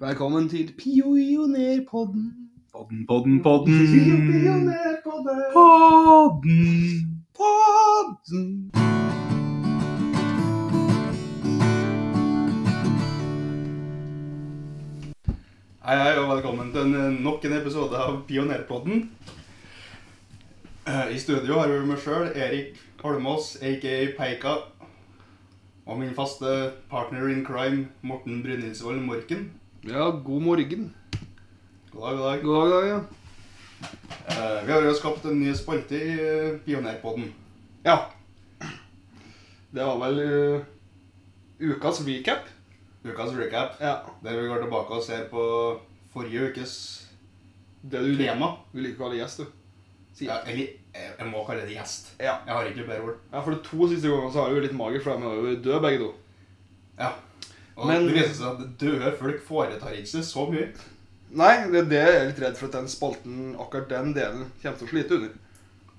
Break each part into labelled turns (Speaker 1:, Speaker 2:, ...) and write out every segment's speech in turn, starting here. Speaker 1: Velkommen til Pionerpodden. Podden, podden, podden.
Speaker 2: Pionerpodden!
Speaker 1: Podden. Podden. Hei, hei, og velkommen til en, eh, nok en episode av Pionerpodden. Eh, I studio har vi meg sjøl, Erik Holmås, aka Peika. Og min faste partner in crime, Morten Brynildsvold Morken.
Speaker 2: Ja, god morgen.
Speaker 1: God dag, god dag.
Speaker 2: God dag, dag, ja.
Speaker 1: Eh, vi har jo skapt en ny spalte i eh, Pionerpodden. Ja.
Speaker 2: Det var vel eh, ukas recap.
Speaker 1: Ukas recap,
Speaker 2: Ja.
Speaker 1: der vi går tilbake og ser på forrige ukes
Speaker 2: Det du, liker-
Speaker 1: tema.
Speaker 2: du liker å kalle gjest, du. Sier.
Speaker 1: Ja, eller jeg, jeg må kalle det gjest.
Speaker 2: Ja.
Speaker 1: Jeg har ikke noe bedre ord.
Speaker 2: ja, for de to siste gangene så har det jo litt mager, for de er jo døde begge to.
Speaker 1: Ja. Og
Speaker 2: Men-
Speaker 1: det viser seg at døde folk foretar ikke så mye.
Speaker 2: Nei, det er det jeg er litt redd for at den spalten, akkurat den delen, kommer til å slite under.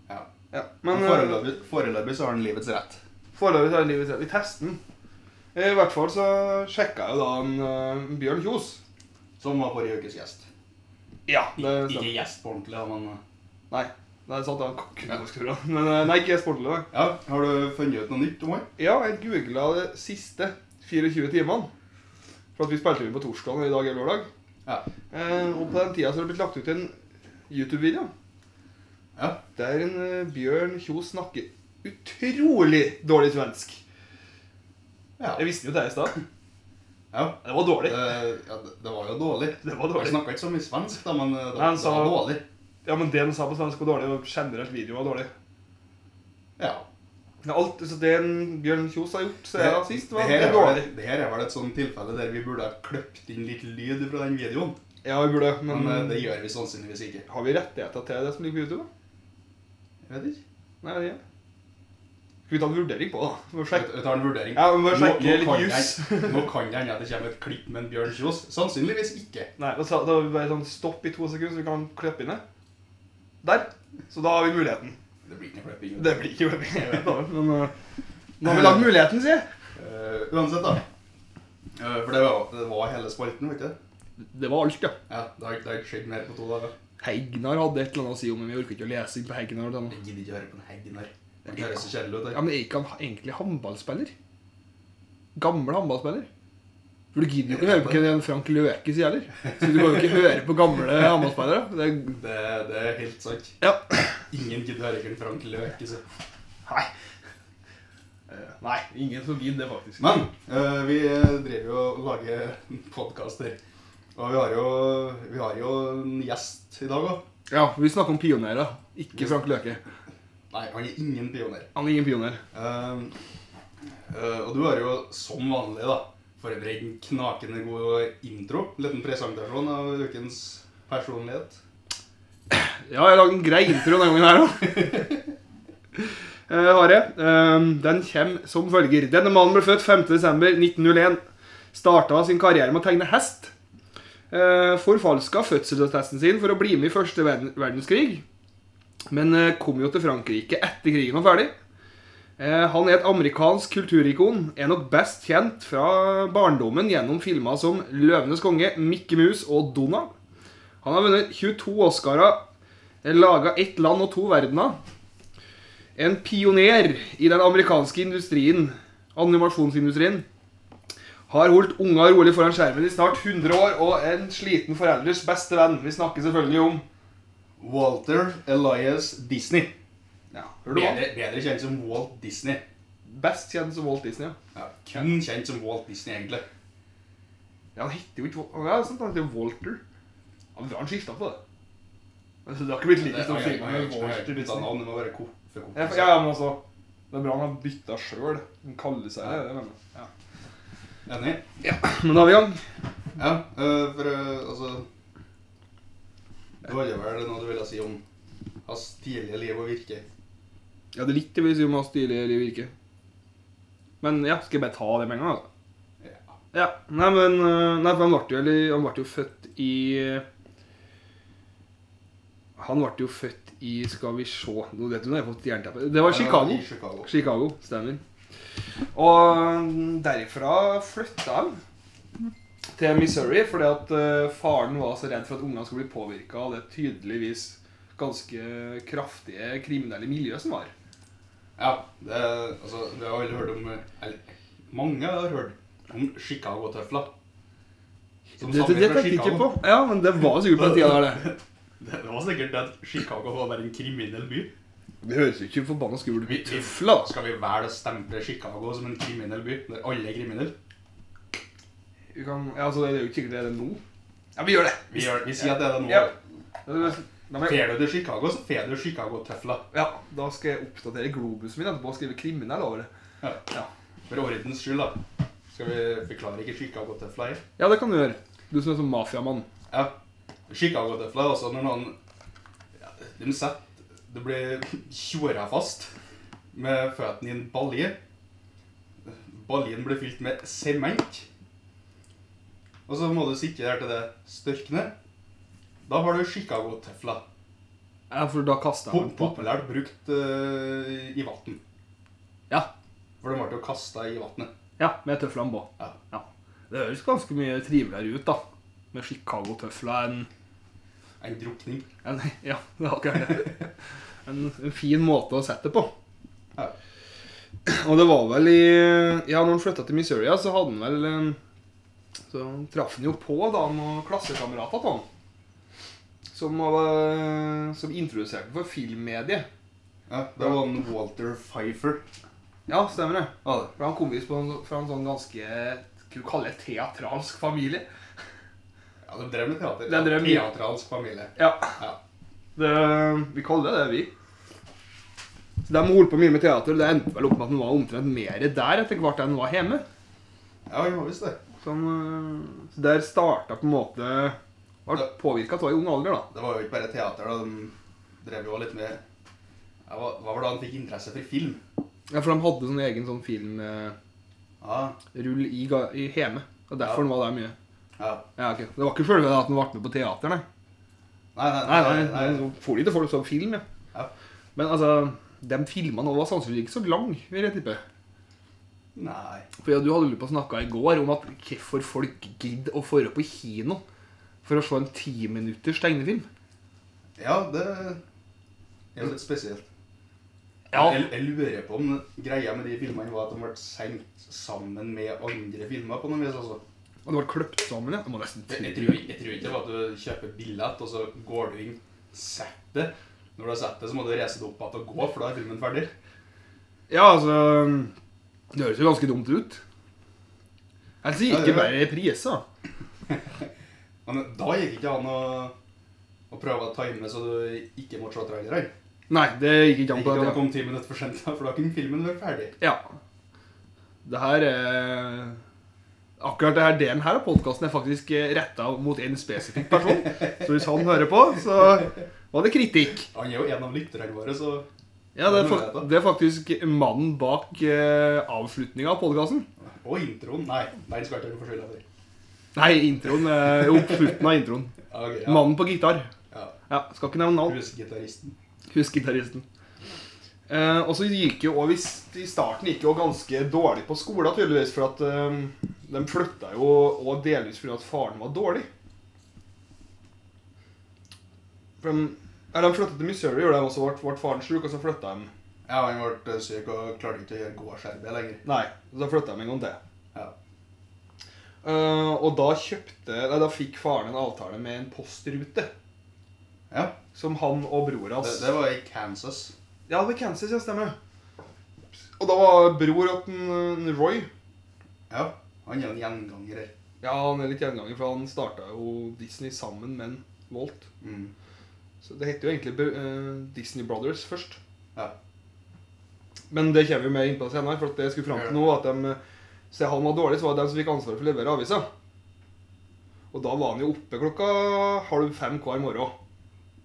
Speaker 1: Ja.
Speaker 2: Ja,
Speaker 1: Men
Speaker 2: men eh,
Speaker 1: foreløpig, foreløpig så har han livets rett.
Speaker 2: foreløpig så er livet redd. Vi tester den. I hvert fall så sjekka jeg jo da en eh, Bjørn Kjos.
Speaker 1: Som var forrige ukes gjest.
Speaker 2: Ja,
Speaker 1: Ikke,
Speaker 2: det
Speaker 1: ikke
Speaker 2: stemmer.
Speaker 1: gjest på ordentlig, da, men
Speaker 2: Nei, der satt han kukkeskura. Men eh, nei, ikke sportlig, da.
Speaker 1: Ja, har du funnet ut noe nytt om han?
Speaker 2: Ja, jeg googla de siste 24 timene. For at vi spilte inn på torsdag, og i dag er lørdag.
Speaker 1: Ja.
Speaker 2: Eh, og på den tida så har det blitt lagt ut en YouTube-video
Speaker 1: Ja.
Speaker 2: der en eh, Bjørn Kjos snakker utrolig dårlig svensk.
Speaker 1: Ja.
Speaker 2: Jeg visste jo det i stad.
Speaker 1: ja.
Speaker 2: Det var
Speaker 1: Det,
Speaker 2: dårlig.
Speaker 1: ja, det det var jo dårlig.
Speaker 2: Det var
Speaker 1: Jeg
Speaker 2: dårlig.
Speaker 1: snakka ikke så mye svensk, da, men eh, det,
Speaker 2: Han
Speaker 1: det
Speaker 2: sa-
Speaker 1: var dårlig.
Speaker 2: Ja, men det han sa på svensk var dårlig, og generelt videoen var dårlig.
Speaker 1: Ja.
Speaker 2: Men Alt, så det en Bjørn Kjos har gjort siden sist, var
Speaker 1: her
Speaker 2: det
Speaker 1: er vel,
Speaker 2: dårlig.
Speaker 1: det her er vel et sånt tilfelle der vi burde ha kløpt inn litt lyd fra den videoen.
Speaker 2: Ja, vi burde,
Speaker 1: Men
Speaker 2: men
Speaker 1: eh, det gjør vi sannsynligvis ikke.
Speaker 2: har vi rettigheter til det som ligger på YouTube? da?
Speaker 1: Jeg vet ikke.
Speaker 2: Nei, det er det. Skal vi ta en vurdering på det, da? Vi må
Speaker 1: Jeg
Speaker 2: sjekke-
Speaker 1: jeg tar en vurdering.
Speaker 2: Ja, vi må
Speaker 1: Nå-
Speaker 2: sjekke
Speaker 1: nå
Speaker 2: litt
Speaker 1: kan
Speaker 2: jus.
Speaker 1: jeg- Nå kan det hende at det kommer et klipp med en Bjørn Kjos. Sannsynligvis ikke.
Speaker 2: Nei, da sa- da var vi bare sånn stopp i to sekunder, så vi kan klippe inn det. Der. Så da har vi muligheten.
Speaker 1: Det blir ikke noe klipping.
Speaker 2: Det blir ikke veldig jeg vet da, men eh, nå har vi lagd muligheten, sier jeg.
Speaker 1: Eh, uansett, da. Eh, for det var, det var hele spalten, vet du.
Speaker 2: Det var alt, ja.
Speaker 1: Ja, det har, det har ikke skjedd mer på to dager.
Speaker 2: Hegnar hadde et eller annet å si om, men vi orker ikke å lese inn på Hegnar. da.
Speaker 1: Jeg gidder ikke høre på en Hegnar. Det høres så kjedelig ut.
Speaker 2: Ja,
Speaker 1: det.
Speaker 2: men er ikke han egentlig håndballspiller? Gamle håndballspiller? For du gidder jo ikke å høre på hva en Frank Løke sier heller. Så du kan jo ikke høre på gamle håndballspillere. Det er...
Speaker 1: Det, det er helt sant.
Speaker 2: Ja.
Speaker 1: Ingen gidder høre hvem Frank Løke sier.
Speaker 2: Nei. Eh, Nei, ingen som gidder det, faktisk.
Speaker 1: Men eh, vi driver jo og lager podkaster. Og vi har, jo, vi har jo en gjest i dag òg.
Speaker 2: Ja, vi snakker om pionerer, ikke Frank Løke.
Speaker 1: Nei, han er ingen pioner.
Speaker 2: Han er ingen pioner.
Speaker 1: Ehm, eh, og du har jo som vanlig da forberedt en knakende god intro. En liten presentasjon av ukens personlighet.
Speaker 2: Ja, jeg lagde en grei intro denne gangen her òg. har jeg. Ehm, den kommer som følger. Denne mannen ble født 5.12.1901. Starta sin karriere med å tegne hest. Uh, forfalska fødselsattesten sin for å bli med i første verden- verdenskrig. Men eh, kom jo til Frankrike etter krigen var ferdig. Eh, han er et amerikansk kulturikon. Er nok best kjent fra barndommen gjennom filmer som 'Løvenes konge', 'Mikke Mus' og 'Donald'. Han har vunnet 22 Oscarer, laga ett land og to verdener. En pioner i den amerikanske industrien, animasjonsindustrien. Har holdt unga rolig foran skjermen i snart 100 år og en sliten forelders beste venn. Vi snakker selvfølgelig om
Speaker 1: Walter Elias Disney.
Speaker 2: ja, hører du hva?
Speaker 1: Bedre, bedre kjent som Walt Disney.
Speaker 2: Best kjent som Walt Disney. Ja.
Speaker 1: Ja, kun kjent som Walt Disney, egentlig.
Speaker 2: Ja, han heter jo ikke Wal- Ja, sant, han heter Walter. Ja, men da har han skifta på det. Altså, det har ikke blitt
Speaker 1: Det-
Speaker 2: like
Speaker 1: han
Speaker 2: stor
Speaker 1: er-
Speaker 2: film
Speaker 1: han er
Speaker 2: med
Speaker 1: ikke- han er ikke
Speaker 2: Walter
Speaker 1: byttet
Speaker 2: Disney.
Speaker 1: navn, det må være ko- for kompis.
Speaker 2: Ja, for- ja, men altså Det er bra han har bytta sjøl. Han kaller seg det. det mener jeg. Ja.
Speaker 1: Enig?
Speaker 2: Men da er vi i gang.
Speaker 1: Ja, eh, for eh, altså Du hadde vel noe du ville si om hans tidlige liv og virke?
Speaker 2: Ja, det er litt det vil si om hans stilige liv virke. Men ja, skal jeg bare ta det med en gang, da?
Speaker 1: Ja.
Speaker 2: Ja. Nei, men øh, Nei, for han ble jo, eller, han ble jo født i øh, Han ble jo født i Skal vi se Nå vet du når jeg har fått jernteppe. Det var Chicago.
Speaker 1: Eh, I Chicago.
Speaker 2: Chicago, stemmer. Og derifra flytta han til Missouri fordi at eh, faren var så redd for at ungene skulle bli påvirka av det tydeligvis ganske kraftige kriminelle miljøet som var.
Speaker 1: Ja, det, er- altså, vi har alle hørt om eh, Eller mange har hørt om Chicago-tøfler. Som
Speaker 2: Det, det,
Speaker 1: stammer
Speaker 2: det
Speaker 1: fra
Speaker 2: tenkte jeg ikke
Speaker 1: Chicago.
Speaker 2: på. Ja, men det var sikkert på den tida der, det.
Speaker 1: Det, det var sikkert det at Chicago var bare en kriminell by.
Speaker 2: Det høres jo ikke forbanna skummelt
Speaker 1: Vi-
Speaker 2: ut. Tøfla!
Speaker 1: Skal vi velge å stemple Chicago som en kriminell by, der alle er kriminelle?
Speaker 2: Vi kan, ja, altså, det er jo ikke sikkert det er det nå. Ja, vi gjør det.
Speaker 1: Vi, gjør, vi sier at det er det nå.
Speaker 2: Ja. Da må jeg-
Speaker 1: Fer du til Chicago, så fer du Chicago-tøfler.
Speaker 2: ja, da skal jeg oppdatere globusen min etterpå og skrive 'kriminell' over det.
Speaker 1: Ja.
Speaker 2: Ja.
Speaker 1: For ordens skyld, da. Skal vi forklare ikke Chicago-tøfler her?
Speaker 2: ja, det kan du gjøre. Du som er sånn mafiamann.
Speaker 1: Ja. Chicago-tøfler er også altså, når noen ja, De setter Du blir tjora fast med føttene i en balje. Baljen blir fylt med sement. Og så må du sikre deg til det størkner. Da har du Chicago-tøfler.
Speaker 2: Ja, for da kaster jeg
Speaker 1: Po-
Speaker 2: den på.
Speaker 1: Populært brukt eh, i vann.
Speaker 2: Ja,
Speaker 1: For de ble jo kasta i vannet.
Speaker 2: ja, med tøflene på.
Speaker 1: Ja.
Speaker 2: Ja. Det høres ganske mye triveligere ut, da. Med Chicago-tøfler enn
Speaker 1: En drukning.
Speaker 2: enn- Ja, det var akkurat det. En, en fin måte å sette det på.
Speaker 1: Ja.
Speaker 2: Og det var vel i Ja, når han flytta til Missouri, ja, så hadde han vel eh, Så traff han jo på da noen klassekamerater av han. Som, var- eh, som introduserte ham for filmmediet.
Speaker 1: Ja, det var en Walter Pfeiffer.
Speaker 2: Ja, stemmer det.
Speaker 1: Ja, det.
Speaker 2: For han kom visst på en- fra en sånn ganske Skal vi kalle det teatralsk familie.
Speaker 1: Ja, de drev med teater.
Speaker 2: De drev med-
Speaker 1: Teatralsk familie.
Speaker 2: Ja,
Speaker 1: Ja.
Speaker 2: Det, vi kaller det det, vi. Så De holdt på mye med teater. og Det endte vel opp med at han var omtrent mer der etter hvert enn han var hjemme.
Speaker 1: ja, vi må visst det.
Speaker 2: Så, han, øh, så der starta på en måte Ble
Speaker 1: Ja.
Speaker 2: påvirka av i ung alder, da.
Speaker 1: Det var jo ikke bare teater, da. De drev jo litt med ja, hva, hva var det han fikk interesse for film?
Speaker 2: Ja, For de hadde sånn egen sånn filmrull
Speaker 1: Ja,
Speaker 2: i, ga- i hjemme. Og derfor
Speaker 1: Ja.
Speaker 2: han var der mye.
Speaker 1: ja.
Speaker 2: Ja, ok. Det var ikke sjølve at han ble med på teater, nei.
Speaker 1: Nei, nei,
Speaker 2: Nei, nei, nei. Så får de til folk som film, ja.
Speaker 1: Ja.
Speaker 2: Men altså, de filmene var sannsynligvis ikke så lange, vil jeg tippe.
Speaker 1: Nei.
Speaker 2: For ja, Du hadde lurt på å snakke i går om at hvorfor folk gidder å dra på kino for å se en timinutters tegnefilm.
Speaker 1: Ja, det er jo litt spesielt. Jeg, jeg lurer på om greia med de filmene var at de ble sendt sammen med andre filmer på noe vis. altså.
Speaker 2: Og det var kløpt sammen, ja. Det må nesten
Speaker 1: Jeg, jeg,
Speaker 2: tro-
Speaker 1: tror, jeg tror ikke det var at du kjøper billett, og så går du inn, setter det. Når du har sett det, så må du reise deg opp igjen og gå, for da er filmen ferdig.
Speaker 2: Ja, altså Det høres jo ganske dumt ut. Ellers gikk
Speaker 1: Ja,
Speaker 2: det
Speaker 1: det gjør
Speaker 2: bare reprise. da.
Speaker 1: Men da gikk ikke an å, å prøve å time så du ikke måtte se traileren.
Speaker 2: Nei, det gikk ikke an
Speaker 1: Ikke
Speaker 2: på
Speaker 1: an å
Speaker 2: det.
Speaker 1: komme ti minutter for sent, da, for da kunne filmen vært ferdig.
Speaker 2: Ja. Det her er Akkurat det her delen her av podkasten er faktisk retta mot én spesifikk person. Så hvis han hører på, så var det kritikk.
Speaker 1: Han er jo en av lytterne våre, så
Speaker 2: Ja, det er,
Speaker 1: Hva er det
Speaker 2: fak
Speaker 1: da?
Speaker 2: det er faktisk mannen bak eh, avslutninga av podkasten.
Speaker 1: Og introen. Nei, den skal ikke du få skylda for.
Speaker 2: Nei, introen. Eh, jo, slutten av introen.
Speaker 1: Ja, ok, ja.
Speaker 2: Mannen på gitar.
Speaker 1: Ja.
Speaker 2: Ja, Skal ikke nevne navn.
Speaker 1: Husgitaristen.
Speaker 2: Husk gitaristen. Eh, og så gikk jo og hvis, I starten gikk jo ganske dårlig på skolen, tydeligvis. For at eh, de flytta jo og delvis fordi at faren var dårlig. For de, ja, de flytta til Missouri, gjorde de, og så ble, ble faren sjuk, og så flytta de
Speaker 1: Ja, han ble eh, syk og klarte ikke å gjøre gårdsarbeidet lenger.
Speaker 2: Nei, så flytta de en gang til.
Speaker 1: Ja.
Speaker 2: Eh, og da kjøpte Nei, da fikk faren en avtale med en postrute.
Speaker 1: ja.
Speaker 2: Som han og bror
Speaker 1: Det,
Speaker 2: hans
Speaker 1: det var i Kansas.
Speaker 2: Ja, det var Kansas, ja, stemmer. Og da var bror at en- en Roy
Speaker 1: Ja. Han er en gjenganger her.
Speaker 2: Ja, han er litt gjenganger, for han starta jo Disney sammen med en Walt.
Speaker 1: Mm.
Speaker 2: Så det heter jo egentlig br- eh, Disney Brothers først.
Speaker 1: Ja.
Speaker 2: Men det kommer vi mer inn på senere, for at det jeg skulle fram til nå, var at de, eh, se han var dårlig, så var det de som fikk ansvaret for å levere avisa. Og da var han jo oppe klokka halv fem hver morgen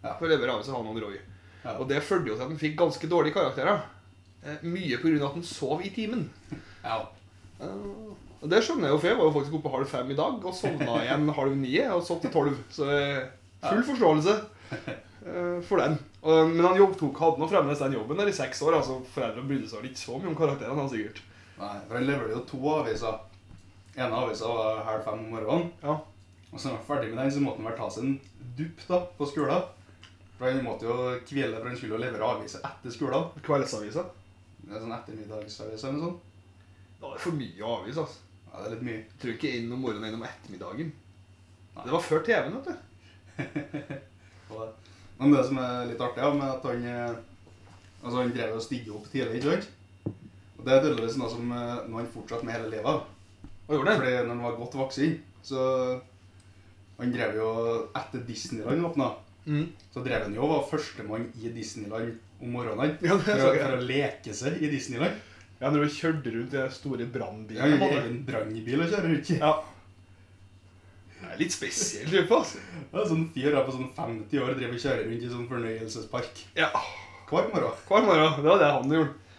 Speaker 1: Ja.
Speaker 2: for å levere avisa, han og Roy.
Speaker 1: Ja.
Speaker 2: Og det følte jo til at han fikk ganske dårlige karakterer. Eh, Mye pga. at han sov i timen.
Speaker 1: ja.
Speaker 2: Eh, Og det skjønner jeg jo, for jeg var jo faktisk oppe halv fem i dag og sovna igjen halv ni. Og sov til tolv. Så eh, full forståelse eh, for den. Og, men han jobb, tok, hadde nå fremdeles den jobben der i seks år. altså Foreldrene brydde seg vel ikke så mye om karakterene. da, sikkert.
Speaker 1: Nei, for han leverte jo to aviser. ene avisa var halv fem om morgenen.
Speaker 2: Ja.
Speaker 1: Og så når han var ferdig med den, så måtte han vel ta seg en dupp da, på skolen. For han måtte jo hvile, for han skulle jo levere aviser etter skolen.
Speaker 2: Kveldsavisa.
Speaker 1: Det er sånn ettermiddagsavis eller noe sånt.
Speaker 2: Det var for mye avis, altså.
Speaker 1: Ja, det er litt mye.
Speaker 2: Jeg tror ikke inn om morgenen, inn om ettermiddagen.
Speaker 1: Nei.
Speaker 2: Det var før TV-en, vet du.
Speaker 1: på det. Men det som er litt artig, ja, med at han eh, Altså, han greier å stige opp tidlig, ikke sant? Og det er tydeligvis noe som eh, noe han fortsatte med hele livet.
Speaker 2: Og gjorde det.
Speaker 1: Fordi når han var godt voksen, så Han drev jo Etter Disneyland åpna,
Speaker 2: Mm.
Speaker 1: så drev han jo og var førstemann i Disneyland om morgenen.
Speaker 2: Ja, det så
Speaker 1: for, å,
Speaker 2: jeg.
Speaker 1: for å leke seg i Disneyland.
Speaker 2: Ja, når du kjørte rundt i den store
Speaker 1: Ja, han
Speaker 2: brannbilen.
Speaker 1: har
Speaker 2: var det.
Speaker 1: egen brannbil å kjøre rundt i.
Speaker 2: Ja. Det er litt spesiell type, altså.
Speaker 1: Det er Sånn fyr da på sånn 50 år driver og kjører rundt i sånn fornøyelsespark
Speaker 2: Ja.
Speaker 1: hver morgen.
Speaker 2: Hver morgen. Det var det han gjorde.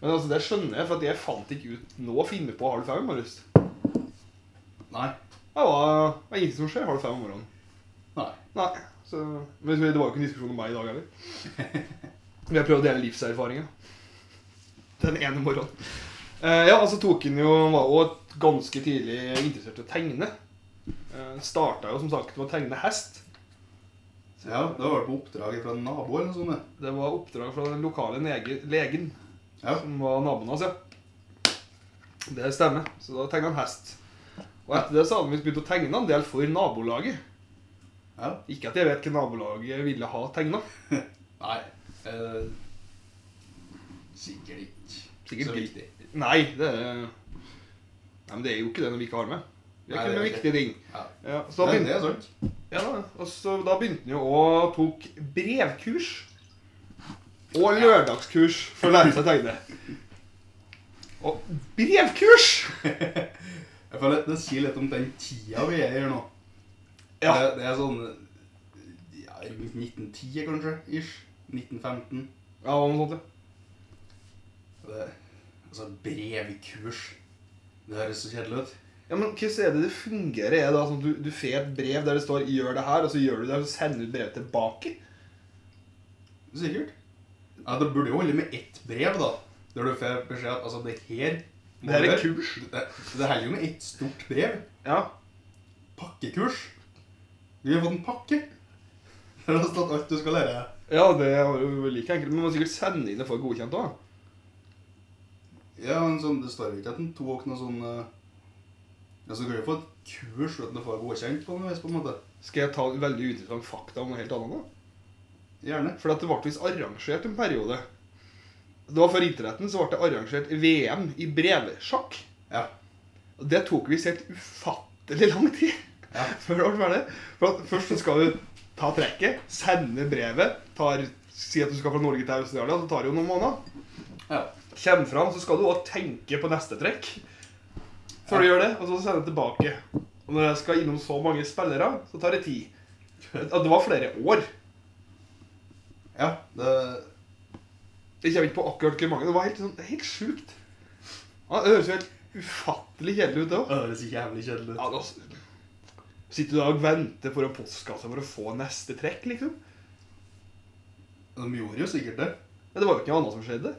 Speaker 2: Men altså, det skjønner jeg, for at jeg fant ikke ut nå å finne på halv fem i morges.
Speaker 1: Nei.
Speaker 2: Det var, det var ingenting som skjer halv fem om morgenen.
Speaker 1: Nei.
Speaker 2: Nei. Så, men det var jo ikke en diskusjon om meg i dag heller. Vi har prøvd å dele livserfaringer. Den ene morgenen. Eh, ja, altså tok han jo han var jo ganske tidlig interessert i å tegne. Eh, Starta jo som sagt med å tegne hest.
Speaker 1: Ja, det var vel på oppdrag fra en nabo eller noe sånt. det.
Speaker 2: Det var oppdrag fra den lokale nege, legen,
Speaker 1: Ja.
Speaker 2: som var naboen hans, ja. Det stemmer. Så da tegna han hest. Og etter det så hadde vi begynt å tegne en del for nabolaget.
Speaker 1: ja.
Speaker 2: Ikke at jeg vet hva nabolaget ville ha tegna.
Speaker 1: Nei. Eh, sikkert ikke.
Speaker 2: Sikkert
Speaker 1: så
Speaker 2: ikke.
Speaker 1: viktig.
Speaker 2: Nei, det er... Nei, men det er jo ikke det når vi ikke har med. Vi har
Speaker 1: Nei,
Speaker 2: ikke
Speaker 1: det
Speaker 2: med
Speaker 1: er
Speaker 2: viktige ting.
Speaker 1: Ja.
Speaker 2: Ja, så da
Speaker 1: Det, det
Speaker 2: begynte,
Speaker 1: er sant.
Speaker 2: ja, da. og så da begynte han jo og tok brevkurs. Og lørdagskurs for å lære seg å tegne. Og brevkurs!
Speaker 1: Jeg føler at Det sier litt om den tida vi er i her nå.
Speaker 2: Ja.
Speaker 1: Det, det er sånn ja, rundt 1910, kanskje. Ish. 1915.
Speaker 2: Ja, hva noe sånt, ja.
Speaker 1: Det, altså brevkurs. Det høres så kjedelig ut.
Speaker 2: Ja, men hvordan er det det fungerer? Er det da sånn at du, du får et brev der det står 'gjør det her', og så gjør du det, og så sender du brevet tilbake?
Speaker 1: Sikkert. Ja, Det burde jo holde med ett brev, da. Der du får beskjed at altså, det her må
Speaker 2: Det her er
Speaker 1: du gjøre.
Speaker 2: kurs.
Speaker 1: Det, det holder jo med ett stort brev.
Speaker 2: Ja.
Speaker 1: Pakkekurs? Vi har fått en pakke. Der har stått alt du skal lære.
Speaker 2: ja, det var jo like enkelt. Men man må sikkert sende inn det for godkjent òg.
Speaker 1: Ja, men sånn, Det står jo ikke at en tok noe sånn eh, Ja, så kan du få et kurs uten å få godkjent på noe vis, på en måte.
Speaker 2: Skal jeg ta en veldig uinteressant fakta om noe helt annet nå?
Speaker 1: Gjerne.
Speaker 2: For at det ble visst arrangert en periode. Det var Før idretten så ble det arrangert VM i brevsjakk.
Speaker 1: Ja.
Speaker 2: Og Det tok visst helt ufattelig lang tid
Speaker 1: Ja.
Speaker 2: før det ble ferdig. For at Først så skal du ta trekket, sende brevet, tar, si at du skal fra Norge til Australia, så tar det jo noen måneder.
Speaker 1: ja.
Speaker 2: Kjem fram, så skal du også tenke på neste trekk. Før du gjør det, og så sende det tilbake. Og når jeg skal innom så mange spillere, så tar det tid. Og Det var flere år.
Speaker 1: Ja, det
Speaker 2: Jeg kommer ikke på akkurat hvor mange. Det var helt, sånn, helt sjukt. Ja, det høres jo helt ufattelig kjedelig ut, det òg.
Speaker 1: det høres ikke jævlig kjedelig
Speaker 2: Ja, da s- sitter du da og venter på en postkasse for å få neste trekk, liksom?
Speaker 1: De gjorde jo sikkert det.
Speaker 2: Men det var jo ikke noe annet som skjedde.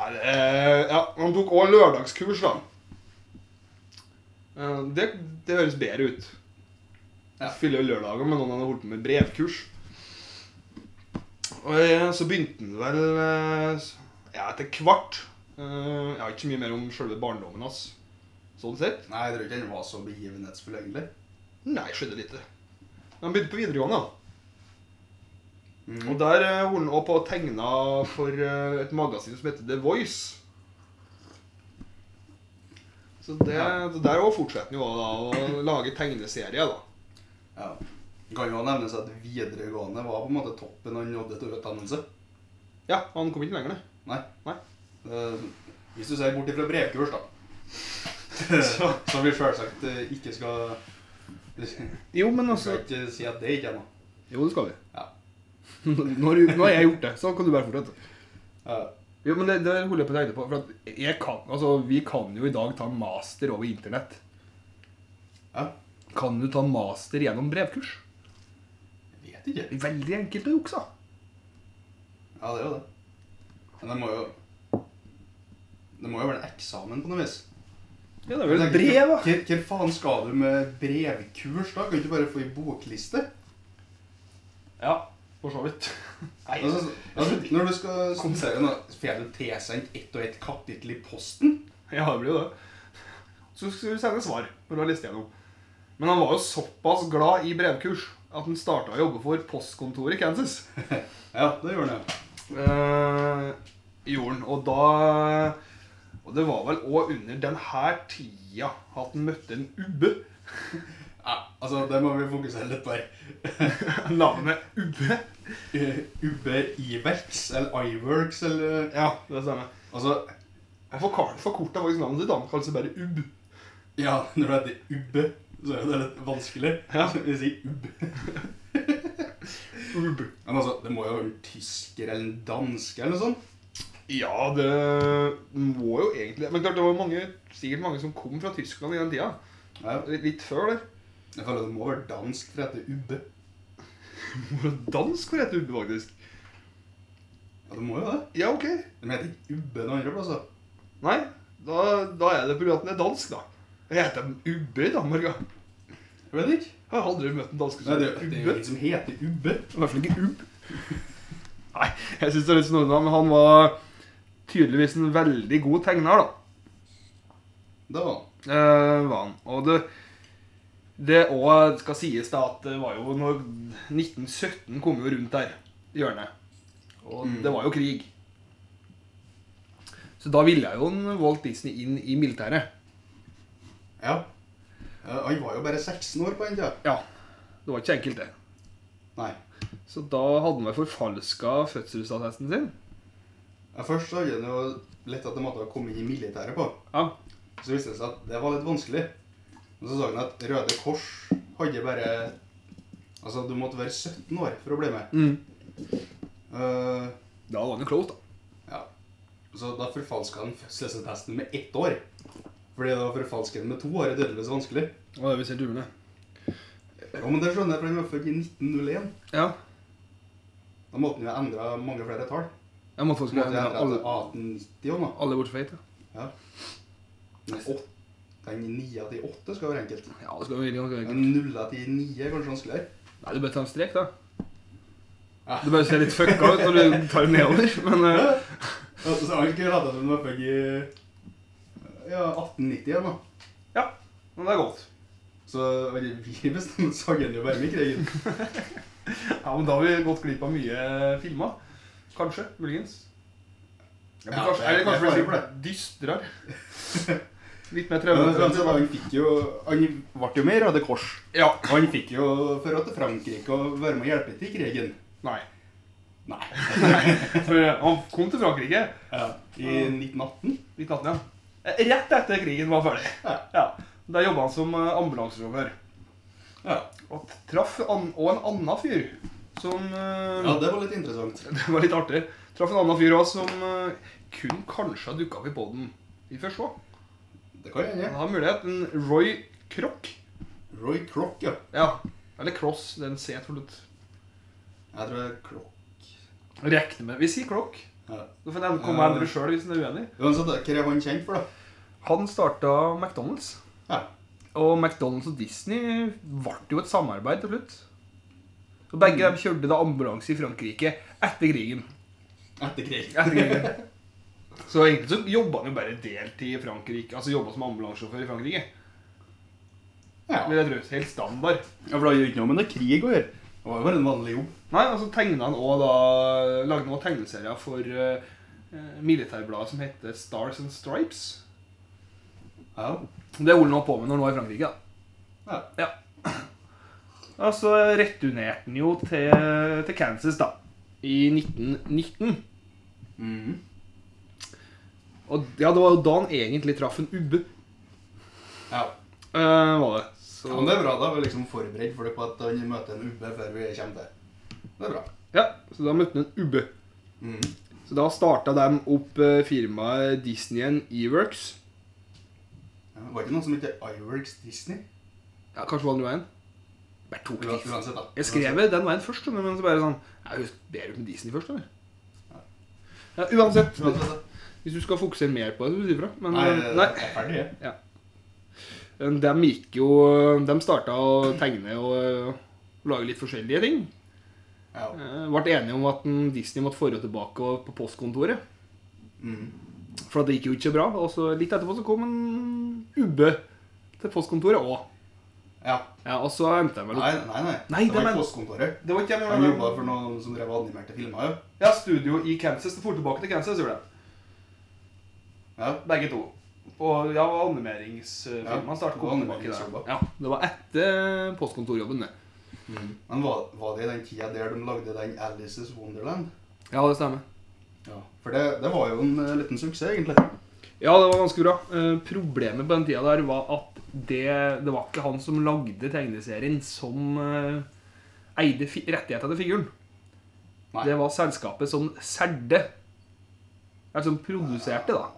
Speaker 2: Nei, det, eh, ja, Han tok òg lørdagskurs, da. Eh, Det, det høres bedre ut.
Speaker 1: Ja.
Speaker 2: Jeg Fyller jo lørdager med noen han har holdt på med brevkurs. Og eh, så begynte han vel eh, s- ja, etter hvert. Eh, Jeg har ikke så mye mer om sjølve barndommen hans. Sånn sett.
Speaker 1: Nei, jeg tror ikke den var så begivenhetsfull, egentlig.
Speaker 2: Nei, skjedde lite. Men han begynte på videregående. da. Og
Speaker 1: Mm.
Speaker 2: der eh, holdt han opp og tegna for eh, et magasin som heter The Voice. Så, det,
Speaker 1: Ja.
Speaker 2: så der òg fortsetter han jo da, å lage tegneserier, da.
Speaker 1: Ja. Det kan jo nevnes at videregående var på en måte toppen han nådde til utdannelse.
Speaker 2: Ja, han kom ikke lenger, ned.
Speaker 1: Nei.
Speaker 2: Nei.
Speaker 1: Eh, hvis du ser bort ifra brevkurs, da.
Speaker 2: Så-
Speaker 1: Som vi selvsagt eh, ikke skal Vi skal
Speaker 2: Jo, men altså-
Speaker 1: ikke si at det ikke er noe.
Speaker 2: Jo, det skal vi.
Speaker 1: Ja.
Speaker 2: når, nå har jeg gjort det, så kan du bare fortsette.
Speaker 1: Ja.
Speaker 2: Jo, men det, det holder jeg på å tegne på. For at jeg kan, altså, vi kan jo i dag ta master over internett.
Speaker 1: ja.
Speaker 2: Kan du ta master gjennom brevkurs?
Speaker 1: Jeg vet ikke.
Speaker 2: Veldig enkelt å jukse.
Speaker 1: Ja, det er jo det. Men det må jo Det må jo være en eksamen på noe vis.
Speaker 2: Ja, det er vel brev, da.
Speaker 1: Hvor hvor faen skal du med brevkurs, da? Kan du ikke bare få i bokliste?
Speaker 2: Ja, for så vidt. Nei,
Speaker 1: Altså, altså, når du skal skonsere noe, får du tilsendt ett og ett kapittel i posten?
Speaker 2: ja, det blir jo det. Så skulle du sende svar når du har lest gjennom. Men han var jo såpass glad i brevkurs at han starta å jobbe for postkontoret i Kansas.
Speaker 1: Ja, det gjør det.
Speaker 2: Eh, gjorde han. Og da Og det var vel òg under denne tida at han møtte en ubbe.
Speaker 1: Ja, altså, det må vi fokusere litt på her.
Speaker 2: Navnet Ubbe.
Speaker 1: Eh, Ubbe Iverks, eller Iverks, eller
Speaker 2: Ja, det stemmer.
Speaker 1: Altså,
Speaker 2: Han forkar- forkorta faktisk navnet sitt. Han kalte seg bare Ubb.
Speaker 1: ja, når du heter Ubbe, så er jo det litt vanskelig.
Speaker 2: Ja.
Speaker 1: Vi sier Ubbe.
Speaker 2: Ubb.
Speaker 1: Men altså, det må jo være en tysker eller en danske eller noe sånt.
Speaker 2: Ja, det må jo egentlig Men klart, det var mange, sikkert mange som kom fra Tyskland i den tida.
Speaker 1: Ja,
Speaker 2: Litt litt før der.
Speaker 1: jeg føler det må være dansk for å hete Ubbe.
Speaker 2: Må jo Dansk for å hete Ubbe, faktisk.
Speaker 1: Ja, det må jo det.
Speaker 2: Ja, ok.
Speaker 1: De heter ikke Ubbe noen andre plasser.
Speaker 2: Nei, da, da er det på grunn av at den er dansk, da. Jeg heter Ubbe i Danmark, ja.
Speaker 1: Jeg vet ikke.
Speaker 2: Jeg har aldri møtt en danske
Speaker 1: Nei,
Speaker 2: som
Speaker 1: det,
Speaker 2: heter
Speaker 1: det er jo
Speaker 2: Ubbe.
Speaker 1: ingen som heter Ubbe.
Speaker 2: I hvert fall ikke ubb. Nei, jeg syns det er litt snodig, da, men han var tydeligvis en veldig god tegner, da.
Speaker 1: Da var
Speaker 2: Eh, var han. Og det det òg skal sies da at det var jo når 1917 kom jo rundt der i hjørnet. Og
Speaker 1: Mm.
Speaker 2: det var jo krig. Så da ville jo en Walt Disney inn i militæret.
Speaker 1: Ja. Eh, Han var jo bare 16 år på den tida.
Speaker 2: Ja. Det var ikke så enkelt, det.
Speaker 1: Nei.
Speaker 2: Så da hadde han vel forfalska fødselsattesten sin.
Speaker 1: Ja, Først så hadde han jo lett at de måtte ha kommet inn i militæret på.
Speaker 2: Ja.
Speaker 1: Så viste det seg at det var litt vanskelig. Og så sa han at Røde Kors hadde bare Altså, du måtte være 17 år for å bli med.
Speaker 2: Mm.
Speaker 1: Eh,
Speaker 2: Da var han jo close, da.
Speaker 1: ja. Så da forfalska han fødselsattesten med ett år. Fordi da å forfalske den med to år er tydeligvis vanskelig.
Speaker 2: Og det er visst helt umulig.
Speaker 1: Ja, men det skjønner jeg, for han var født i 1901.
Speaker 2: Ja.
Speaker 1: Da måtte han jo endre mange flere tall.
Speaker 2: Jeg måtte
Speaker 1: Så
Speaker 2: faktisk
Speaker 1: måtte han endre til
Speaker 2: alle,
Speaker 1: 1890 òg, da.
Speaker 2: alle bortsett fra ett. ja.
Speaker 1: Men åt- Den 9 til 8 skal være enkelt.
Speaker 2: Ja, det skal jo virkelig ganske
Speaker 1: Den 0 til 9 er kanskje vanskeligere.
Speaker 2: Nei, du bør ta en strek, da.
Speaker 1: Ja.
Speaker 2: Du bare ser litt fucka ut når du tar den nedover, men eh,
Speaker 1: Altså, så han kunne rette at hun var født i ja, 1890 igjen, da.
Speaker 2: Men det er godt.
Speaker 1: Så eller, vi bestemte sangen jo bare med krigen.
Speaker 2: Ja, men da har vi gått glipp av mye filmer. Kanskje. Muligens. Ja, men
Speaker 1: Ja,
Speaker 2: kanskje,
Speaker 1: det er-
Speaker 2: eller kanskje
Speaker 1: det er
Speaker 2: vi
Speaker 1: fare for
Speaker 2: sier dystrere. Litt mer
Speaker 1: Men fram til da,
Speaker 2: traumatisk.
Speaker 1: han fikk jo Han ble jo med i Røde Kors.
Speaker 2: Ja.
Speaker 1: Og han fikk jo dra til Frankrike og være med og hjelpe til i krigen.
Speaker 2: Nei.
Speaker 1: Nei.
Speaker 2: For eh, han kom til Frankrike
Speaker 1: Ja, I 1918.
Speaker 2: 1918, ja. Eh, Rett etter krigen var ferdig.
Speaker 1: Ja.
Speaker 2: Ja. Der jobba han som eh, ambulanserover.
Speaker 1: Ja.
Speaker 2: Og traff an og en annen fyr som eh,
Speaker 1: ja, det var litt interessant.
Speaker 2: Det var litt artig. Traff en annen fyr òg som eh, kun kanskje har dukka opp i poden i første gang.
Speaker 1: Det kan
Speaker 2: Han
Speaker 1: hende.
Speaker 2: har mulighet. En Roy Kroc.
Speaker 1: Roy Crock, ja.
Speaker 2: Ja. Eller Cross. Den C, tror du.
Speaker 1: Jeg tror det er Crock.
Speaker 2: Rekne med. Vi sier Kroc.
Speaker 1: Ja.
Speaker 2: Du får nevne komme
Speaker 1: Ja.
Speaker 2: Andrew sjøl hvis du er uenig.
Speaker 1: Uansett, da, hva er han kjent for, da?
Speaker 2: Han starta McDonald's.
Speaker 1: Ja.
Speaker 2: Og McDonald's og Disney ble jo et samarbeid til slutt. Og begge dem kjørte da ambulanse i Frankrike etter krigen.
Speaker 1: Etter krigen.
Speaker 2: Etter krigen. Så egentlig så jobba han jo bare deltid i Frankrike. Altså jobba som ambulansesjåfør i Frankrike.
Speaker 1: Ja.
Speaker 2: Vil jeg tro. Helt standard.
Speaker 1: Ja, for det har jo ikke noe med noe krig å gjøre. Det var jo bare en vanlig jobb.
Speaker 2: Nei, og så tegna han også da Lagde noen tegneserier for eh, eh, militærbladet som heter Stars and Stripes.
Speaker 1: Ja.
Speaker 2: Det holder han på med når han var i Frankrike. da. Ja. Og så returnerte han jo til, til Kansas, da. I 1919.
Speaker 1: Mhm.
Speaker 2: Og ja, det var jo da han egentlig traff en ubbe.
Speaker 1: ja.
Speaker 2: eh, var det. Så,
Speaker 1: Ja, men det er bra. Da er vi liksom forberedt for det på at han møter en ubbe før vi kommer til. Det er bra.
Speaker 2: ja, så da møtte han en ubbe.
Speaker 1: Mm.
Speaker 2: Så da starta de opp eh, firmaet Disneyen Eworks.
Speaker 1: Ja, var det ikke noe som heter Iworks Disney?
Speaker 2: Ja, kanskje var det den veien? Bare tok
Speaker 1: Ula-
Speaker 2: litt.
Speaker 1: Uansett, da.
Speaker 2: Jeg skrev vel den veien først, men så bare sånn Jeg husker bedre med Disney først, eller? Ja, uansett.
Speaker 1: Uansett, da.
Speaker 2: Hvis du skal fokusere mer på det, så må du si ifra. Men
Speaker 1: Nei,
Speaker 2: eh,
Speaker 1: jeg
Speaker 2: nei.
Speaker 1: er ferdig, jeg.
Speaker 2: De gikk jo De starta å tegne og eh, lage litt forskjellige ting.
Speaker 1: Ja.
Speaker 2: Eh, Ble enige om at en Disney måtte forå tilbake og- på postkontoret.
Speaker 1: Mm.
Speaker 2: For det gikk jo ikke bra. Og så litt etterpå så kom en ubbe til postkontoret òg.
Speaker 1: ja.
Speaker 2: Ja, og så endte de vel
Speaker 1: Nei,
Speaker 2: opp
Speaker 1: nei, nei.
Speaker 2: Nei,
Speaker 1: det var
Speaker 2: det
Speaker 1: i
Speaker 2: var-
Speaker 1: postkontoret.
Speaker 2: Det var ikke
Speaker 1: Han jobba for noen som drev og animerte filmer, jo.
Speaker 2: Ja, studio i Kansas. Det for tilbake til Kansas, gjorde de.
Speaker 1: Ja.
Speaker 2: Begge to. Og ja, animeringsfilmene
Speaker 1: Ja,
Speaker 2: startet
Speaker 1: det var
Speaker 2: kom tilbake
Speaker 1: animeringsjobba.
Speaker 2: der. Ja, det var etter postkontorjobben, det. Mm.
Speaker 1: Men var, var det i den tida der de lagde den Alice's Wonderland?
Speaker 2: Ja, det stemmer.
Speaker 1: Ja. For det, det var jo en eh, liten suksess, egentlig.
Speaker 2: Ja, det var ganske bra. Eh, problemet på den tida der var at det, det var ikke han som lagde tegneserien, som eh, eide fi rettighetene til figuren.
Speaker 1: Nei.
Speaker 2: Det var selskapet som serde. Eller som produserte, da.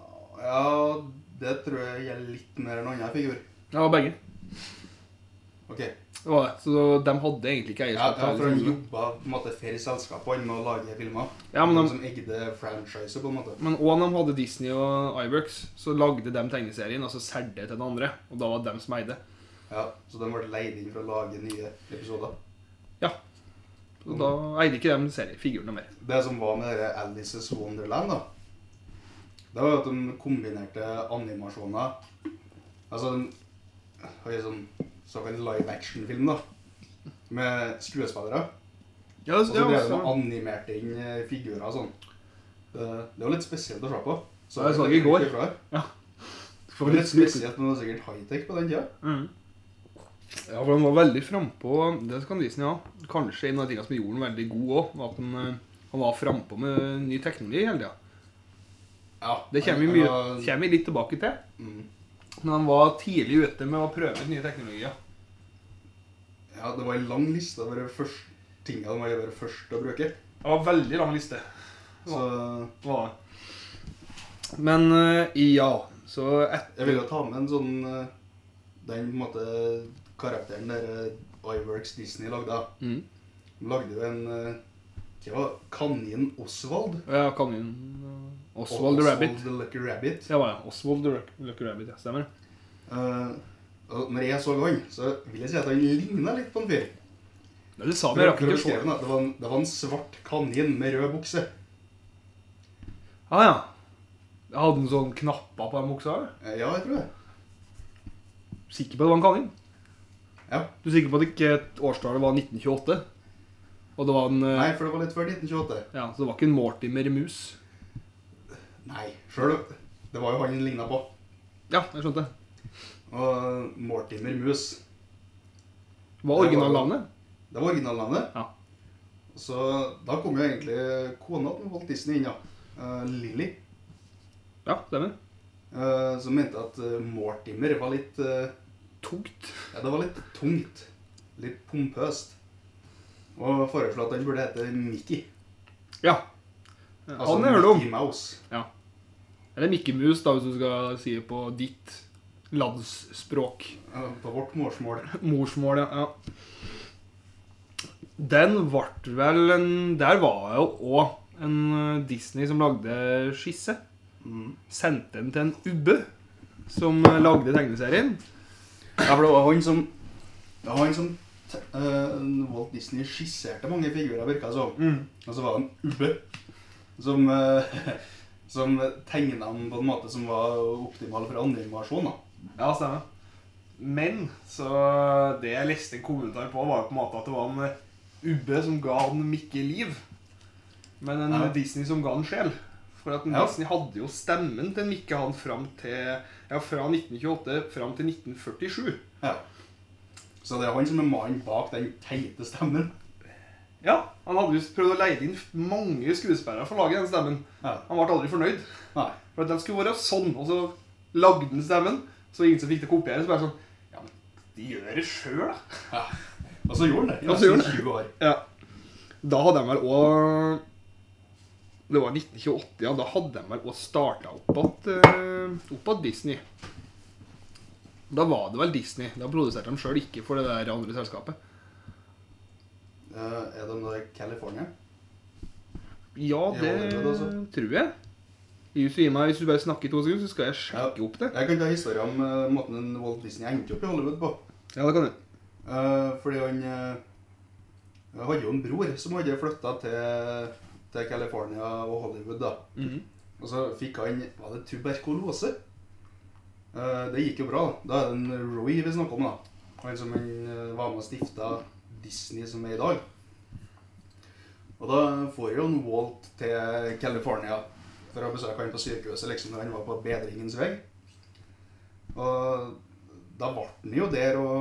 Speaker 1: Ja, det tror jeg gjelder litt mer enn annen figur.
Speaker 2: Ja, begge.
Speaker 1: Ok.
Speaker 2: Det var det. Så de hadde egentlig ikke
Speaker 1: Ja,
Speaker 2: eierskap.
Speaker 1: ja,
Speaker 2: til
Speaker 1: for han
Speaker 2: alle figurene.
Speaker 1: jobba på en måte for selskapene med å lage filmer.
Speaker 2: Ja, men
Speaker 1: de...
Speaker 2: de-
Speaker 1: som eide franchiset, på en måte.
Speaker 2: men òg når de hadde Disney og Iworks, så lagde de tegneserien, og så serde til den andre. Og da var det dem som eide.
Speaker 1: Ja, Så de ble leid inn for å lage nye episoder.
Speaker 2: Og da eide ikke de serien, figurene mer.
Speaker 1: Det som var med dere Alice's Wonderland, da, det var at de kombinerte animasjoner Altså en en sånn såkalt live action-film, da, med skuespillere.
Speaker 2: Ja,
Speaker 1: Og så drev de og animerte inn eh, figurer og sånn. Det, det var litt spesielt å se på.
Speaker 2: Ja, jeg så
Speaker 1: det
Speaker 2: det i går.
Speaker 1: fra. Det
Speaker 2: for
Speaker 1: var litt spesielt, men det var sikkert high-tech på den tida.
Speaker 2: Mm. Ja, for han var veldig frampå. Det kan Disney ha. Kanskje en av tingene som gjorde han veldig god òg, var at han, eh, han var frampå med ny teknologi hele tida.
Speaker 1: Ja,
Speaker 2: Det kommer vi,
Speaker 1: han-
Speaker 2: mye,
Speaker 1: han var-
Speaker 2: kommer vi litt tilbake til.
Speaker 1: Mm.
Speaker 2: Men han var tidlig ute med å prøve ut nye teknologier.
Speaker 1: Ja, det var en lang liste over de første tingene de var bare først å bruke.
Speaker 2: Det var en veldig lang liste.
Speaker 1: Så
Speaker 2: Var det. Men eh, ja, så et,
Speaker 1: jeg ville jo ta med en sånn eh, Den på en måte karakteren der eh, Iworks Disney lagde. da.
Speaker 2: mm.
Speaker 1: De lagde jo en eh, Hva var det? Kanin Oswald?
Speaker 2: Ja, kanin uh, Oswald the Rabbit.
Speaker 1: the Lucky Rabbit.
Speaker 2: Ja, ja. Oswald the Lucky Rabbit, ja. Stemmer det.
Speaker 1: Eh, og når jeg så han, så vil jeg si at han ligna litt på en fyr.
Speaker 2: Det du sa,
Speaker 1: For
Speaker 2: men jeg
Speaker 1: å-
Speaker 2: rakk
Speaker 1: for å
Speaker 2: ikke å se
Speaker 1: beskrive den, da, Det var en- det var en svart kanin med rød bukse.
Speaker 2: Ah, ja. Jeg hadde en sånn knappa på den buksa. eller?
Speaker 1: Eh, Ja, jeg tror det.
Speaker 2: Sikker på det var en kanin?
Speaker 1: Ja.
Speaker 2: Du er sikker på at ikke årstallet var 1928? Og det var en eh,
Speaker 1: Nei, for det var litt før 1928.
Speaker 2: Ja, Så det var ikke en Mortimer mus?
Speaker 1: Nei, sjøl Det var jo han han ligna på.
Speaker 2: Ja, jeg skjønte.
Speaker 1: Og Mortimer Mus.
Speaker 2: Det var originalnavnet.
Speaker 1: Det var originalnavnet.
Speaker 2: Ja.
Speaker 1: Så da kom jo egentlig kona til Walt Disney inn, ja. Eh, Lilly.
Speaker 2: Ja, stemmer.
Speaker 1: eh, som mente at eh, Mortimer var litt eh,
Speaker 2: Tungt.
Speaker 1: Ja, det var litt tungt. Litt pompøst. Og foreslo at den burde hete Mickey.
Speaker 2: Ja.
Speaker 1: Altså
Speaker 2: Han hører du om.
Speaker 1: Mickey Mouse.
Speaker 2: Eller Mikke Mus, da, hvis du skal si det på ditt landsspråk.
Speaker 1: eh, På vårt morsmål.
Speaker 2: Morsmål, ja. ja. Den ble vel en Der var jo òg en eh, Disney som lagde skisse.
Speaker 1: Mm.
Speaker 2: Sendte den til en ubbe som eh, lagde tegneserien.
Speaker 1: Ja, for det var han som Det var han som te- eh, Walt Disney skisserte mange figurer, virka det som. Og så var han Ubbe, som, eh, som tegna han på en måte som var optimal for animasjon. da.
Speaker 2: Ja, stemmer. Men så det jeg leste en kommentar på, var jo på en måte at det var en eh, ubbe som ga han Mikke liv. Men en
Speaker 1: Ja.
Speaker 2: eh, Disney som ga han sjel. For at en
Speaker 1: Ja.
Speaker 2: Disney hadde jo stemmen til Mikke han fram til Ja, fra 1928 fram til 1947.
Speaker 1: Ja. Så det er han som er mannen bak den teite stemmen.
Speaker 2: Ja, Han hadde jo prøvd å leie inn mange skuespillere for å lage den stemmen.
Speaker 1: Ja.
Speaker 2: Han ble aldri fornøyd.
Speaker 1: Nei.
Speaker 2: For at den skulle være sånn, og så lagde den stemmen. Så ingen som fikk det kopiere. Så bare sånn Ja, men de gjør det sjøl, da.
Speaker 1: Ja. Og så gjorde han det i
Speaker 2: Og så gjorde
Speaker 1: nesten 20 år.
Speaker 2: Ja. Da hadde de vel òg Det var 1928, ja. Da hadde de vel òg starta opp igjen Disney. Da var det vel Disney. Da produserte de sjøl ikke for det der andre selskapet.
Speaker 1: Eh, er det noe i California?
Speaker 2: Ja,
Speaker 1: I
Speaker 2: det
Speaker 1: Hollywood, altså.
Speaker 2: tror jeg. Er du svima hvis du bare snakker i to sekunder, så skal jeg sjekke opp det.
Speaker 1: Jeg kan ta historien om eh, måten en Walt Disney endte opp i Hollywood på.
Speaker 2: Ja, det kan du.
Speaker 1: Eh, fordi han eh, hadde jo en bror som hadde flytta til, til California og Hollywood. da.
Speaker 2: Mhm.
Speaker 1: Og så fikk han Var det tuberkulose? Eh, det gikk jo bra. Da Da er det en Roy vi snakker om, da. Han som han eh, var med og stifta Disney som er i dag. Og da får jo en Walt til California for å besøke han på sykehuset liksom når han var på bedringens vei. Og da ble han jo der og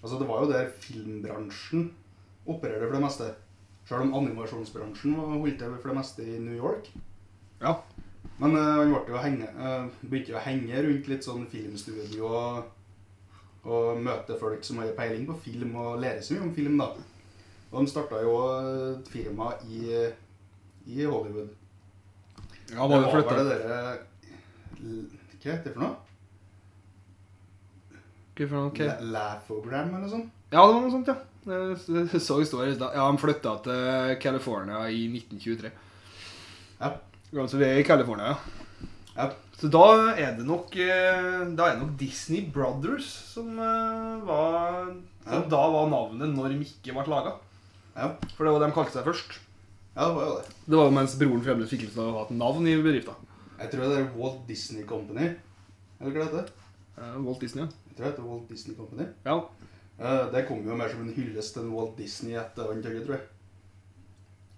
Speaker 1: Altså, det var jo der filmbransjen opererte for det meste. Selv om animasjonsbransjen var- holdt til for det meste i New York.
Speaker 2: Ja.
Speaker 1: Men eh, han ble jo henge, eh, begynte jo å henge rundt litt sånn filmstudio og, og møte folk som hadde peiling på film, og lære seg mye om film, da. Og de starta jo et firma i, i Hollywood.
Speaker 2: ja var det
Speaker 1: det var
Speaker 2: flytta?
Speaker 1: vel det derre Hva heter det for noe?
Speaker 2: Hva for noe?
Speaker 1: La- Laughogram, eller noe sånt?
Speaker 2: Ja, det var noe sånt, ja. Jeg s- så historier i stad. Ja, han flytta til California i 1923.
Speaker 1: Ja.
Speaker 2: Ja, så vi er i California, ja.
Speaker 1: Ja.
Speaker 2: Så da er det nok eh, Da er det nok Disney Brothers som eh, var Som
Speaker 1: Ja.
Speaker 2: da var navnet når de ikke ble laga.
Speaker 1: Ja,
Speaker 2: For det var det de kalte seg først.
Speaker 1: ja det var jo det.
Speaker 2: Det var jo mens broren fremdeles fikk lov til å ha et navn i bedrifta.
Speaker 1: Jeg tror det er Walt Disney Company. Eller hva det heter
Speaker 2: Eh, Walt Disney, ja.
Speaker 1: Jeg tror det heter Walt Disney Company.
Speaker 2: ja.
Speaker 1: Eh, det kom jo mer som en hyllest til Walt Disney etter han døde, tror jeg.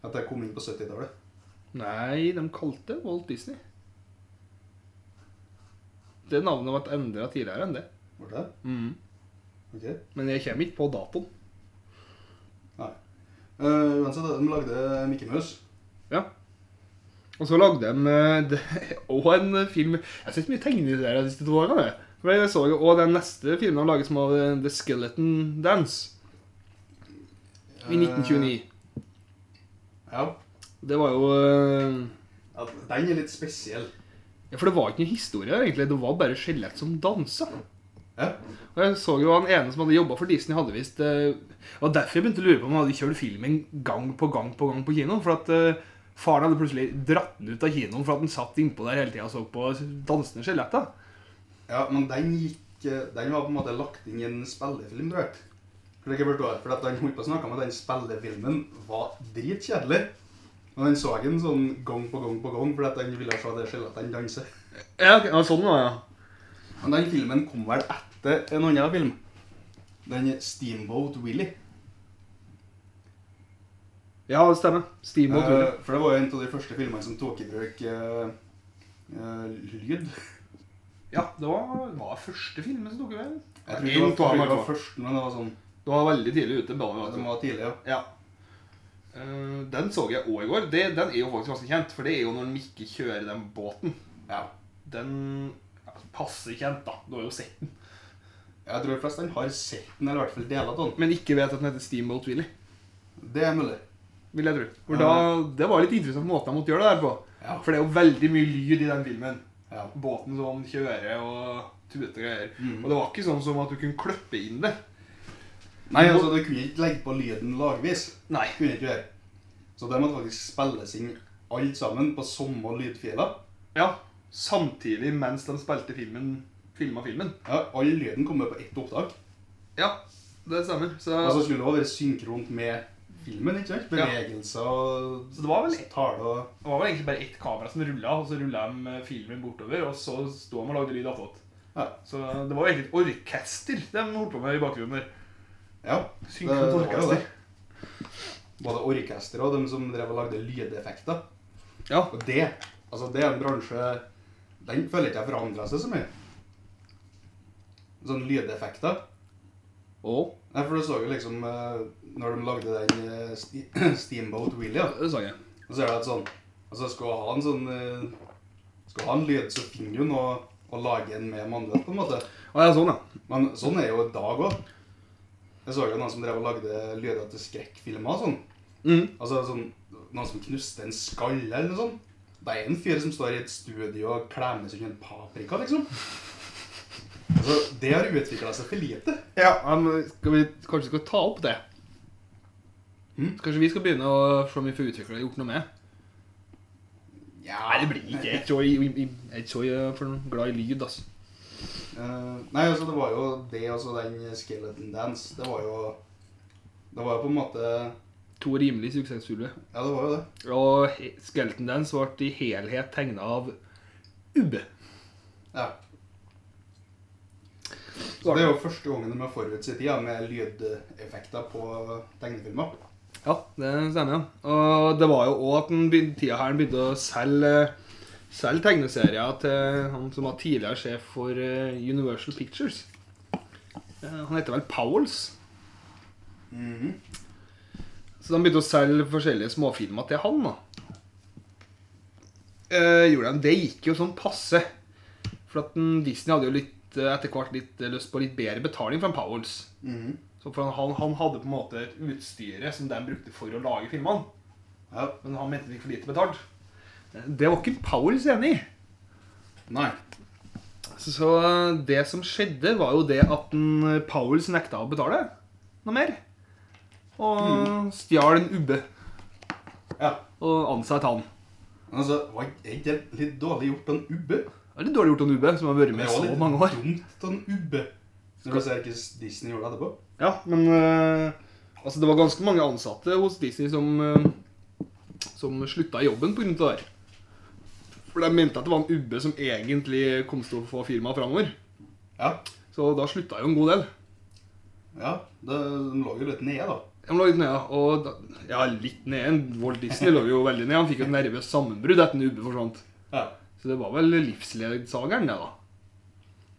Speaker 1: At jeg kom inn på 70-tallet.
Speaker 2: Nei, de kalte det Walt Disney. Det navnet ble endra tidligere enn det.
Speaker 1: Var det? Ok.
Speaker 2: Men jeg kommer ikke på datoen.
Speaker 1: Nei. Eh, uansett, de lagde Mickey Mouse.
Speaker 2: Ja. Og så lagde de eh, det- og en film Jeg har sett mye tegneserier de siste to årene. jeg. For jeg så jo også den neste filmen de laget som var eh, The Skeleton Dance i 1929.
Speaker 1: Eh, ja.
Speaker 2: Det var jo eh,
Speaker 1: ja. Den er litt spesiell.
Speaker 2: ja, For det var ikke noen historie der, egentlig. Det var bare skjelett som dansa.
Speaker 1: Ja.
Speaker 2: Og jeg så jo han ene som hadde jobba for Disney, hadde visst eh, Det var derfor jeg begynte å lure på om han hadde kjørt filmen gang på gang på gang på kinoen. For at eh, faren hadde plutselig dratt den ut av kinoen for at han satt innpå der hele tida og så på dansende skjeletter.
Speaker 1: ja, men den gikk eh, Den var på en måte lagt inn i en spillefilm, tror jeg. For det ikke forstår, for at han holdt på å snakke om at den spillefilmen var dritkjedelig. Og han så den sånn gang på gang på gang fordi at han ville se det skjelettene danse.
Speaker 2: Ja, ok, ja, sånn var det, ja.
Speaker 1: Men den filmen kom vel etter en annen film. Den Steamboat Willy.
Speaker 2: Ja, det stemmer. Steamboat
Speaker 1: Eh,
Speaker 2: Willie.
Speaker 1: For det var jo en av de første filmene som tok i bruk eh, eh, lyd.
Speaker 2: ja, det var, var første filmen som tok over.
Speaker 1: Jeg tror ikke det var, jeg tror ikke det var
Speaker 2: Du
Speaker 1: først, men det var sånn
Speaker 2: var veldig tidlig ute. Bare,
Speaker 1: Den var tidlig, ja.
Speaker 2: Ja. Eh, den så jeg òg i går. Det, den er jo faktisk ganske kjent. For det er jo når de ikke kjører den båten.
Speaker 1: ja.
Speaker 2: Den ja, passer kjent, da. Du har jo sett den.
Speaker 1: Jeg tror de fleste har sett den, eller i hvert fall deler av den.
Speaker 2: Men ikke vet at den heter Steamboat Willie,
Speaker 1: Det er mulig.
Speaker 2: vil jeg tro. For da, det var litt interessant måten de måtte gjøre det der på.
Speaker 1: Ja.
Speaker 2: For det er jo veldig mye lyd i den filmen.
Speaker 1: Ja.
Speaker 2: Båten som kjører og tuter og greier.
Speaker 1: Mhm.
Speaker 2: Og det var ikke sånn som at du kunne kløppe inn det.
Speaker 1: Nei, altså, du kunne ikke legge på lyden lagvis.
Speaker 2: Nei.
Speaker 1: Det kunne du ikke gjøre. Så det måtte faktisk spilles inn alt sammen på samme lydfiler.
Speaker 2: Ja, samtidig mens de spilte filmen, filma filmen.
Speaker 1: Ja, All lyden kommer på ett opptak.
Speaker 2: Ja, det stemmer. Så,
Speaker 1: Og så skulle Altså, det også være synkront med filmen, ikke sant?
Speaker 2: Ja.
Speaker 1: Bevegelser og
Speaker 2: så det, var vel, det
Speaker 1: tale og
Speaker 2: var vel egentlig bare ett kamera som rulla, og så rulla de eh, filmen bortover, og så sto de og lagde lyd attåt.
Speaker 1: Ja.
Speaker 2: Så det var jo egentlig et orkester de holdt på med i bakgrunnen der.
Speaker 1: ja.
Speaker 2: Synkront
Speaker 1: Det- det var jo
Speaker 2: orkester.
Speaker 1: det. Både orkester og dem som drev og lagde lydeffekter.
Speaker 2: Ja.
Speaker 1: Og det altså det er en bransje Den føler jeg ikke har forandra seg så mye. Sånn lydeffekter.
Speaker 2: Og
Speaker 1: Nei, for du så jo liksom eh, Når de lagde den eh, Ste- Steamboat Willy, ja,
Speaker 2: det sang jeg.
Speaker 1: og så er det et sånn Altså, skal du ha en sånn eh, Skal du ha en lyd, så finner du noe å lage en med manuelt, på en måte.
Speaker 2: Å ja, sånn, ja.
Speaker 1: Men sånn er jo i dag òg. Jeg så jo noen som drev og lagde lyder til skrekkfilmer og sånn.
Speaker 2: Mhm.
Speaker 1: Altså sånn, Noen som knuste en skalle eller noe sånt. Det er en fyr som står i et studio og klemmer seg under en paprika, liksom. Altså, Det har utvikla seg for lite.
Speaker 2: Ja, men skal vi kanskje skal ta opp det?
Speaker 1: Mhm.
Speaker 2: Hm? Kanskje vi skal begynne å se om vi får utvikla og gjort noe med?
Speaker 1: Ja,
Speaker 2: Nei, det blir ikke Jeg er ikke så- jeg- jeg- jeg er ikke så eh, for noe glad i lyd, altså.
Speaker 1: Eh, nei, altså det var jo det, altså den Skeleton Dance, det var jo Det var jo på en måte
Speaker 2: To rimelig suksessfulle.
Speaker 1: Ja, det var jo det.
Speaker 2: Og he- Skeleton Dance ble i helhet tegna av Ubbe.
Speaker 1: Ja. Så det er jo første gangen de har forut sin tid ja, med lydeffekter på tegnefilmer.
Speaker 2: Ja, det stemmer. ja. Og det var jo òg at den begyn- tida her den begynte å selge, selge tegneserier til han som var tidligere sjef for eh, Universal Pictures. Eh, Han heter vel Powells.
Speaker 1: Mhm.
Speaker 2: Så de begynte å selge forskjellige småfilmer til han, da. Eh, gjorde de. Det gikk jo sånn passe. For at den, Disney hadde jo litt, eh, etter hvert litt eh, lyst på litt bedre betaling fra Powells.
Speaker 1: Mhm.
Speaker 2: Så for han, han hadde på en måte et utstyre som de brukte for å lage filmene.
Speaker 1: Ja.
Speaker 2: Men han mente det gikk for lite betalt. Eh, Det var ikke Powells enig i.
Speaker 1: Nei.
Speaker 2: Så, så eh, det som skjedde, var jo det at den, eh, Powells nekta å betale noe mer. Og stjal en ubbe
Speaker 1: Ja.
Speaker 2: og ansatte han.
Speaker 1: Men altså, var ikke det litt dårlig gjort av en ubbe?
Speaker 2: Det er litt dårlig gjort av en ubbe som har vært
Speaker 1: Men
Speaker 2: med
Speaker 1: det
Speaker 2: i
Speaker 1: var
Speaker 2: så
Speaker 1: litt
Speaker 2: mange år.
Speaker 1: dumt av en ubbe. Når du ser hva Disney gjorde etterpå.
Speaker 2: Ja, men eh, altså, det var ganske mange ansatte hos Disney som, eh, som slutta i jobben pga. det der. For de mente at det var en ubbe som egentlig kom til å få firmaet framover.
Speaker 1: Ja.
Speaker 2: Så da slutta jo en god del.
Speaker 1: ja. Det, de lå jo litt nede, da.
Speaker 2: De lå litt nede, og da, ja, litt nede. Walt Disney lå jo veldig nede. Han fikk jo et nervøst sammenbrudd etter at Ubbe forsvant.
Speaker 1: Ja.
Speaker 2: Så det var vel livsledsageren, det, da.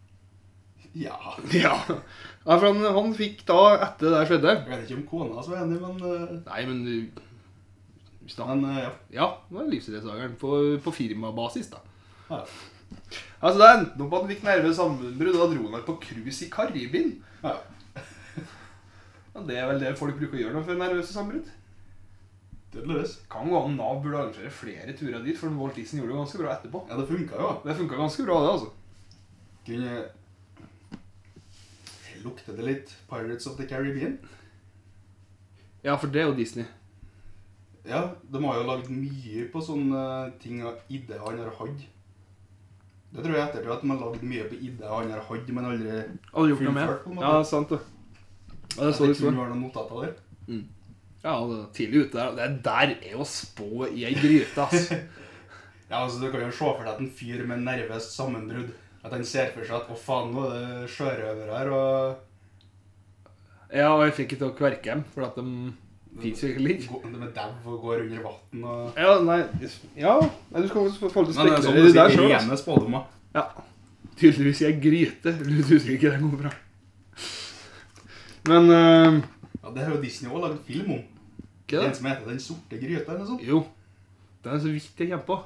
Speaker 1: ja.
Speaker 2: Ja. Nei, for han, han fikk da, etter det der skjedde
Speaker 1: Jeg vet ikke om kona hans var enig, men eh,
Speaker 2: Nei, men du- vi snakker-
Speaker 1: Men eh, ja.
Speaker 2: Ja, det var livsledsageren på, på firmabasis, da.
Speaker 1: ja.
Speaker 2: Altså, Det endte opp med at han fikk nervøst sammenbrudd, og da dro han vel på cruise i Karibien.
Speaker 1: ja.
Speaker 2: Ja, Det er vel det folk bruker å gjøre når de får nervøse sammenbrudd.
Speaker 1: Tydeligvis.
Speaker 2: Kan gå an Nav burde arrangere flere turer dit, for Walt Disney gjorde det ganske bra etterpå.
Speaker 1: Ja, det funka jo. da.
Speaker 2: Det funka ganske bra, det, altså.
Speaker 1: Kunne Lukter det litt Pirates of the Caribbean?
Speaker 2: Ja, for det er jo Disney.
Speaker 1: Ja, de har jo lagd mye på sånne ting av ideer han har hatt. Det tror jeg ettertid at de har lagd mye på ideer han har hatt, men aldri
Speaker 2: Aldri gjort noe
Speaker 1: Fullført, på
Speaker 2: med.
Speaker 1: en måte.
Speaker 2: Ja, sant det. Ja, det
Speaker 1: Jeg
Speaker 2: så
Speaker 1: tror
Speaker 2: det står.
Speaker 1: det var noen notater der.
Speaker 2: Ja, det er tidlig ute der. Det der er å spå i ei gryte, ass.
Speaker 1: Ja, altså Du kan jo se for deg at en fyr med nervøst sammenbrudd At han ser for seg at 'å faen, nå er det sjørøvere her', og
Speaker 2: Ja, og jeg fikk ikke til å kverke dem, for at de fins jo ikke litt.
Speaker 1: gå- de er dau og går under vann og
Speaker 2: Ja, nei Ja, nei, du skal få forhold til å
Speaker 1: Men det er
Speaker 2: spekulere
Speaker 1: sånn
Speaker 2: i
Speaker 1: du
Speaker 2: det der altså.
Speaker 1: sier,
Speaker 2: sjøl.
Speaker 1: rene spådommer.
Speaker 2: Ja. Tydeligvis i ei gryte. Du husker ikke det går bra. Men eh,
Speaker 1: Ja, Det har jo Disney også lagd film om.
Speaker 2: Ikke
Speaker 1: Den
Speaker 2: det?
Speaker 1: som heter Den sorte gryta, eller noe sånt.
Speaker 2: Jo. Den er så vidt jeg kjemper på.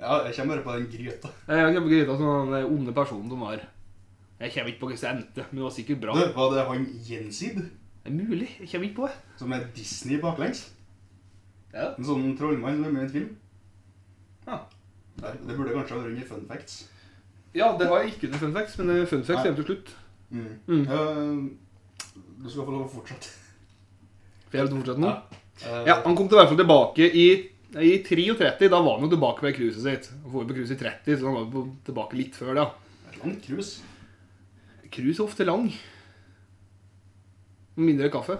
Speaker 1: Ja, jeg kommer bare på den gryta.
Speaker 2: Jeg kjemper på gryta som den onde personen de var. Jeg kommer ikke på hvordan det endte, men det var sikkert bra.
Speaker 1: Du, var det han Jensid,
Speaker 2: Det er mulig. Jeg kommer ikke på det.
Speaker 1: som er Disney baklengs?
Speaker 2: Ja.
Speaker 1: En sånn trollmann som er med i en film?
Speaker 2: Ja.
Speaker 1: Nei, Det burde kanskje ha vært under fun facts.
Speaker 2: Ja, det har jeg ikke under fun facts, men eh, fun facts
Speaker 1: Nei.
Speaker 2: kommer til slutt.
Speaker 1: Mm.
Speaker 2: Mm.
Speaker 1: Eh, du skal få lov å fortsette.
Speaker 2: For jeg vil fortsette nå.
Speaker 1: Eh,
Speaker 2: Ja, han kom til i hvert fall tilbake i, i 33. Da var han jo tilbake ved cruiset sitt. Han får jo på cruise i 30, så han var jo på- tilbake litt før det.
Speaker 1: Lang cruise.
Speaker 2: Cruise er ofte lang. Med Mindre kaffe.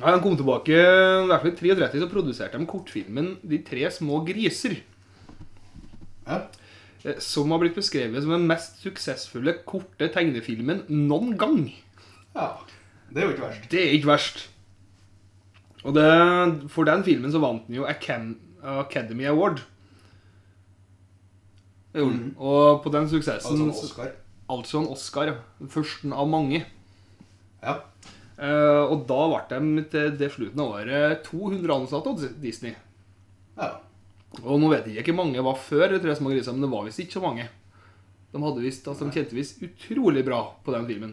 Speaker 2: Nei, han kom tilbake i hvert fall i 33, så produserte de kortfilmen 'De tre små griser'.
Speaker 1: Ja.
Speaker 2: eh, Som har blitt beskrevet som den mest suksessfulle korte tegnefilmen noen gang.
Speaker 1: ja. Det er jo ikke verst.
Speaker 2: Det er ikke verst. Og det, for den filmen så vant den jo Acam- Academy Award. Det gjorde den.
Speaker 1: Mhm.
Speaker 2: Og på den
Speaker 1: Altså
Speaker 2: suksessen
Speaker 1: en Oscar.
Speaker 2: Altså en Oscar, ja. Den Førsten av mange.
Speaker 1: Ja.
Speaker 2: Eh, og da ble de til det slutten av året 200 ansatte hos Disney.
Speaker 1: ja.
Speaker 2: Og nå vet jeg ikke hvor mange var før, de Tre små griser, men det var visst ikke så mange. De, hadde visst, altså, de tjente visst utrolig bra på den filmen.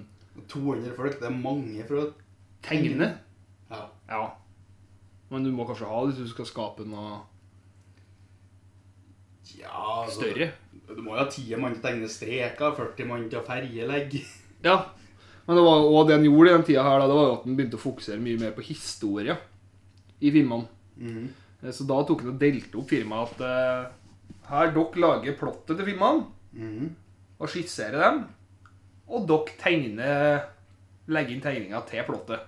Speaker 1: 200 folk, det er mange fra
Speaker 2: Tegne.
Speaker 1: Ja.
Speaker 2: Ja. Men du må kanskje ha det hvis du skal skape noe
Speaker 1: ja altså,
Speaker 2: større.
Speaker 1: Du må jo ha 10 mann til å tegne streker, 40 mann til å ferjelegge.
Speaker 2: Ja. Men det var òg det han gjorde i den tida her, da, det var jo at han begynte å fokusere mye mer på historie i filmene.
Speaker 1: Mhm.
Speaker 2: Eh, Eh, Så da tok han og delte opp firmaet at eh, her, dere lager plottet til filmene
Speaker 1: Mhm.
Speaker 2: og skisserer dem, og dere tegner legger inn tegninger til plottet.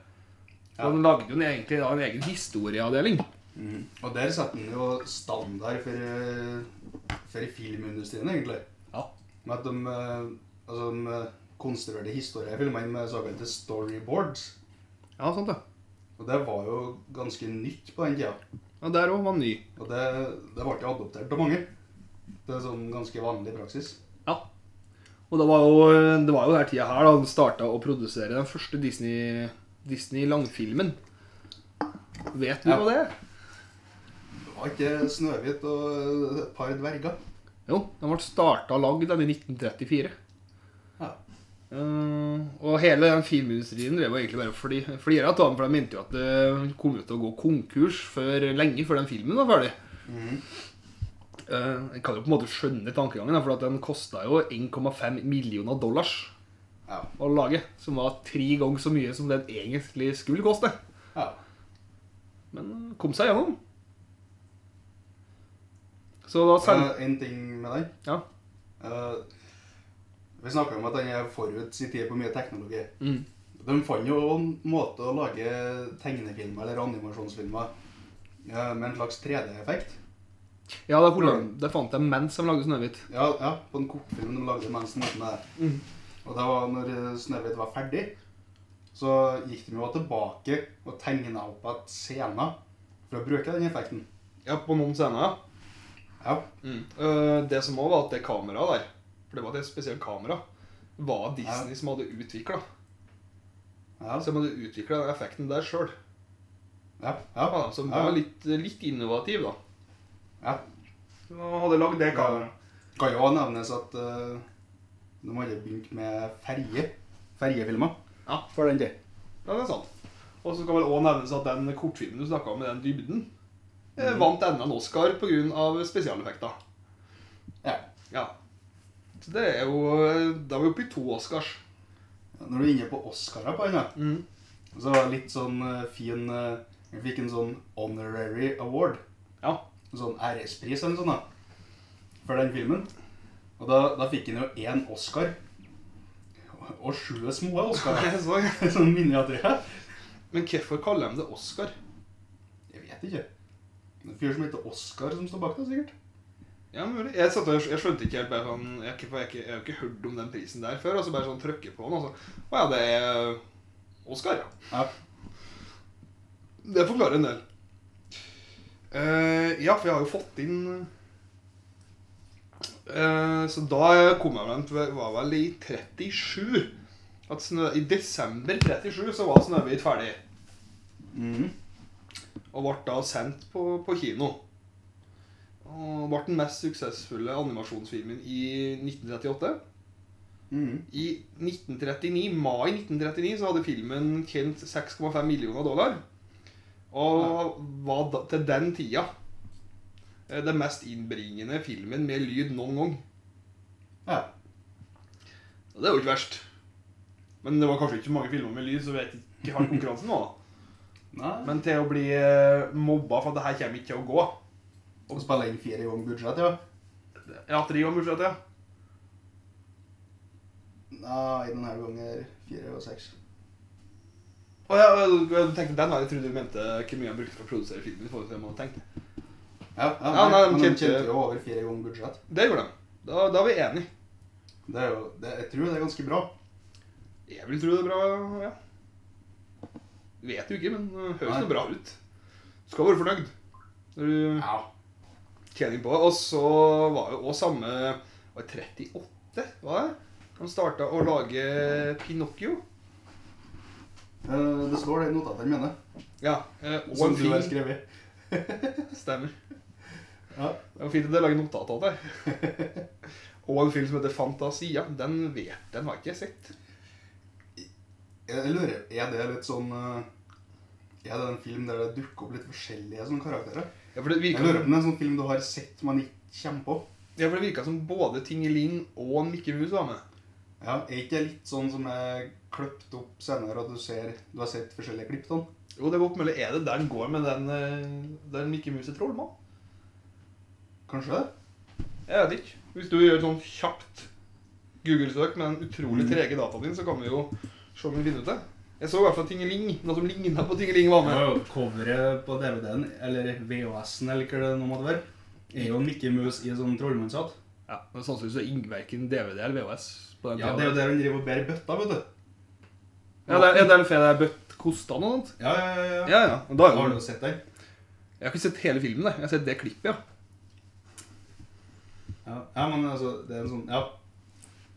Speaker 2: Så
Speaker 1: Ja.
Speaker 2: han lagde jo en- egentlig da en egen historieavdeling.
Speaker 1: Mhm. Og der satte han jo standard for, eh, for filmindustrien, egentlig.
Speaker 2: Ja.
Speaker 1: Med at de, eh, altså, de eh, konstruerte historier i filmene med såkalte storyboards.
Speaker 2: Ja, sant det.
Speaker 1: Og det var jo ganske nytt på den tida.
Speaker 2: Ja, der òg var ny.
Speaker 1: Og det, det ble jo adoptert av mange. Det er sånn ganske vanlig praksis.
Speaker 2: Ja. Og det var jo, det var jo denne tida her da han starta å produsere den første Disney, Disney langfilmen. Vet du
Speaker 1: Ja.
Speaker 2: hva det er?
Speaker 1: Det var ikke Snøhvit og eh, et par dverger.
Speaker 2: Jo, den ble starta og lagd den i 1934.
Speaker 1: Ja.
Speaker 2: Eh, og hele den filmindustrien drev jo egentlig bare og fli- flira av den, for de mente jo at det kom ut til å gå konkurs før, lenge før den filmen var ferdig.
Speaker 1: Mhm.
Speaker 2: Eh, jeg kan jo på en måte skjønne tankegangen, da, for at den kosta jo 1,5 millioner dollars
Speaker 1: Ja.
Speaker 2: å lage. Som var tre ganger så mye som den egentlig skulle koste.
Speaker 1: ja.
Speaker 2: Men eh, kom seg gjennom. Så da sendte
Speaker 1: Eh, en ting med den.
Speaker 2: Ja.
Speaker 1: Eh, vi snakka om at den er forut sin tid på mye teknologi.
Speaker 2: Mm.
Speaker 1: De fant jo en måte å lage tegnefilmer eller animasjonsfilmer eh, med en slags 3D-effekt.
Speaker 2: Ja, det, er Holland, det fant jeg mens de lagde Snøhvit.
Speaker 1: Ja, ja, på en kortfilm de lagde mens den var med det.
Speaker 2: Mm.
Speaker 1: Og det var når eh, Snøhvit var ferdig, så gikk de jo tilbake og tegna opp igjen scener for å bruke den effekten.
Speaker 2: Ja, på noen scener, ja.
Speaker 1: Ja.
Speaker 2: Eh, det som òg var at det kameraet der, for det var et spesielt kamera, var Disney som hadde utvikla.
Speaker 1: Ja.
Speaker 2: Så de hadde utvikla den effekten der sjøl.
Speaker 1: Ja. ja.
Speaker 2: Som
Speaker 1: Ja.
Speaker 2: var litt, eh, litt innovativ, da.
Speaker 1: ja.
Speaker 2: Og hadde lagd det
Speaker 1: kameraet. Kan jo også nevnes at eh, de hadde begynt med ferje. Ferjefilmer.
Speaker 2: Ja.
Speaker 1: For den tid.
Speaker 2: Ja, det er sant. Og så kan vel òg nevnes at den kortfilmen du snakka om, med den dybden, eh, vant enda en Oscar pga. spesialeffekter.
Speaker 1: Ja.
Speaker 2: Ja. Så det er jo eh, Da var vi oppe i to Oscars.
Speaker 1: Når du er inne på Oscarer på den, da,
Speaker 2: Mm.
Speaker 1: så var det litt sånn eh, fin eh, Vi fikk en sånn honorary award.
Speaker 2: Ja.
Speaker 1: En sånn ærespris eller noe sånt, da. For den filmen. Og da, da fikk han jo én Oscar. Og sju små Oscarer.
Speaker 2: Så,
Speaker 1: sånn miniatyrer.
Speaker 2: men hvorfor kaller de det Oscar?
Speaker 1: Jeg vet ikke. Det er En fyr som heter Oscar, som står bak det, sikkert.
Speaker 2: Ja, mulig. Jeg, satt og, jeg skjønte ikke helt bare sånn, jeg, har ikke- for jeg, har ikke- jeg har ikke hørt om den prisen der før. Og så bare sånn trykker på den, og så Å ja, det er eh, Oscar, ja.
Speaker 1: Ja.
Speaker 2: Det forklarer en del. Eh, ja, for jeg har jo fått inn eh, Så da kom jeg vel til Var vel i 37. At snø, I desember 37 så var 'Snøhvit' ferdig.
Speaker 1: Mhm.
Speaker 2: Og ble da sendt på, på kino. Og ble den mest suksessfulle animasjonsfilmen i 1938.
Speaker 1: Mhm.
Speaker 2: I 1939, mai 1939 så hadde filmen tjent 6,5 millioner dollar. Og var da, til den tida eh, den mest innbringende filmen med lyd noen gang.
Speaker 1: Ja.
Speaker 2: Og det er jo ikke verst. Men det var kanskje ikke mange filmer med lyd, så vet jeg ikke hva konkurransen var.
Speaker 1: Nei.
Speaker 2: Men til å bli eh, mobba for at det her kommer ikke til å gå
Speaker 1: Å spille inn fire ganger budsjett, ja.
Speaker 2: Ja, tre ganger budsjett, ja.
Speaker 1: Nei, denne ganger fire og seks.
Speaker 2: Og jeg, jeg, jeg tenkte den veien, jeg trodde du mente hvor mye han brukte for å produsere filmen. i forhold til det man hadde tenkt.
Speaker 1: Ja, ja,
Speaker 2: Ja, nei, de
Speaker 1: men de
Speaker 2: kjente-
Speaker 1: kjente jo over fire ganger budsjett.
Speaker 2: Det gjorde de. Da, da er vi enige.
Speaker 1: Det er jo, det, jeg tror det er ganske bra.
Speaker 2: Jeg vil tro det er bra, ja. Vet jo ikke, men det høres
Speaker 1: Nei.
Speaker 2: jo bra ut. Skal være fornøyd når du
Speaker 1: Ja.
Speaker 2: tjener på det. Og så var jo også samme var det 38, var det? De starta å lage Pinocchio.
Speaker 1: Eh, Det står det i notatene mine.
Speaker 2: Ja. eh, Og en
Speaker 1: Som du har
Speaker 2: film.
Speaker 1: skrevet.
Speaker 2: Stemmer.
Speaker 1: Ja.
Speaker 2: Det var fint at jeg lager notat av det. Og en film som heter Fantasia. Den vet, den har ikke jeg sett.
Speaker 1: Jeg jeg lurer, er det litt sånn eh, Er det en film der det dukker opp litt forskjellige sånne karakterer?
Speaker 2: Ja, for det
Speaker 1: Jeg
Speaker 2: virker
Speaker 1: lurer på om det er en sånn film du har sett, men ikke kommer på.
Speaker 2: Ja, for det virka som både Tingeling og Mikke Mus var med.
Speaker 1: Ja, Er ikke det litt sånn som er klippet opp senere, og du, ser, du har sett forskjellige klipp sånn? av den.
Speaker 3: Jo, det er godt mulig. Er det der den går med den, eh, den Mikke Mus er trollmann?
Speaker 1: Kanskje det?
Speaker 2: Jeg vet ikke. Hvis du gjør et sånn kjapt Google-søk med den utrolig trege dataen din, så kan vi jo se om vi finner ut det. Jeg så i hvert fall Tingeling. Noe som lignet på Tingeling var med.
Speaker 1: jo coveret på DVD-en, eller VHS-en, eller hva det nå måtte være, er jo en Mikke Mus i en sånn trollmannshatt.
Speaker 2: Ja, men Sannsynligvis er Ingverken DVD eller VHS på den
Speaker 1: Ja,
Speaker 2: tiden.
Speaker 1: det er jo der han driver og bærer bøtta, vet du.
Speaker 2: Ja, det er, ja, det er en ferie der bøtt kosta noe annet.
Speaker 1: Ja, ja, ja. ja.
Speaker 2: Ja, ja. Og da er
Speaker 1: Har du
Speaker 2: jo,
Speaker 1: sett den?
Speaker 2: jeg har ikke sett hele filmen, jeg. Jeg har sett det klippet, ja.
Speaker 1: Ja. ja, men altså, det er en sånn, ja.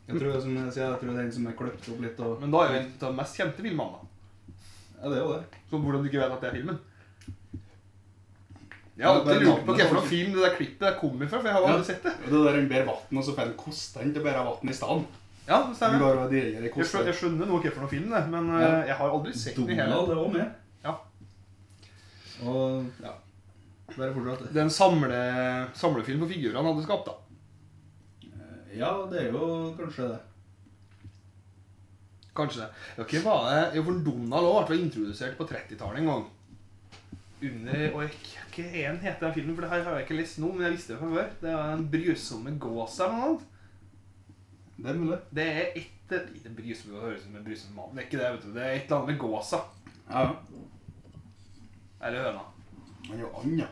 Speaker 1: Jeg tror, som jeg sier, jeg tror det er en som er kløpt opp litt, og
Speaker 2: Men da er jo en av de mest kjente filmene. da.
Speaker 1: ja, det er jo det.
Speaker 2: Så hvordan du ikke vet at det er filmen? Jeg har
Speaker 1: Det er
Speaker 2: alltid lurt på
Speaker 1: navnet,
Speaker 2: hva for noen
Speaker 1: kanskje.
Speaker 2: film det der klippet der kommer fra, for jeg har
Speaker 1: Ja.
Speaker 2: aldri sett det.
Speaker 1: Og det der han bærer vann, og så får han kosten til å bære vann i stedet.
Speaker 2: Ja, det
Speaker 1: Han
Speaker 2: stemmer.
Speaker 1: går og dirrer i
Speaker 2: Jeg skjønner,
Speaker 1: kosten.
Speaker 2: jeg skjønner noe hva for noen film det, men eh,
Speaker 1: Ja.
Speaker 2: jeg har aldri sett den i hele
Speaker 1: Donald er også med.
Speaker 2: Ja.
Speaker 1: Og, ja. Bare fortsatt det.
Speaker 2: Det er en samle, samlefilm for figurer han hadde skapt, da.
Speaker 1: Ja, det er jo kanskje det.
Speaker 2: Kanskje det. Ja, hva var det? Jo, for Donald også ble introdusert på 30-tallet en gang. Under og jeg, Hva er den heter den filmen? For det her har jeg ikke lest nå, men jeg visste det fra før. Det er Den brysomme gås eller noe annet.
Speaker 1: Det er mulig.
Speaker 2: Det er et Det brysomme det høres ut som en brysom mann. Det er ikke det, vet du. Det er et eller annet med gåsa.
Speaker 1: Ja.
Speaker 2: Eller høna.
Speaker 1: Han er jo and, ja.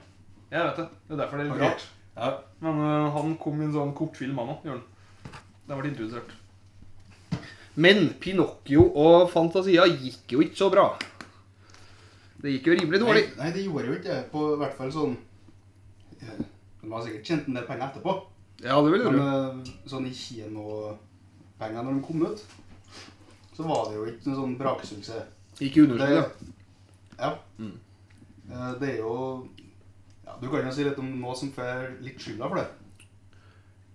Speaker 2: Jeg vet det. Det er derfor det er litt
Speaker 1: Ok.
Speaker 2: rart.
Speaker 1: Ja.
Speaker 2: Men øh, han kom i en sånn kortfilm, han òg. Den ble introdusert. Men Pinocchio og Fantasia gikk jo ikke så bra. Det gikk jo rimelig
Speaker 1: Nei,
Speaker 2: dårlig.
Speaker 1: nei, det gjorde jo ikke det. På i hvert fall sånn eh, De har sikkert tjent en del penger etterpå.
Speaker 2: Ja, det vil jeg
Speaker 1: Men
Speaker 2: tro.
Speaker 1: eh, sånn i kinopengene når de kom ut, så var det jo ikke noen sånn braksuksess.
Speaker 2: eh, Gikk i underskudd, ja.
Speaker 1: Ja.
Speaker 2: Mm.
Speaker 1: Eh, Det er jo ja, Du kan jo si litt om noe som får litt skylda for det.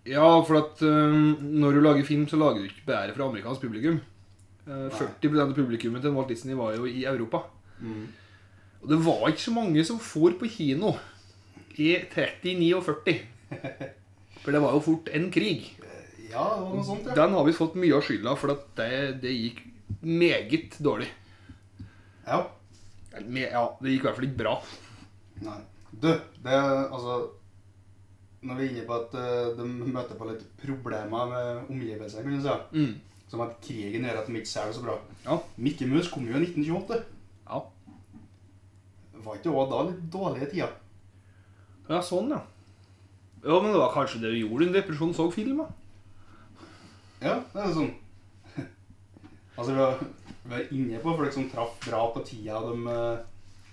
Speaker 2: Ja, for at øh, når du lager film, så lager du ikke bare for amerikansk publikum. Uh, 40 av publikummet til Walt Disney var jo i Europa. Og det var ikke så mange som for på kino i 39 og 40. For det var jo fort en krig.
Speaker 1: Ja, det var noe sånt, ja.
Speaker 2: Den har vi fått mye av skylda for at det, det gikk meget dårlig.
Speaker 1: ja.
Speaker 2: Eller, me- Ja, det gikk i hvert fall ikke bra.
Speaker 1: Nei. Du, det er altså Når vi er inne på at eh, de møter på litt problemer med omgivelsene, kan du si,
Speaker 2: Mm.
Speaker 1: som at krigen gjør at de ikke ser det så bra
Speaker 2: Ja.
Speaker 1: Mikke Mus kom jo i 1928.
Speaker 2: Ja.
Speaker 1: Var ikke også da litt dårlige tider?
Speaker 2: ja, sånn, ja. Ja, men det var kanskje det du gjorde i en depresjon så film, da.
Speaker 1: Ja, det er sånn Altså, vi var, vi var inne på folk som traff bra på tida de eh,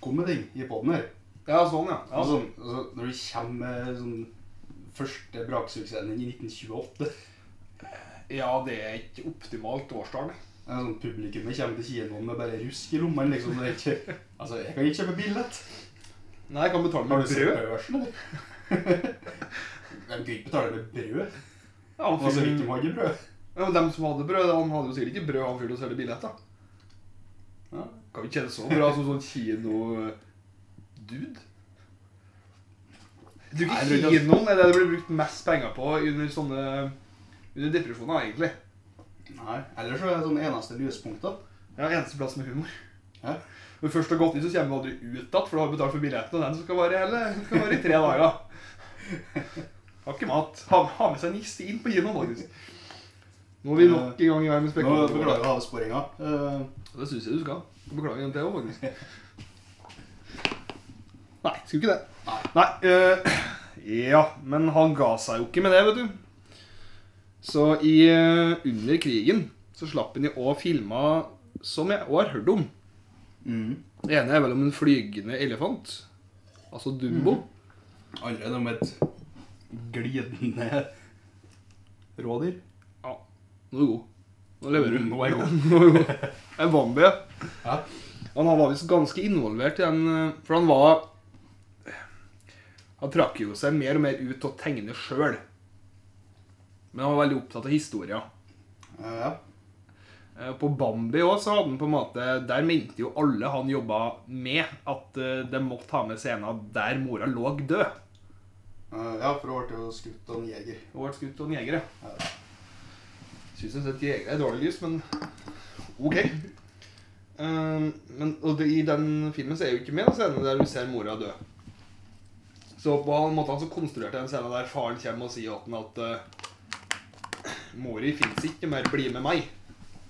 Speaker 1: kom med ting i poden her.
Speaker 2: Ja, sånn, ja.
Speaker 1: Altså, altså, når du kommer med sånn første braksuksessen din i 1928
Speaker 2: ja, det er ikke optimalt årstall.
Speaker 1: Det er sånn Publikummet kommer til kinoen med bare rusk i lommene. liksom. Det er ikke, altså, Jeg kan ikke kjøpe billett.
Speaker 2: Nei, jeg kan betale
Speaker 1: Har du
Speaker 2: med
Speaker 1: sett
Speaker 2: brød.
Speaker 1: børsen, eller? Hvem gidder ikke betale med brød?
Speaker 2: Ja,
Speaker 1: Og så
Speaker 2: fyren-
Speaker 1: Altså, ikke mange brød.
Speaker 2: ja, men dem som hadde brød, han hadde jo sikkert ikke brød, han fyren som selger billetter.
Speaker 1: Ja.
Speaker 2: Kan vi kjenne så bra som sånn kino-dude? Du,
Speaker 1: Nei,
Speaker 2: ikke
Speaker 1: jeg tror ikke at-
Speaker 2: kinoen er det det blir brukt mest penger på under sånne under depresjoner, egentlig.
Speaker 1: Nei. Ellers så er det sånn eneste lyspunkter.
Speaker 2: Ja, Eneste plass med humor.
Speaker 1: Ja.
Speaker 2: Når du først har gått inn, så kommer du aldri ut igjen, for du har betalt for billetten, og den skal vare, hele, den skal vare i tre dager. Har ikke mat. Ha, ha med seg niste inn på kinoen, faktisk. Nå er vi nok en gang i gang med
Speaker 1: Nå
Speaker 2: spekulasjoner.
Speaker 1: beklager jeg avsporinga. Eh,
Speaker 2: Det syns jeg du skal. Du beklager den til òg, faktisk. Nei, skulle ikke det. Nei. eh, ja, men han ga seg jo ikke med det, vet du. Så i, eh, under krigen så slapp han jo òg filma som jeg òg har hørt om.
Speaker 1: Mm.
Speaker 2: Det ene er vel om en flygende elefant. Altså Dumbo.
Speaker 1: Andre enn om et glidende rådyr.
Speaker 2: Ja, nå er du god. Nå leverer du.
Speaker 1: Nå er jeg god.
Speaker 2: Nå er du god. En Bambi, ja.
Speaker 1: Ja.
Speaker 2: Han var visst ganske involvert i den eh, For han var Han trakk jo seg mer og mer ut til å tegne sjøl. Men han var veldig opptatt av historia.
Speaker 1: Eh, ja.
Speaker 2: Eh, På Bambi òg så hadde han på en måte Der mente jo alle han jobba med, at eh, de måtte ha med scenen der mora lå død.
Speaker 1: Eh, ja, for hun ble jo skutt av en jeger.
Speaker 2: Og ble skutt av en jeger, ja.
Speaker 1: Ja.
Speaker 2: Syns jeg at jegere er dårlig lys, men OK. Eh, men og det, i den filmen så er jo ikke med en scene der du ser mora dø. Så på en måte han så konstruerte jeg en scene der faren kommer og sier til han at eh, Mori fins ikke mer, bli med meg.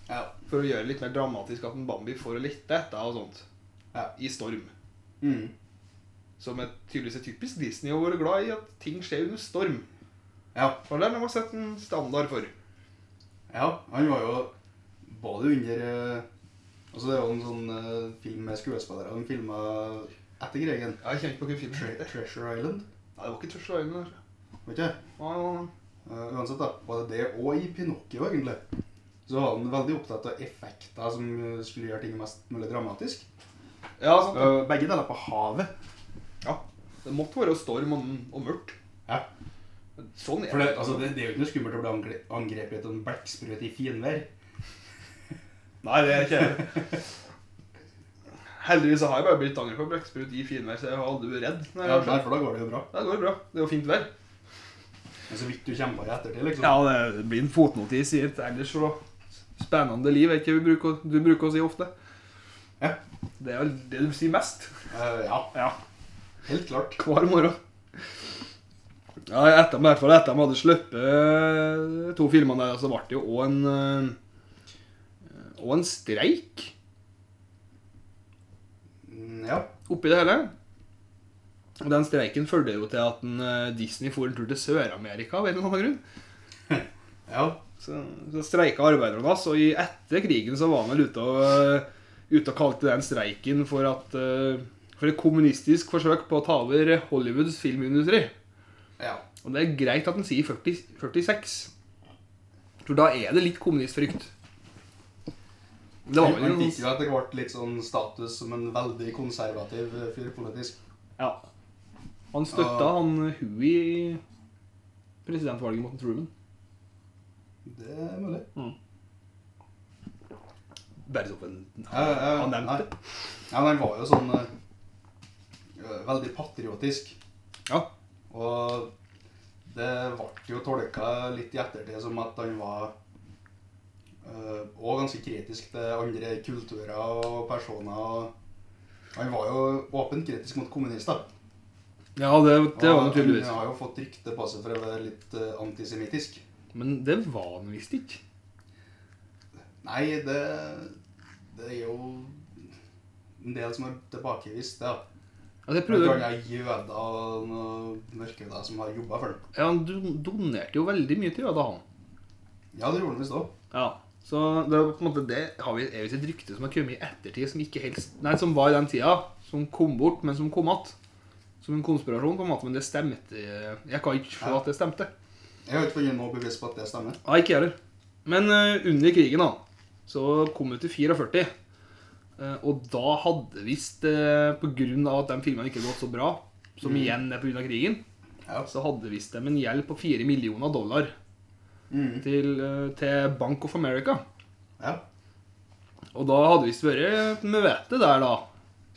Speaker 1: Ja.
Speaker 2: For å gjøre det litt mer dramatisk at en Bambi får å lette etter og sånt.
Speaker 1: Ja.
Speaker 2: I storm.
Speaker 1: Mm.
Speaker 2: Som er tydeligvis er typisk Disney å være glad i at ting skjer under storm.
Speaker 1: ja.
Speaker 2: For det har de sett en standard for.
Speaker 1: Ja, han var jo både under eh, Altså, det er jo en sånn eh, film med skuespillere. Han filma etter krigen.
Speaker 2: Jeg kjenner ikke på hvilken film
Speaker 1: Tre
Speaker 2: det er.
Speaker 1: Treasure Island,
Speaker 2: Nei, det var ikke Tørsla Øyne. der.
Speaker 1: vet ikke?
Speaker 2: Nei, nei, nei.
Speaker 1: Eh, uansett, da. Var det det og i Pinocchio, egentlig? Så var han veldig opptatt av effekter som eh, skulle gjøre ting mest mulig dramatisk.
Speaker 2: Ja, sant. det.
Speaker 1: Eh, begge deler på havet.
Speaker 2: Ja. Det måtte være storm og, og mørkt.
Speaker 1: Ja.
Speaker 2: Sånn er
Speaker 1: For det, altså, det, det er jo ikke noe skummelt å bli angre- angrepet av en blekksprut i finvær.
Speaker 2: Nei, det er ikke jeg. Heldigvis så har jeg bare blitt angrepet av blekksprut i finvær, så jeg har aldri vært redd. Nei,
Speaker 1: Ja, der, for da går det jo bra.
Speaker 2: det går bra. Det er jo fint vær.
Speaker 1: Men så vidt du kjemper i ettertid, liksom.
Speaker 2: Ja, det blir en fotnotis i et ellers så spennende liv, er ikke det vi bruker, å- du bruker å si ofte?
Speaker 1: Ja.
Speaker 2: Det er jo det du sier mest.
Speaker 1: Eh, ja,
Speaker 2: Ja.
Speaker 1: helt klart.
Speaker 2: Hver morgen. Ja, etter, i hvert fall etter de hadde sluppet eh, to filmene der, så ble det jo òg en eh, Og en streik
Speaker 1: Mm, Ja.
Speaker 2: oppi det hele. Og den streiken førte jo til at en, eh, Disney for en tur til Sør-Amerika av en eller annen grunn.
Speaker 1: Ja.
Speaker 2: Så, så streika arbeiderne hans, og i etter krigen så var han vel ute og, øh, ute og kalte den streiken for, at, øh, for et kommunistisk forsøk på å ta over Hollywoods filmindustri.
Speaker 1: ja.
Speaker 2: Og det er greit at han sier 40, 46, for da er det litt kommunistfrykt. Det var vel
Speaker 1: Han fikk
Speaker 2: noe...
Speaker 1: jo etter hvert litt sånn status som en veldig konservativ eh, fyr politisk.
Speaker 2: Ja. Han støtta
Speaker 1: Ja.
Speaker 2: han Hui i presidentvalget mot Truman.
Speaker 1: Det er mulig.
Speaker 2: Bare som en
Speaker 1: Jeg, jeg,
Speaker 2: Han nevnte.
Speaker 1: nei. Ja, men han var jo sånn eh, eh, veldig patriotisk.
Speaker 2: Ja.
Speaker 1: Og det ble jo tolka litt i ettertid som at han var òg ganske kritisk til andre kulturer og personer. og Han var jo åpent kritisk mot kommunister.
Speaker 2: Ja, det, det var
Speaker 1: Og
Speaker 2: naturligvis.
Speaker 1: Han har jo fått rykte på seg for å være litt eh, antisemittisk.
Speaker 2: Men det var han visst ikke.
Speaker 1: Nei, det, det er jo en del som har tilbakevist det. Ja.
Speaker 2: Altså, jeg prøvde...
Speaker 1: Blant annet jøder og noen mørkehuder som har jobba for den.
Speaker 2: Ja, han don- donerte jo veldig mye til jøder, han.
Speaker 1: Ja, det gjorde han visst òg.
Speaker 2: Ja. Så det er på en måte det har vi, er visst et rykte som har kommet i ettertid, som ikke helst Nei, som var i den tida, som kom bort, men som kom att. Som en konspirasjon, på en måte, men det stemte Jeg kan ikke se
Speaker 1: Ja.
Speaker 2: at det stemte.
Speaker 1: Jeg har ikke funnet noe bevis på at det stemmer.
Speaker 2: Nei, ikke jeg heller. Men eh, under krigen, da, så kom vi til 44. eh, og da hadde visst, eh, på grunn av at de filmene ikke har gått så bra, som
Speaker 1: Mm.
Speaker 2: igjen er pga. krigen,
Speaker 1: Ja.
Speaker 2: så hadde visst dem en gjeld på 4 millioner dollar
Speaker 1: Mm.
Speaker 2: til, eh, til Bank of America.
Speaker 1: ja.
Speaker 2: Og da hadde visst vært et møte der, da.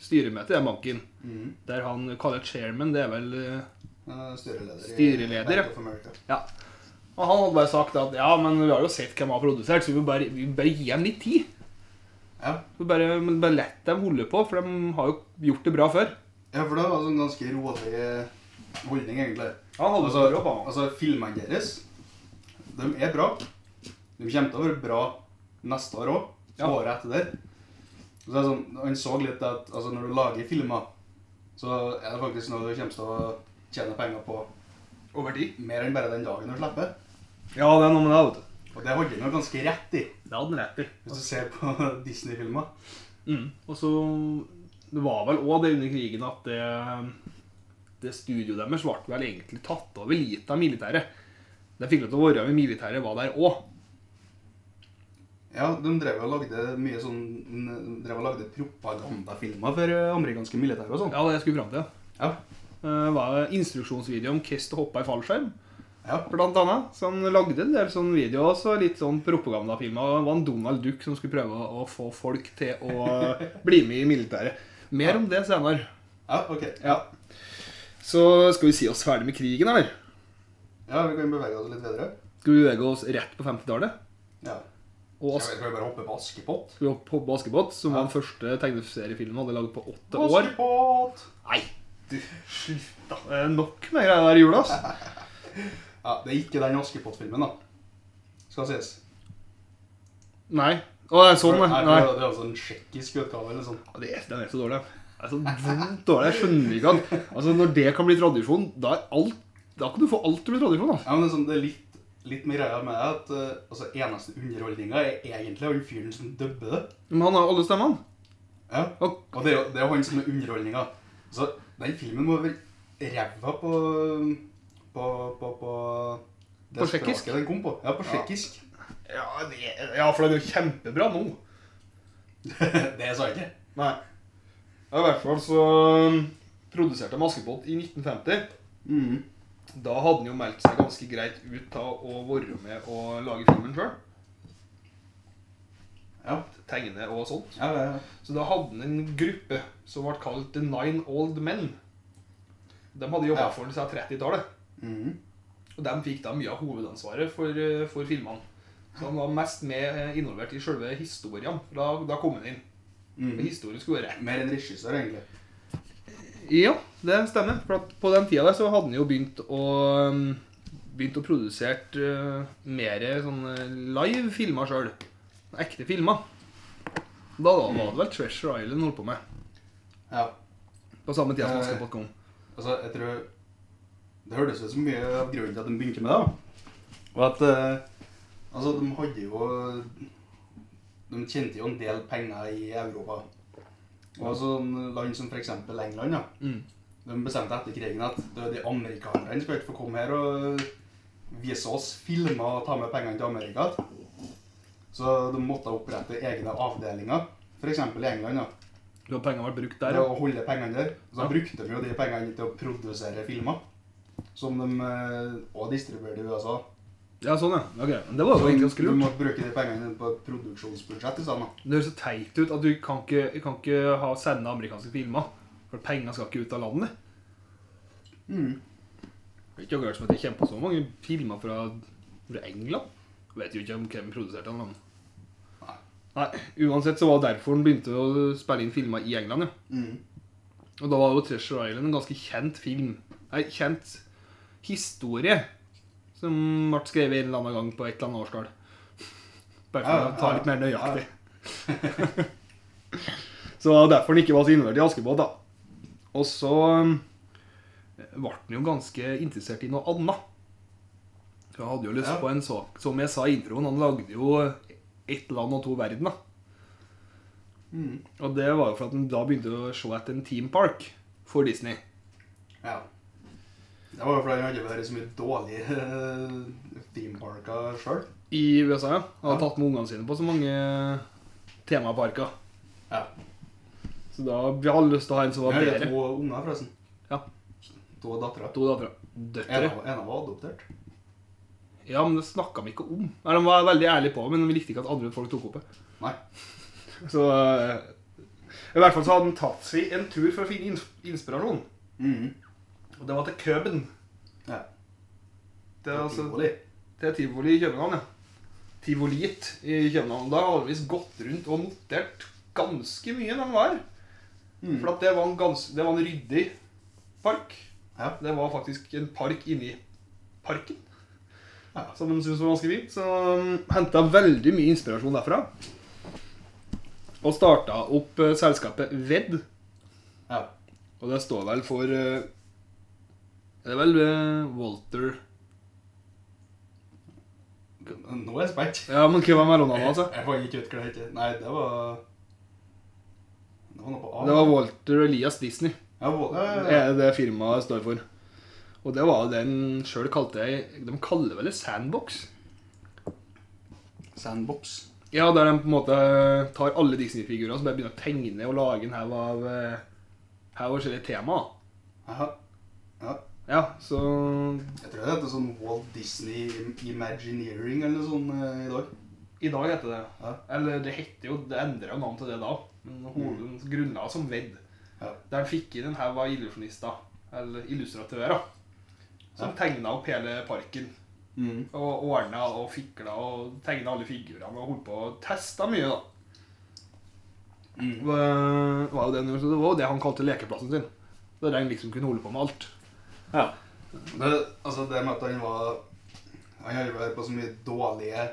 Speaker 2: Styremøte i den banken.
Speaker 1: Mm.
Speaker 2: Der han kaller chairman, det er vel eh,
Speaker 1: Eh, Styreleder,
Speaker 2: Styreleder,
Speaker 1: i
Speaker 2: ja.
Speaker 1: Bank of America.
Speaker 2: Ja. Og han hadde bare sagt at ja, men vi har jo sett hvem som har produsert, så vi bare, vi bare gir dem litt tid.
Speaker 1: Ja.
Speaker 2: Vi bare, men bare lett dem holde på, for de har jo gjort det bra før.
Speaker 1: ja, for det var en sånn ganske rolig holdning, egentlig.
Speaker 2: Han
Speaker 1: Altså, altså, filmene deres, de er bra. De kommer til å være bra neste år òg.
Speaker 2: Ja.
Speaker 1: Året etter der. Så det er sånn, han så litt at altså, når du lager filmer, så er det faktisk noe du kommer til å tjene penger på
Speaker 2: Over tid.
Speaker 1: mer enn bare den dagen du slipper.
Speaker 2: Ja, det er noe med det, vet du.
Speaker 1: Og det holder han jo ganske rett i,
Speaker 2: Det hadde han rett i.
Speaker 1: hvis du ser på Disney-filmer.
Speaker 2: Mm. Og så Det var vel òg det under krigen at det, det studioet deres ble vel egentlig tatt over litt av militæret. De fikk lov til å være med militæret var der òg.
Speaker 1: Ja, de drev og lagde mye sånn n- drev og lagde propagandafilmer for eh, amerikanske militære og sånn.
Speaker 2: Ja, det jeg skulle fram til.
Speaker 1: Ja.
Speaker 2: Uh, var instruksjonsvideo om hvordan du hoppa i fallskjerm,
Speaker 1: ja.
Speaker 2: blant annet. Så han lagde en del sånne videoer også, litt sånn propagandafilmer. Det var en Donald Duck som skulle prøve å få folk til å eh, bli med i militæret. Mer om det senere.
Speaker 1: Ja, ok.
Speaker 2: Ja. Så skal vi si oss ferdig med krigen, eller?
Speaker 1: Ja, vi kan bevege oss litt videre.
Speaker 2: Skal vi bevege oss rett på 50-tallet?
Speaker 1: Ja.
Speaker 2: Og
Speaker 1: Skal
Speaker 2: Ask-
Speaker 1: vi skal vi bare hoppe på Askepott?
Speaker 2: vi hoppet på Askepott, som
Speaker 1: Ja.
Speaker 2: var den første tegneseriefilmen han hadde laget på åtte år.
Speaker 1: Askepott!
Speaker 2: Nei, du, slutt da. Det er nok med greier der i jula, ass.
Speaker 1: Ja, det er ikke den Askepott-filmen, da. Skal sies.
Speaker 2: Nei. Å, det er sånn, nei.
Speaker 1: For- for
Speaker 2: nei.
Speaker 1: Det er altså en tsjekkisk utgave eller sånn.
Speaker 2: Ja, det er, den er så dårlig. Det er så vondt dårlig. Jeg skjønner ikke at altså, Når det kan bli tradisjon, da, er alt, da kan du få alt til å bli tradisjon. Altså.
Speaker 1: Ja, men det er, sånn, det er litt, litt mer greia med at eh, altså, eneste underholdninga er egentlig han fyren som dubber det.
Speaker 2: Men han har alle stemmene.
Speaker 1: Ja.
Speaker 2: Og,
Speaker 1: Og det er jo det er jo han som er underholdninga. Så den filmen må være ræva på På, på, på det
Speaker 2: På tsjekkisk?
Speaker 1: språket den kom på. Ja, på tsjekkisk.
Speaker 2: ja, det, ja, for det er jo kjempebra nå.
Speaker 1: det sa jeg ikke.
Speaker 2: Nei. Ja, I hvert fall så um, produserte de Askepott i 1950.
Speaker 1: Mm.
Speaker 2: Da hadde han jo meldt seg ganske greit ut av å være med og lage filmen sjøl.
Speaker 1: Ja.
Speaker 2: Tegne og sånt.
Speaker 1: Ja, ja, ja.
Speaker 2: Så da hadde han en gruppe som ble kalt The Nine Old Men. De hadde jobba
Speaker 1: Ja.
Speaker 2: for ham siden 30-tallet.
Speaker 1: Mhm.
Speaker 2: Og de fikk da mye av hovedansvaret for, eh, for filmene. Så han var mest med eh, involvert i selve historien. Da, da kom han inn.
Speaker 1: Mhm.
Speaker 2: Men Historien skulle være
Speaker 1: Mer en regissør, egentlig.
Speaker 2: Ja, det stemmer. For at på den tida der så hadde han jo begynt å um, Begynt å produsere eh, mer sånne live filmer sjøl. Ekte filmer. Da, da var det vel Treasure Island han holdt på med.
Speaker 1: Ja.
Speaker 2: På samme tida som
Speaker 1: Eh.
Speaker 2: Askepott kom.
Speaker 1: Altså, jeg tror Det hørtes ut som mye av grunnen til at de begynte med det. da. Og at eh, Altså, de hadde jo De tjente jo en del penger i Europa. Og sånn land som f.eks. England, da.
Speaker 2: Mm.
Speaker 1: De bestemte etter krigen at det er de amerikanerne skal ikke få komme her og vise oss filmer og ta med pengene til Amerika. Så de måtte opprette egne avdelinger, f.eks. i England. da.
Speaker 2: Da pengene ble brukt der,
Speaker 1: Der,
Speaker 2: ja.
Speaker 1: å holde pengene der. Så
Speaker 2: Ja.
Speaker 1: brukte de jo de pengene til å produsere filmer. Som de eh, òg distribuerte i USA.
Speaker 2: ja sånn, ja. Ok, men Det var jo egentlig ganske
Speaker 1: de
Speaker 2: lurt.
Speaker 1: må bruke de pengene på et produksjonsbudsjett i stedet.
Speaker 2: Det høres så teit ut at du kan ikke, kan ikke ha sende amerikanske filmer. For pengene skal ikke ut av landet.
Speaker 1: Mm.
Speaker 2: Det er ikke akkurat som at jeg kjemper så mange filmer fra, fra England. Jeg vet jo ikke om hvem produserte den. Men... Nei, uansett så var det derfor han begynte å spille inn filmer i England. Ja.
Speaker 1: Mm.
Speaker 2: Og da var jo 'Treasure Island' en ganske kjent film. Nei, kjent historie. Som ble skrevet en eller annen gang på et eller annet årstall. Bare for
Speaker 1: Ja,
Speaker 2: å ta
Speaker 1: ja,
Speaker 2: litt mer
Speaker 1: ja.
Speaker 2: nøyaktig. så derfor han ikke var så innvendig i Askepott, da. Og så um, ble han jo ganske interessert i noe annet. Så Han hadde jo lyst
Speaker 1: Ja.
Speaker 2: på en sak, som jeg sa i introen, han lagde jo ett land og to verdener.
Speaker 1: Mm.
Speaker 2: Og det var jo for at han da begynte å se etter en Team Park for Disney.
Speaker 1: Ja. Det var jo fordi han hadde vært så mye dårlige eh, theme parker sjøl.
Speaker 2: I USA, ja. Han
Speaker 1: Ja.
Speaker 2: har tatt med ungene sine på så mange temaparker.
Speaker 1: Ja.
Speaker 2: Så da vi har alle lyst til å ha en som var
Speaker 1: Han hadde
Speaker 2: bedre.
Speaker 1: to unger, forresten.
Speaker 2: Ja.
Speaker 1: To døtre.
Speaker 2: To døtre.
Speaker 1: En
Speaker 2: Døtre.
Speaker 1: av en av var adoptert.
Speaker 2: Ja, men det snakka de ikke om. Nei, De var veldig ærlige på det, men vi likte ikke at andre folk tok opp det.
Speaker 1: Nei.
Speaker 2: Så eh, I hvert fall så hadde han tatt seg en tur for å finne ins- inspirasjon.
Speaker 1: Mm.
Speaker 2: Og det var til Køben.
Speaker 1: Ja.
Speaker 2: Det er altså
Speaker 1: Tivoli.
Speaker 2: Det er tivoli i København, ja. Tivoliet i København. Da har de visst gått rundt og notert ganske mye når de var her.
Speaker 1: Mm.
Speaker 2: For at det var en, gans, det var en ryddig park.
Speaker 1: Ja.
Speaker 2: Det var faktisk en park inni parken.
Speaker 1: Ja.
Speaker 2: Som de syntes var ganske fint. Så um, henta veldig mye inspirasjon derfra. Og starta opp eh, selskapet Vedd.
Speaker 1: Ja.
Speaker 2: Og det står vel for eh, Det er vel eh, Walter
Speaker 1: Nå er jeg spent.
Speaker 2: Ja, men hva var mellomnavnet,
Speaker 1: Jeg,
Speaker 2: altså?
Speaker 1: jeg får ikke ut hva det heter. Nei, det var Det var noe på A.
Speaker 2: Det var Walter Elias Disney.
Speaker 1: Ja, Wall- ja,
Speaker 2: Det
Speaker 1: ja, ja.
Speaker 2: er det firmaet står for. Og det var jo den sjøl kalte jeg De kaller vel det sandbox?
Speaker 1: Sandbox.
Speaker 2: Ja, der de på en måte eh, tar alle Disney-figurer og så bare begynner å tegne og lage en haug av eh, haug av forskjellige temaer.
Speaker 1: Aha. Ja.
Speaker 2: Ja, så
Speaker 1: Jeg tror det heter sånn Walt Disney Imagineering eller noe sånt eh, i dag.
Speaker 2: I dag heter det
Speaker 1: Ja.
Speaker 2: Eller det heter jo Det endra jo navn til det da. Men hoveden grunnla som vedd.
Speaker 1: Ja.
Speaker 2: Der de fikk inn en haug av illusjonister, eller illustratører, som tegna opp hele parken.
Speaker 1: Mm.
Speaker 2: Og ordna og fikla og tegna alle figurene og holdt på og testa mye, da.
Speaker 1: Mm.
Speaker 2: var var jo det, han gjorde, så det var jo det han kalte lekeplassen sin. Der han liksom kunne holde på med alt.
Speaker 4: Ja.
Speaker 1: Det, altså det med at han var Han har jo vært på så mye dårlige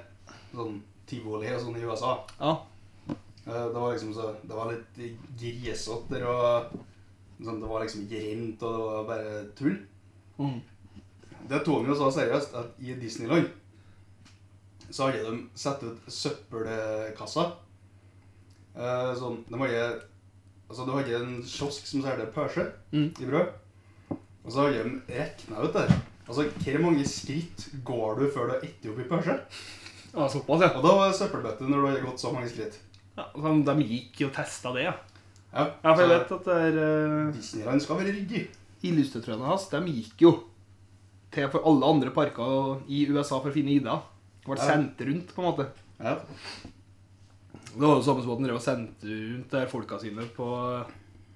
Speaker 1: sånn tivoli og sånn i USA.
Speaker 2: Ja.
Speaker 1: Eh, Det var liksom så Det var litt grisete og sånn, Det var liksom ikke rent, og det var bare tull.
Speaker 2: Mm.
Speaker 1: Det tok han jo så seriøst at i Disneyland så hadde de satt ut søppelkasser. Eh, Sånn De hadde Altså, du hadde en kiosk som solgte pølse
Speaker 2: Mm.
Speaker 1: i brød. Og så hadde de regna ut der. Altså, hvor mange skritt går du før du har spist opp i pølse?
Speaker 2: Ja, såpass, ja.
Speaker 1: Og da var det søppelbøtte når du hadde gått så mange skritt.
Speaker 4: ja sånn, de gikk jo og testa det, ja.
Speaker 1: Ja,
Speaker 4: Ja, for jeg
Speaker 1: så
Speaker 4: vet at det er eh,
Speaker 1: Disneyland skal være ryddig.
Speaker 2: Illustratorene hans de gikk jo til for alle andre parker i USA for å finne Ida. Ble
Speaker 1: Ja.
Speaker 2: sendt rundt, på en måte.
Speaker 1: Ja.
Speaker 2: Det var jo samme som at han drev og sendte rundt der folka sine på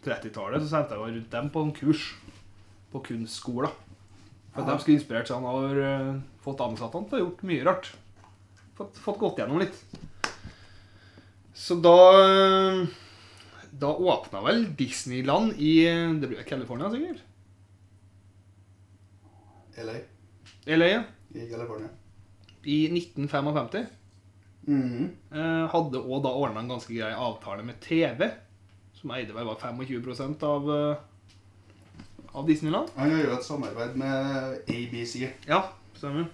Speaker 2: 30-tallet. Så sendte han rundt dem på en kurs på kunstskoler. For at
Speaker 1: Ja.
Speaker 2: de skulle inspirert seg. Han har eh, fått ansatt han til å ha gjort mye rart. Fått, fått gått gjennom litt. Så da eh, Da åpna vel Disneyland i eh, Det blir California, sikkert?
Speaker 1: LA
Speaker 2: LA, ja.
Speaker 1: i California.
Speaker 2: I 1955.
Speaker 1: Mhm.
Speaker 2: Eh, hadde òg da ordna en ganske grei avtale med TV, som eide vel var 25 av, eh, av Disneyland.
Speaker 1: Han gjør jo et samarbeid med ABC
Speaker 2: Ja, stemmer.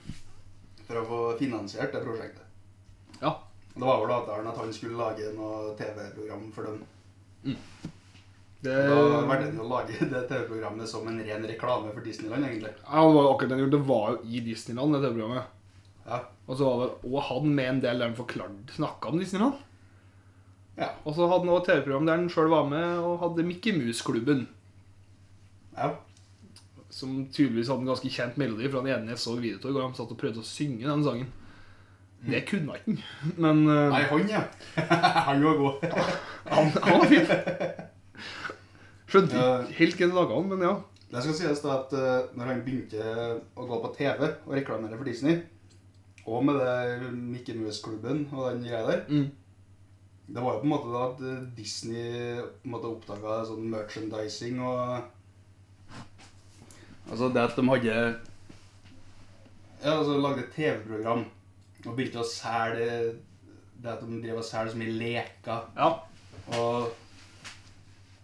Speaker 1: for å få finansiert det prosjektet.
Speaker 2: Ja.
Speaker 1: Det var vel avtalen at han skulle lage noe TV-program for dem.
Speaker 2: Det,
Speaker 1: Da
Speaker 2: ja,
Speaker 1: valgte han jo å lage det TV-programmet som en ren reklame for Disneyland, egentlig.
Speaker 2: det var jo akkurat det han gjorde. Det var jo i Disneyland, det TV-programmet.
Speaker 1: Ja.
Speaker 2: Og så var det òg han med en del der han forklarte snakka om Disneyland.
Speaker 1: Ja.
Speaker 2: Og så hadde han òg TV-program der han sjøl var med og hadde Mickey Mouse-klubben.
Speaker 1: ja.
Speaker 2: Som tydeligvis hadde en ganske kjent melodi fra den ene jeg så i Videotog, og han satt og prøvde å synge den sangen. Det kunne han ikke, men eh,
Speaker 1: Nei, han, ja. han var god.
Speaker 2: Han, han var fin. Skjønte
Speaker 1: Ja.
Speaker 2: ikke helt hva du snakka om, men ja.
Speaker 1: Det skal sies da at eh, når han begynte å gå på TV og reklamere for Disney, og med det Mickey Mouse-klubben og den greia der,
Speaker 2: Mm.
Speaker 1: Det var jo på en måte da at eh, Disney på en måte oppdaga sånn merchandising og Altså det at de hadde Ja, altså lagde et TV-program og begynte å selge det at de drev og selger så mye leker
Speaker 2: Ja.
Speaker 1: og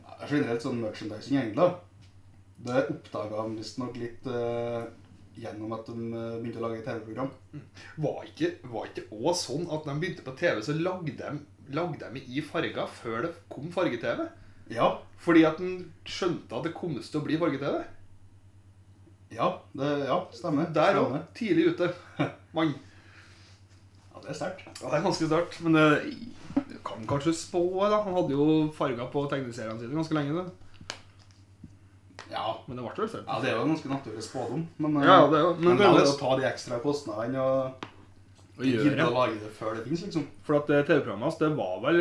Speaker 1: ja, Generelt sånn merchandising, egentlig. da. Det oppdaga de visstnok litt eh, gjennom at de eh, begynte å lage TV-program.
Speaker 2: Var ikke, var ikke også sånn at når de begynte på TV, så lagde de lagde dem i farger før det kom farge-TV?
Speaker 1: Ja,
Speaker 2: Fordi at en skjønte at det kom til å bli farge-TV.
Speaker 1: ja, det, ja, stemmer.
Speaker 2: Der òg.
Speaker 1: stemmer.
Speaker 2: Tidlig ute. Mann.
Speaker 1: Ja, det er sterkt.
Speaker 2: Ja, det er ganske sterkt, men det, det kan kanskje spå, da. Han hadde jo farger på tegneseriene sine ganske lenge, da.
Speaker 1: Ja,
Speaker 2: men det ble vel sterkt.
Speaker 1: Ja, det er jo en ganske naturlig spådom, men, eh,
Speaker 2: Ja, det er jo- men
Speaker 1: men,
Speaker 2: det er
Speaker 1: da er det
Speaker 2: jo-
Speaker 1: å ta de ekstra kostnadene og gidde å lage det før det fins, liksom.
Speaker 2: For at eh, TV-programmet hans, det var vel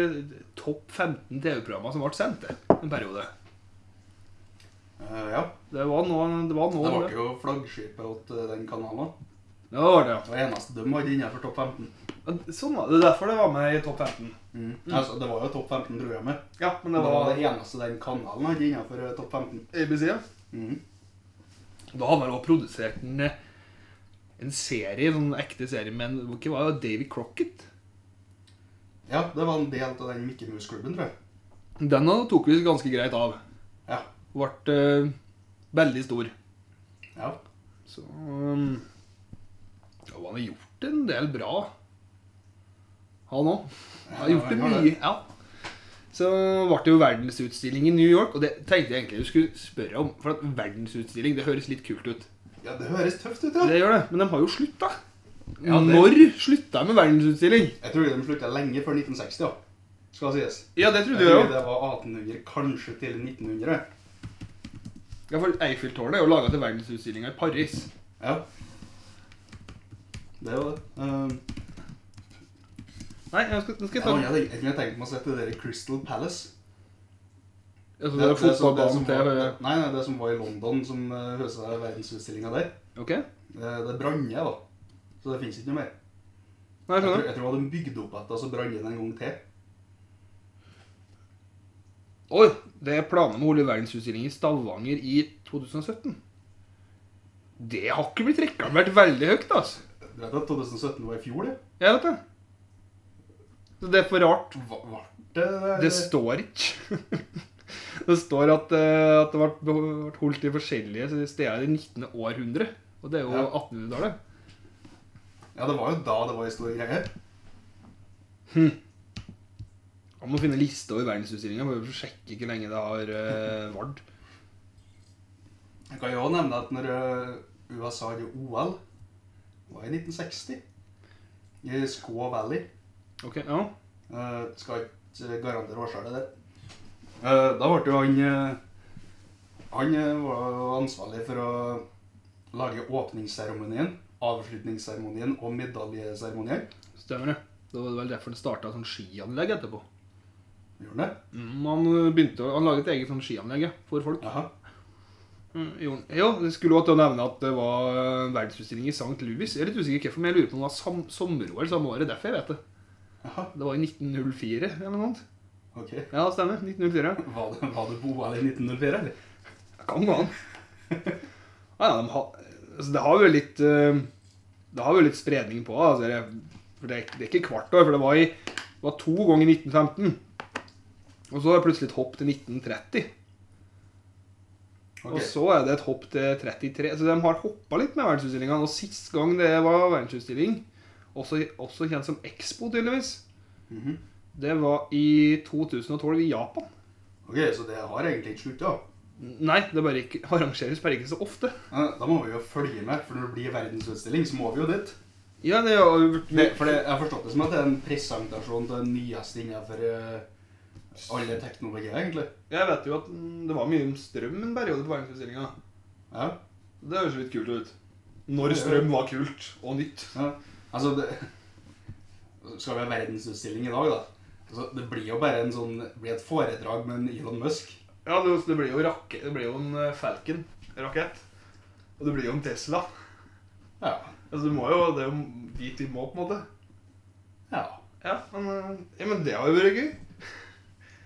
Speaker 2: topp 15 TV-programmer som ble sendt det, en periode.
Speaker 1: Eh, ja.
Speaker 2: Det var nå Det var nå
Speaker 1: Det ble
Speaker 2: det.
Speaker 1: jo flaggskipet åt eh, den kanalen. da.
Speaker 2: Ja, det var det,
Speaker 1: Det var det eneste de hadde innenfor topp 15.
Speaker 2: ja. Sånn var det. Det er derfor det var med i topp 15.
Speaker 1: Altså, det var jo topp 15-programmet.
Speaker 2: Ja, men
Speaker 1: Det
Speaker 2: det
Speaker 1: var
Speaker 2: var
Speaker 1: det eneste den kanalen hadde innenfor eh, topp 15.
Speaker 2: ABC, ja.
Speaker 1: Mhm.
Speaker 2: Da hadde man også produsert en, eh, en serie, en sånn ekte serie, men hva var det? Davy Crocket?
Speaker 1: Ja, det var en del av den Mickey Mouse-klubben, tror jeg.
Speaker 2: Den da tok vi ganske greit av.
Speaker 1: Ja.
Speaker 2: Ble eh, veldig stor.
Speaker 1: Ja.
Speaker 2: Så um, ja, Han har gjort en del bra, han òg. Har gjort det
Speaker 1: Ja, han har
Speaker 2: mye. Ja. Så ble det jo verdensutstilling i New York, og det tenkte jeg egentlig du skulle spørre om. For at verdensutstilling, det høres litt kult ut.
Speaker 1: ja, det høres tøft ut, ja.
Speaker 2: Det gjør det, men de har jo slutta.
Speaker 1: Ja, det-
Speaker 2: Når slutta de med verdensutstilling?
Speaker 1: Jeg tror de slutta lenge før 1960, ja. Skal sies.
Speaker 2: Ja, det
Speaker 1: Jeg
Speaker 2: trodde jeg
Speaker 1: tror
Speaker 2: òg.
Speaker 1: det var 1800, kanskje til 1900.
Speaker 2: Ja, for Eiffeltårnet er jo laga til verdensutstillinga i Paris.
Speaker 1: Ja. Det er jo det. Ehm,
Speaker 2: Nei, jeg skal, nå skal
Speaker 1: jeg
Speaker 2: jeg ta
Speaker 1: kunne tenkt- jeg kunne tenkt meg å sette dere Crystal Palace.
Speaker 2: altså, det er sånn
Speaker 1: som- det
Speaker 2: fotballbanen
Speaker 1: som var,
Speaker 2: til
Speaker 1: det, nei, eh, nei, det som var i London, som uh, høsa verdensutstillinga der.
Speaker 2: OK?
Speaker 1: Det, det brant ned, da. Så det fins ikke noe mer.
Speaker 2: Nei,
Speaker 1: Jeg tror,
Speaker 2: skjønner.
Speaker 1: jeg tror de bygde opp igjen, og så brant den en gang til.
Speaker 2: Oi, det er planer om å holde verdensutstilling i Stavanger i 2017. Det har ikke blitt rekka vært veldig høyt, altså.
Speaker 1: Du vet at 2017 var i fjor, det?
Speaker 2: Jeg vet det. Så det er for rart.
Speaker 1: Hva, var det
Speaker 2: Det står ikke. det står at, eh, at det ble, ble holdt i forskjellige steder i 19. århundre. Og det er jo
Speaker 1: Ja.
Speaker 2: 1800-tallet.
Speaker 1: Ja, det var jo da det var en stor greie.
Speaker 2: Man må finne lista over verdensutstillinga for å sjekke hvor lenge det har uh, vart.
Speaker 1: Jeg kan jo også nevne at når ø, USA hadde OL, det var i 1960, i Squaw Valley.
Speaker 2: Ok, ja.
Speaker 1: Eh, skal ikke garantere årsaken der. Eh, da ble jo han eh, Han eh, var jo ansvarlig for å lage åpningsseremonien, avslutningsseremonien og medaljeseremonien.
Speaker 2: Stemmer det. Det var vel derfor det starta sånn skianlegg etterpå.
Speaker 1: Gjorde han det?
Speaker 2: Mm, han, begynte, å- han laget et eget sånn skianlegg ja, for folk.
Speaker 1: Jaha.
Speaker 2: Mm, jo, jo, det skulle også til å nevne at det var eh, verdensutstilling i St. Louis. Jeg er litt usikker hvorfor, men jeg lurer på om det var sam sommer-OL samme året. Derfor jeg vet det.
Speaker 1: Jaha,
Speaker 2: Det var i 1904 eller noe sånt.
Speaker 1: ok.
Speaker 2: Ja, det stemmer. 1904.
Speaker 1: Var det, var det på OL i 1904, eller?
Speaker 2: Det kan gå an. Nei, ja, de har, altså, det har jo litt eh, Det har jo litt spredning på altså, det. For det, er ikke- det er ikke hvert år, for det var, i, det var to ganger i 1915. Og så er det plutselig et hopp til 1930. Og
Speaker 1: Ok.
Speaker 2: så er det et hopp til 33. Så de har hoppa litt med verdensutstillingene. Og sist gang det var verdensutstilling, også, også kjent som Expo, tydeligvis,
Speaker 1: Mhm.
Speaker 2: det var i 2012 i Japan.
Speaker 1: Ok, så det har egentlig ikke slutta.
Speaker 2: Nei, det bare ikke, arrangeres bare ikke så ofte.
Speaker 1: Eh, Da må vi jo følge med, for når det blir verdensutstilling, så må vi jo dit.
Speaker 2: Ja, det har jo vært
Speaker 1: Det, for det, jeg har forstått det som at det er en presentasjon av det nyeste innenfor eh, alle teknologier, egentlig.
Speaker 2: Jeg vet jo at mm, det var mye om strøm en periode på verdensforestillinga.
Speaker 1: Ja.
Speaker 2: Det høres jo litt kult ut. Når strøm var kult og nytt.
Speaker 1: Ja, altså det, Skal vi ha verdensutstilling i dag, da? Altså, det blir jo bare en sånn, det blir et foredrag med en Elon Musk.
Speaker 2: Ja, det, det blir jo rakke, det blir jo en eh, Falcon-rakett. Og det blir jo en Tesla.
Speaker 1: Ja.
Speaker 2: Altså, du må jo, Det er jo dit vi må, på en måte.
Speaker 1: ja.
Speaker 2: Ja, men, eh, ja, men det har jo vært gøy.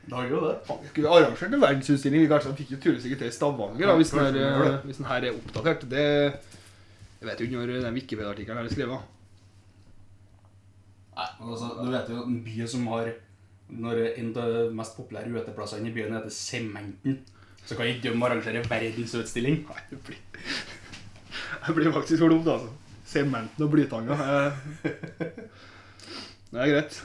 Speaker 1: Det har jo det.
Speaker 2: Faen, vi skulle arrangert en verdensutstilling. Vi kanskje han fikk jo tulle sikkert til i Stavanger da, hvis, den her,
Speaker 1: Kanskje vi gjør
Speaker 2: eh, hvis den her er oppdatert. Det, jeg vet jo ikke når den Wikipedia-artikkelen er skrevet.
Speaker 1: Nei, men altså, Du vet jo en by som har når En av de mest populære uteplassene i byen heter Sementen. Så kan ikke de arrangere verdensutstilling.
Speaker 2: Nei, det blir Det blir faktisk for dumt, altså. Sementen og blytanga. eh. Det er greit.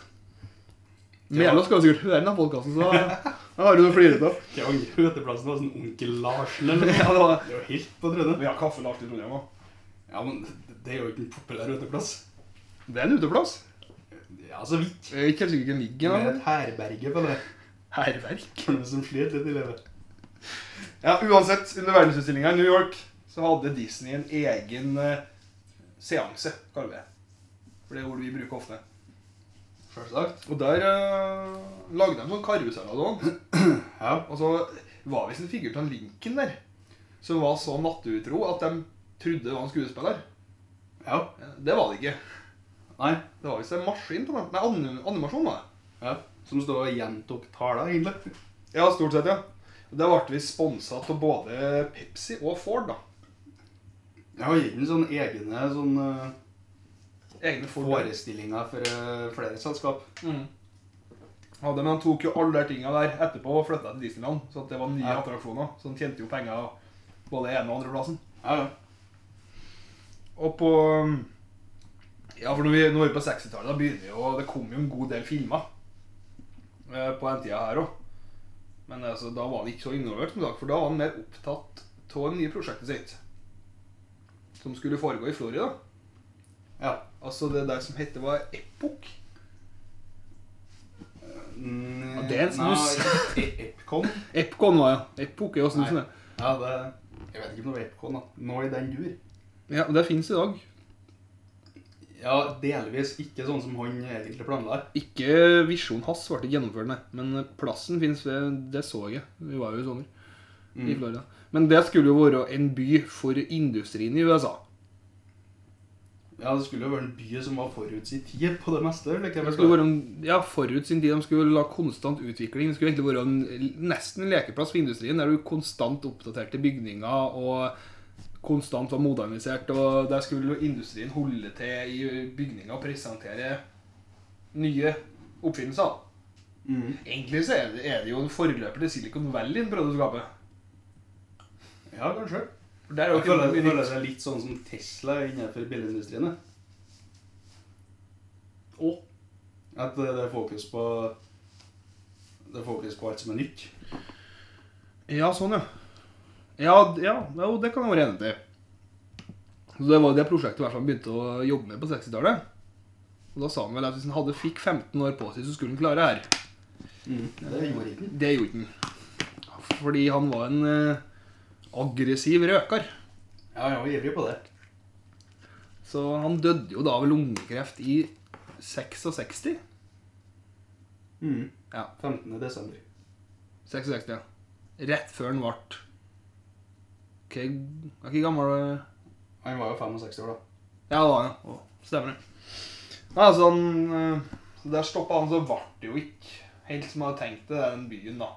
Speaker 2: Melå skal jo sikkert høre denne podkasten, så da har du noe å flire av.
Speaker 1: Det var andre uteplassen var sånn Onkel Larsen eller noe.
Speaker 2: Ja, det var-
Speaker 1: Det er jo helt på trynet.
Speaker 2: Vi har kaffe lagt i Trondheim òg.
Speaker 1: Ja, men det er jo ikke en populær uteplass. altså
Speaker 2: Det er en uteplass.
Speaker 1: Ja, så vidt.
Speaker 2: Jeg er ikke helt sikker på hvem ligger
Speaker 1: Med
Speaker 2: der.
Speaker 1: et herberge på det.
Speaker 2: Hærverk.
Speaker 1: For noen som sliter litt i livet.
Speaker 2: Ja, uansett, under verdensutstillinga i New York så hadde Disney en egen eh, seanse, kaller vi det. For det er ord vi bruker ofte.
Speaker 1: Selvsagt.
Speaker 2: Og der eh, lagde de sånn karuseller og sånn.
Speaker 1: Ja.
Speaker 2: Og så var visst en figur til han Lincoln der, som var så natteutro at de trodde det var en skuespiller.
Speaker 1: Ja.
Speaker 2: Det var det ikke.
Speaker 1: Nei.
Speaker 2: Det var visst en maskin på den. Nei, anim animasjon var det.
Speaker 1: Ja. Som står og gjentok tala, egentlig.
Speaker 2: Ja, stort sett, ja. Og Der ble vi sponsa av både Pepsi og Ford, da.
Speaker 1: Jeg har gitt den sånn egne sånn, eh,
Speaker 2: Egne Ford.
Speaker 1: forestillinger for eh, flere selskap.
Speaker 2: Mm. Ja, det, men han tok jo alle de tinga der etterpå og flytta til Disneyland. Så at det var nye
Speaker 1: Ja.
Speaker 2: attraksjoner. Så han tjente jo penger både ene- og andreplassen.
Speaker 1: Ja, ja.
Speaker 2: Og på mm, Ja, for når vi, når vi er på 60-tallet, da begynner jo Det kom jo en god del filmer eh, på den tida her òg. Men altså, da var han ikke så involvert, som sagt, for da var han mer opptatt av det nye prosjektet sitt. Som skulle foregå i Florida.
Speaker 1: ja.
Speaker 2: Altså det der som hette var Epoch.
Speaker 1: Mm,
Speaker 2: Ja, det er en snus.
Speaker 1: nei, e- Epcon.
Speaker 2: Epcon var ja. Epoch er sånn jo snusen,
Speaker 1: Nei. Ja, det Jeg vet ikke om det var Epcon, da. Nå i den dur.
Speaker 2: det. Ja, og det fins i dag.
Speaker 1: Ja, delvis ikke sånn som han egentlig planla.
Speaker 2: Ikke visjonen hans ble ikke gjennomført, nei. Men eh, plassen fins, det så jeg. Vi var jo i sommer. i
Speaker 1: Mm.
Speaker 2: Florida. Men det skulle jo være en by for industrien i USA.
Speaker 1: Ja, det skulle jo være en by som var forut sin tid på det meste. Like jeg
Speaker 2: Det
Speaker 1: forstår.
Speaker 2: skulle være en, ja, Forut sin tid de skulle la konstant utvikling. Det skulle egentlig være en, nesten en lekeplass for industrien, der du konstant oppdaterte bygninger og konstant var modernisert. Og der skulle industrien holde til i bygninger og presentere nye oppfinnelser.
Speaker 1: Mhm.
Speaker 2: Egentlig så er det, er det jo en forløper til Silicon Valley en prøvde å skape.
Speaker 1: Ja, kanskje.
Speaker 2: For der er jo
Speaker 1: Jeg
Speaker 2: ikke
Speaker 1: føler, jeg
Speaker 2: mye
Speaker 1: føler
Speaker 2: nytt.
Speaker 1: det er litt sånn som Tesla er innenfor bilindustrien. jeg.
Speaker 2: Å,
Speaker 1: At det det er fokus på Det er fokus på alt som er nytt.
Speaker 2: Ja, sånn, ja. Ja, d- ja jo, det kan jeg være enig i. Så Det var jo det prosjektet i hvert fall begynte å jobbe med på 60-tallet. Og Da sa han vel at hvis han hadde fikk 15 år på seg, så skulle han klare det her.
Speaker 1: Det gjorde ikke
Speaker 2: Det gjorde han. Fordi han var en eh, aggressiv røker.
Speaker 1: Ja, jeg var ivrig på det.
Speaker 2: Så han døde jo da av lungekreft i 66.
Speaker 1: Mm.
Speaker 2: Ja.
Speaker 1: 15. desember.
Speaker 2: 66, ja. Rett før han ble Hva hva gammel eh? var du?
Speaker 1: Han var jo 65 år, da.
Speaker 2: Ja, det var han. ja. Å, Stemmer det. Nei, altså, han, eh, så der stoppa han, så ble det jo ikke helt som jeg hadde tenkt det, den byen, da.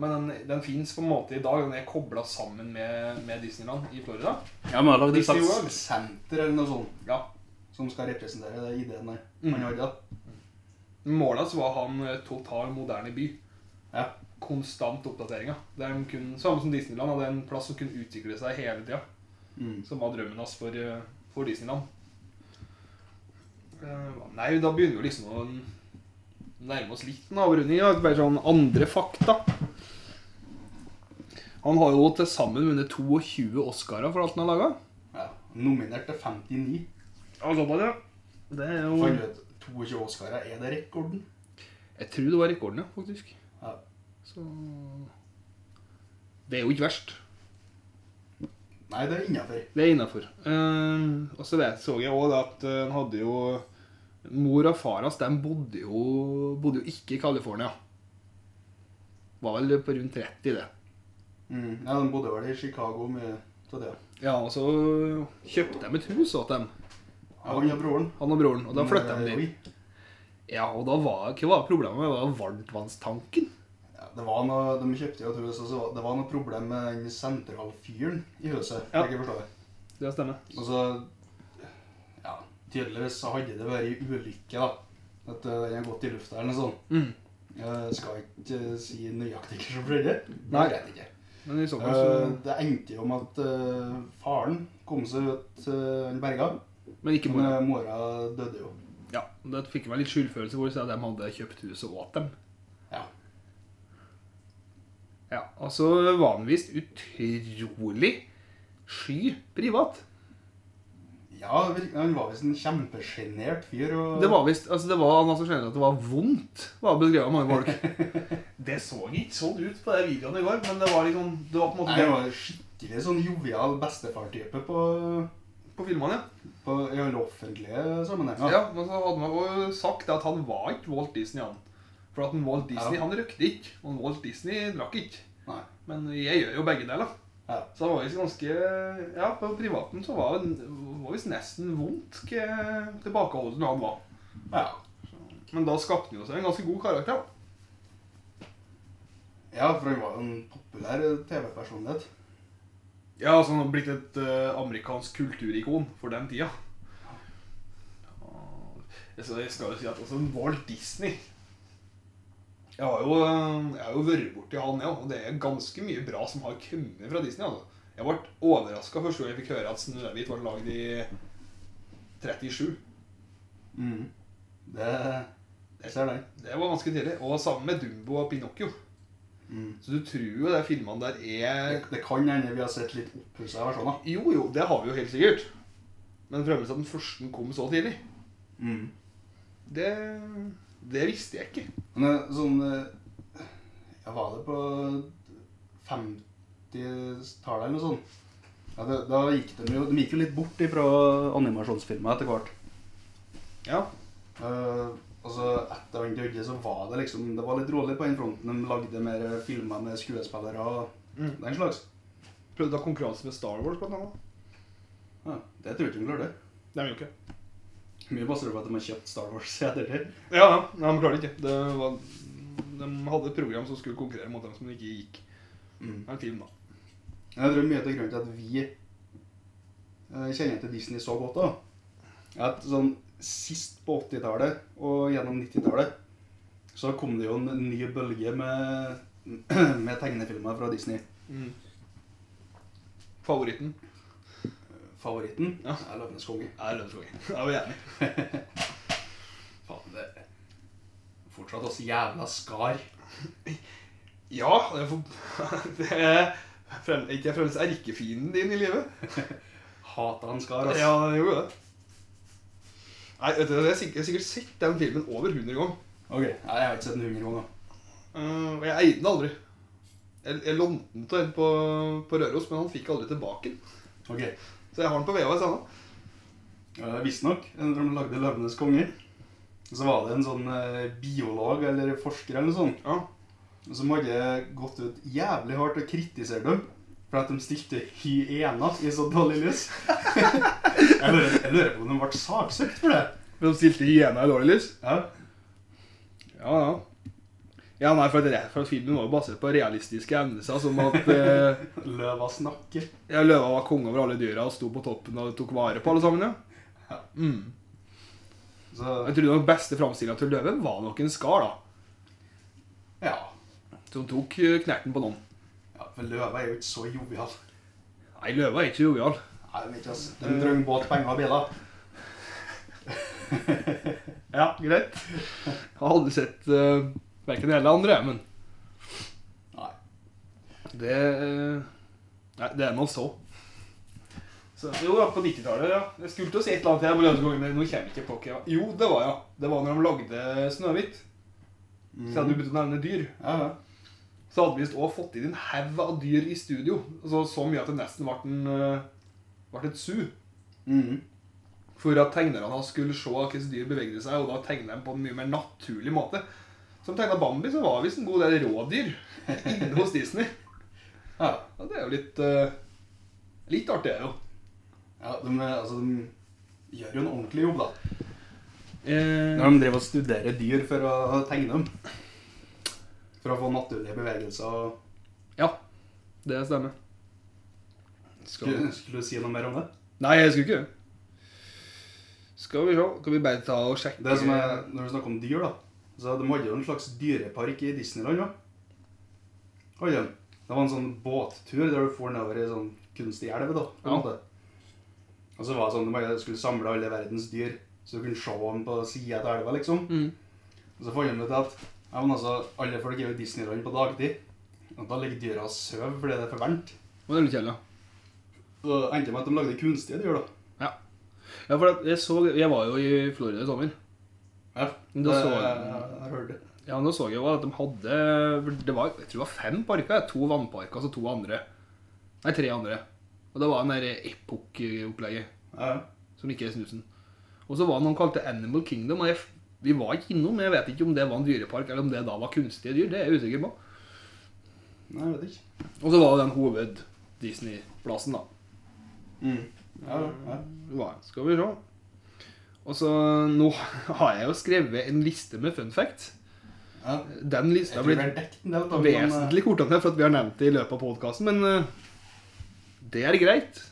Speaker 2: Men den, den fins på en måte i dag. Den er kobla sammen med, med Disneyland i Florida.
Speaker 4: Ja, men har lagd et
Speaker 1: Disney
Speaker 4: slags
Speaker 1: World Center eller noe sånt
Speaker 2: Ja.
Speaker 1: som skal representere det ideen der.
Speaker 2: Mm.
Speaker 1: Han hadde da.
Speaker 2: Målet hans var å ha en eh, total moderne by.
Speaker 1: Ja.
Speaker 2: Konstant oppdateringer. Der de kunne, samme som Disneyland hadde en plass som kunne utvikle seg hele tida.
Speaker 1: Mm.
Speaker 2: Som var drømmen hans for, eh, for Disneyland. Eh, Nei, da begynner vi liksom å nærme oss litt en avrunding. da. Bare sånn andre fakta. Han har jo til sammen vunnet 22 Oscarer for alt han har laga.
Speaker 1: Ja. Nominert til 59.
Speaker 4: Det er
Speaker 1: For
Speaker 4: jo
Speaker 1: han vet, 22 Oscarer, er det rekorden?
Speaker 2: Jeg tror det var rekorden, ja, faktisk.
Speaker 1: Ja.
Speaker 2: Så Det er jo ikke verst.
Speaker 1: Nei, det er innafor.
Speaker 2: Det er innafor. Ehm, og så vet, så jeg òg at eh, han hadde jo Mor og far hans de bodde jo, bodde jo ikke i California. Var vel på rundt 30, det.
Speaker 1: Mm. Ja, de bodde vel i Chicago med til det.
Speaker 2: Ja, og så kjøpte de et hus åt dem,
Speaker 1: Ja, han og broren.
Speaker 2: han og broren. Og da flytta
Speaker 1: Men,
Speaker 2: de
Speaker 1: eh,
Speaker 2: dit. Ja, og da var Hva var problemet? Det var varmtvannstanken.
Speaker 1: Ja, det var noe, de kjøpte jo et hus, og så var- det var noe problem med den sentralfyren i huset.
Speaker 2: Ja.
Speaker 1: slik Jeg forstår.
Speaker 2: Det stemmer.
Speaker 1: Og så, ja, tydeligvis så hadde det vært en ulykke da. At eh, den har gått i lufta eller noe sånt.
Speaker 2: Mm.
Speaker 1: Jeg skal ikke eh, si nøyaktig hva som skjedde. Det
Speaker 2: Nei.
Speaker 1: vet jeg ikke.
Speaker 2: Men i så fall
Speaker 1: Eh,
Speaker 2: så
Speaker 1: det endte jo med at eh, faren kom seg ut, eh, han berga.
Speaker 2: Men ikke
Speaker 1: Men
Speaker 2: mora.
Speaker 1: eh, mora døde jo.
Speaker 2: Ja, og Da fikk jeg meg litt skyldfølelse hvor de sa at de hadde kjøpt huset åt dem.
Speaker 1: Ja.
Speaker 2: Ja, altså vanligvis utrolig sky privat.
Speaker 1: Ja, vir- han var visst en kjempesjenert fyr. Og...
Speaker 2: Det var visst, altså det var, han var så skjønner at det var vondt, var beskrevet av mange folk.
Speaker 4: Det så ikke sånn ut på de videoene i går, men det var liksom Det var på en
Speaker 1: Nei,
Speaker 4: måte
Speaker 1: han var skikkelig sånn jovial bestefar-type på,
Speaker 2: På filmene, ja.
Speaker 1: på i alle offentlige sammenhenger.
Speaker 2: ja. Men så hadde man jo sagt det at han var ikke Walt Disney, han. For at en Walt Disney,
Speaker 1: Ja.
Speaker 2: han røkte ikke. Og en Walt Disney drakk ikke.
Speaker 1: Nei.
Speaker 2: Men jeg gjør jo begge deler.
Speaker 1: Ja.
Speaker 2: Så det var visst ganske Ja, på privaten så var det var visst nesten vondt hva tilbakeholden han var.
Speaker 1: Ja.
Speaker 2: Men da skapte han jo seg en ganske god karakter.
Speaker 1: ja, for han var jo en populær TV-personlighet.
Speaker 2: Ja, altså han har blitt et eh, amerikansk kulturikon for den tida. Jeg skal, jeg skal jo si at altså, Walt Disney Jeg har jo, eh, jeg har jo vært borti han, ja, og det er ganske mye bra som har kommet fra Disney. altså. Jeg ble overraska første gang jeg fikk høre at Snøhvit ble lagd i 37.
Speaker 1: Mm. Det Jeg ser den.
Speaker 2: Det var ganske tidlig. Og sammen med Dumbo og Pinocchio.
Speaker 1: Mm.
Speaker 2: Så du tror jo de filmene der er
Speaker 1: Det, det kan hende vi har sett litt oppussa versjoner.
Speaker 2: Jo, jo, det har vi jo helt sikkert. Men fremdeles at den første kom så tidlig.
Speaker 1: Mm.
Speaker 2: Det, det visste jeg ikke.
Speaker 1: Men eh, sånn eh, Jeg var det på 50-tallet eller noe sånt. Ja, det, da gikk de jo De gikk jo litt bort ifra animasjonsfilmer etter hvert.
Speaker 2: Ja.
Speaker 1: Eh, og så etter han døde, så var det liksom Det var litt rolig på den fronten. De lagde mer filmer med skuespillere og
Speaker 2: Mm.
Speaker 1: den slags.
Speaker 2: Prøvde å ha konkurranse med Star Wars blant annet.
Speaker 1: Ja, det tror jeg ikke de klarer det.
Speaker 2: Det er vi jo ikke.
Speaker 1: Mye baserer på at de har kjøpt Star Wars etter det.
Speaker 2: Ja, ja. Nei, de klarer det ikke. Det var, de hadde et program som skulle konkurrere mot dem som ikke gikk.
Speaker 1: Mm.
Speaker 2: Det er en film, da.
Speaker 1: Men Jeg tror mye av grunnen til at vi eh, kjenner til Disney så godt, da, er at sånn sist på 80-tallet og gjennom 90-tallet, så kom det jo en ny bølge med, med tegnefilmer fra Disney. Eh,
Speaker 2: Mm. Favoritten
Speaker 1: Favoritten
Speaker 2: Ja.
Speaker 1: er 'Løvenes konge'.
Speaker 2: er Lønnskongen. Jeg var enig.
Speaker 1: Faen, det er fortsatt oss jævla skar.
Speaker 2: Ja, det er, for, det er frem, ikke fremdeles erkefienden din i livet.
Speaker 1: Hata han skar, ass.
Speaker 2: Ja, det gjorde det. Nei, vet du, jeg har sikk- jeg har sikkert sett den filmen over 100 ganger.
Speaker 1: Ok, nei, jeg har ikke sett den 100 ganger.
Speaker 2: Eh, og jeg eide den aldri. Jeg, jeg lånte den til en på, på Røros, men han fikk aldri tilbake den.
Speaker 1: Ok,
Speaker 2: Så jeg har den på VHS ennå.
Speaker 1: Eh, Visstnok, når de lagde 'Løvenes konge', så var det en sånn eh, biolog eller forsker eller noe sånt
Speaker 2: Ja.
Speaker 1: som hadde gått ut jævlig hardt og kritisert dem for at de stilte hyener i så dårlig lys. jeg, lurer, jeg lurer på om de ble saksøkt for det.
Speaker 2: Men de stilte hyena i dårlig lys?
Speaker 1: Ja,
Speaker 2: Ja, ja. Ja, nei, for, at det, for at Filmen var jo basert på realistiske hendelser, som at eh,
Speaker 1: Løva snakker.
Speaker 2: ja, løva var konge over alle dyra og sto på toppen og tok vare på alle sammen.
Speaker 1: Ja.
Speaker 2: ja. Mm.
Speaker 1: Så
Speaker 2: Jeg tror den beste framstillinga til løven var nok en skar, da.
Speaker 1: ja.
Speaker 2: Som tok eh, knerten på noen.
Speaker 1: ja for løva er jo ikke så jovial.
Speaker 2: Nei, løva er ikke jovial.
Speaker 1: Nei, jeg vet ikke, altså. De trenger båt, penger og biler.
Speaker 2: Ja, greit. Jeg har aldri sett uh, verken det ene eller andre, men
Speaker 1: Nei.
Speaker 2: det eh, Nei, det er noe så.
Speaker 4: Så, jo, ja, på 90-tallet, ja. Jeg skulle til å si et eller annet her med Løvekongen, men nå kommer jeg ikke på hva. det var. Jo, det var ja. Det var når de lagde Snøhvit.
Speaker 2: Mm.
Speaker 4: Siden du begynte å nevne dyr,
Speaker 1: Ja, ja.
Speaker 4: så hadde vi visst også fått inn en haug av dyr i studio. Altså, så mye at det nesten ble, en, eh, ble et zoo.
Speaker 1: Mhm.
Speaker 4: For at tegnerne skulle se hvordan dyr bevegde seg, og da tegna de på en mye mer naturlig måte. Som tegna Bambi, så var visst en god del rådyr inne hos Disney.
Speaker 1: ja.
Speaker 4: Ja, det er jo litt eh, Litt artig, det er jo.
Speaker 1: Ja, de, eh, altså, de gjør jo en ordentlig jobb, da.
Speaker 2: Eh,
Speaker 1: Når de driver og studerer dyr for å tegne dem. For å få naturlige bevegelser. og-
Speaker 2: ja, det stemmer.
Speaker 1: Skulle, skulle du si noe mer om det?
Speaker 2: Nei, jeg skulle ikke det. Skal vi se Kan vi bare ta og sjekke
Speaker 1: Det som er, Når vi snakker om dyr, da så De hadde jo en slags dyrepark i Disneyland òg. Det var en sånn båttur der du for nedover i sånn kunstig elv. da, på en
Speaker 2: Ja.
Speaker 1: måte. Og så var det sånn de bare skulle samle alle verdens dyr, så du kunne se dem på sida av elva, liksom.
Speaker 2: Mm.
Speaker 1: Og så fant de ut at ja, men altså, alle folk er jo i Disneyland på dagtid. Og da ligger dyra og sover fordi det er for varmt.
Speaker 2: Det er litt kjedelig. da.
Speaker 1: Så det endte med at de lagde kunstige dyr, da.
Speaker 2: Ja, for at jeg, så, jeg var jo i Florida i sommer.
Speaker 1: Ja,
Speaker 2: Men da så-
Speaker 1: jeg, jeg, jeg hørte det.
Speaker 2: Ja, men da så jeg jo at de hadde det var, Jeg tror det var fem parker. ja. To vannparker, altså to andre. Nei, tre andre. Og det var den der Epoch-opplegget,
Speaker 1: Ja, ja.
Speaker 2: som ikke er snusen. Og så var det noen kalte Animal Kingdom. og jeg, Vi var ikke innom, men jeg vet ikke om det var en dyrepark, eller om det da var kunstige dyr. Det er jeg usikker på.
Speaker 1: Nei, jeg vet ikke.
Speaker 2: Og så var det den hoved-Disney-plassen, da.
Speaker 1: Mm. Ja, ja.
Speaker 2: Hva skal vi se. Og så Nå har jeg jo skrevet en liste med fun facts.
Speaker 1: ja.
Speaker 2: Den
Speaker 1: Jeg
Speaker 2: lista
Speaker 1: tror
Speaker 2: blir
Speaker 1: vi har dekket en del av det, men, eh,
Speaker 2: vesentlig kortere for at vi har nevnt det i løpet av podkasten, men eh, det er greit.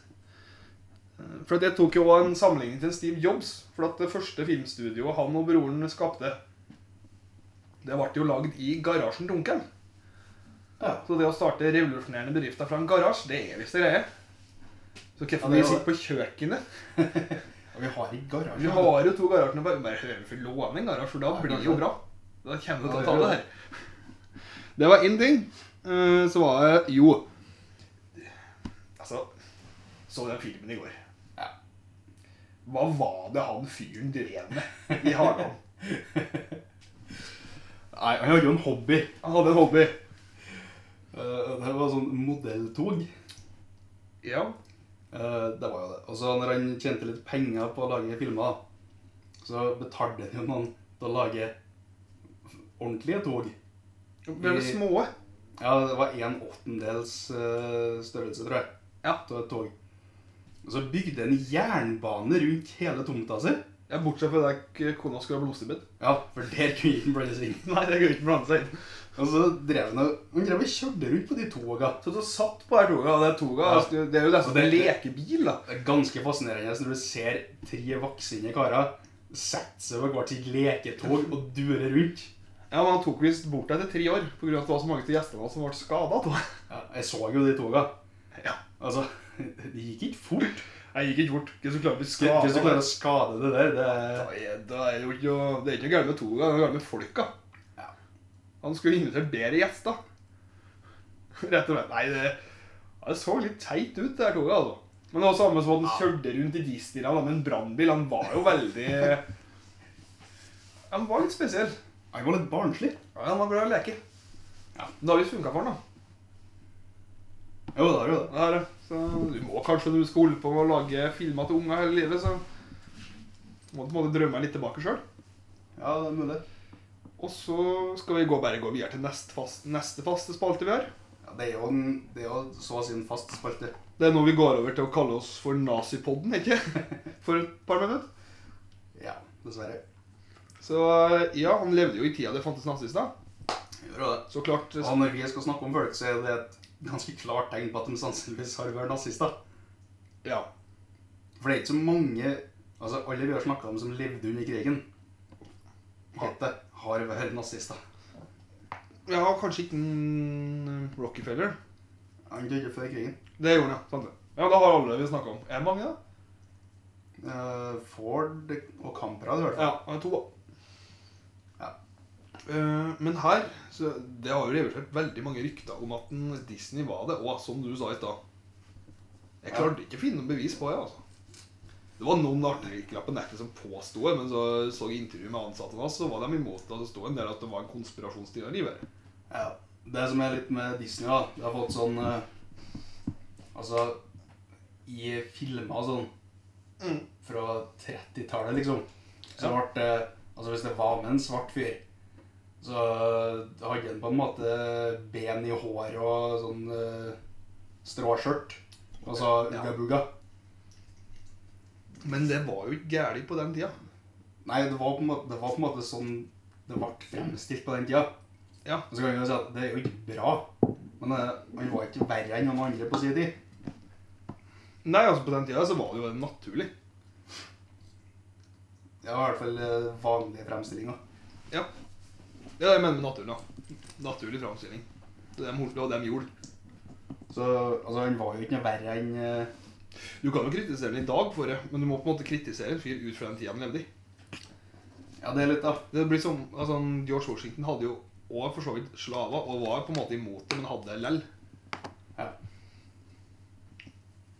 Speaker 4: Eh, For at jeg tok jo også en sammenligning til Steve Jobs. For at det første filmstudioet han og broren skapte, det ble jo lagd i garasjen til onkelen.
Speaker 1: Ja.
Speaker 4: Så det å starte revolusjonerende bedrifter fra en garasje, det er visst en greie. Så
Speaker 1: Ja,
Speaker 4: hvorfor
Speaker 1: det
Speaker 4: vi
Speaker 1: er
Speaker 4: sitter på kjøkkenet
Speaker 1: Ja, vi har ikke garasje.
Speaker 4: Vi har jo to garasjer bare, bare hører vi låne en garasje, for da
Speaker 1: Ja,
Speaker 4: blir det
Speaker 1: kanskje.
Speaker 4: jo bra. Da kommer det
Speaker 1: Ja,
Speaker 4: til å
Speaker 1: det
Speaker 4: ta
Speaker 1: gjør
Speaker 4: det her.
Speaker 1: det.
Speaker 2: Det var én ting. eh, Så var det Jo.
Speaker 4: Altså, så den filmen i går.
Speaker 1: Ja.
Speaker 4: Hva var det han fyren drev med i Harland?
Speaker 1: Nei, jeg hadde jo en hobby.
Speaker 4: Han hadde en hobby.
Speaker 1: Eh, det var sånn modelltog.
Speaker 4: Ja.
Speaker 1: Eh, det var jo det. Og så når han tjente litt penger på å lage filmer, så betalte han jo noen til å lage ordentlige tog.
Speaker 4: Ble det små?
Speaker 1: Ja, det var en åttendels eh, størrelse, tror jeg.
Speaker 4: Ja.
Speaker 1: Til et tog. Og så bygde en jernbane rundt hele tomta si.
Speaker 2: Ja, bortsett fra det k- kona skulle ha blodstubben.
Speaker 1: Ja, for der kunne ikke den blandes inn.
Speaker 2: Nei, det går ikke blande seg inn.
Speaker 1: Og så drev han og han drev og kjørte rundt på de toga.
Speaker 2: Så du satt på her toga, og det toga
Speaker 1: Ja.
Speaker 2: altså, Det er jo nesten
Speaker 1: Og
Speaker 2: som
Speaker 1: det-
Speaker 2: en lekebil, da.
Speaker 1: Det er ganske fascinerende når du ser tre vaksine karer sette seg på hvert sitt leketog og dure rundt.
Speaker 2: Ja, men Han tok visst bort deg etter tre år pga. at det var så mange av gjestene hans som ble skada.
Speaker 1: Ja, jeg så jo de toga.
Speaker 2: Ja.
Speaker 1: Altså, det gikk ikke fort.
Speaker 2: Jeg gikk ikke fort. Ikke så klart å bli
Speaker 1: Skal- Hvis du
Speaker 2: skada.
Speaker 1: klarer å skade det der, det er
Speaker 2: Da er det jo ikke å- Det er ikke noe galt med toga, det er noe galt med folka.
Speaker 1: Ja.
Speaker 2: Han skulle invitert bedre gjester. Rett og slett. Nei, det, ja, det så litt teit ut, det her toget, altså. Men det var samme som at han kjørte rundt i Disneyland med en brannbil. Han var jo veldig Han var litt spesiell.
Speaker 1: Han var litt barnslig.
Speaker 2: Ja, han var glad i å leke.
Speaker 1: Ja.
Speaker 2: Det har visst funka for han, da.
Speaker 1: Jo, det har jo det.
Speaker 2: Det er det. Så du må kanskje når du skal holde på med å lage filmer til unger hele livet, så må du på en måte drømme deg litt tilbake sjøl.
Speaker 1: Ja, det er mulig.
Speaker 2: Og så skal vi gå, bare gå videre til neste, fast, neste faste spalte vi har.
Speaker 1: Ja, det er jo, en, det er jo så å si en fast spalte.
Speaker 2: Det er nå vi går over til å kalle oss for Nazipodden, ikke? For et par minutter.
Speaker 1: Ja, dessverre.
Speaker 2: Så eh, ja, han levde jo i tida det fantes nazister.
Speaker 1: Gjør jo det.
Speaker 2: Så klart
Speaker 1: Og når vi skal snakke om folk, så er det et ganske klart tegn på at de sannsynligvis har vært nazister.
Speaker 2: Ja.
Speaker 1: For det er ikke så mange Altså, alle vi har snakka om som levde under krigen, het det har vært nazister.
Speaker 2: ja, kanskje ikke en Rockefeller.
Speaker 1: Han døde før krigen.
Speaker 2: Det gjorde han, ja. Sant det. Ja, da har alle vi snakka om. Er det mange, da?
Speaker 1: Eh, Ford og Kamprad, i hvert fall.
Speaker 2: Ja, han er to, da.
Speaker 1: Ja.
Speaker 2: Eh, men her så Det har jo revet seg veldig mange rykter om at en Disney var det. Og som du sa i stad Jeg
Speaker 1: Ja.
Speaker 2: klarte ikke å finne noe bevis på det. altså Det var noen artikler på nettet som påsto det, men så så jeg intervju med ansatte hans, så var de imot det. Og det sto en del at det var en konspirasjonsteori. ved det.
Speaker 1: Ja. Det som er litt med Disney, da De har fått sånn eh, Altså I filmer og sånn fra 30-tallet, liksom, så ble det Altså, hvis det var med en svart fyr, så hadde han på en måte ben i håret og sånn eh, stråskjørt. Og så
Speaker 2: Ja.
Speaker 1: ugga-bugga.
Speaker 2: Men det var jo ikke gærent på den tida.
Speaker 1: Nei, det var, på en måte, det var på en måte sånn det ble fremstilt på den tida.
Speaker 2: Ja.
Speaker 1: Og så kan vi jo si at det er jo ikke bra, men eh, han var ikke verre enn noen andre på sin tid.
Speaker 2: Nei, altså på den tida så var det jo naturlig.
Speaker 1: Det var i hvert fall eh, vanlige fremstillinger.
Speaker 2: Ja. Det er det jeg mener med naturlig. da. Naturlig framstilling. Det er dem holdt- og dem gjorde.
Speaker 1: Så altså, han var jo ikke noe verre enn eh,
Speaker 2: Du kan jo kritisere den i dag for det, men du må på en måte kritisere en fyr ut fra den tida han levde i.
Speaker 1: Ja, det er litt, da.
Speaker 2: Det blir som, altså, han George Washington hadde jo også for så vidt slaver, og var på en måte imot det, men hadde det lell.
Speaker 1: Ja.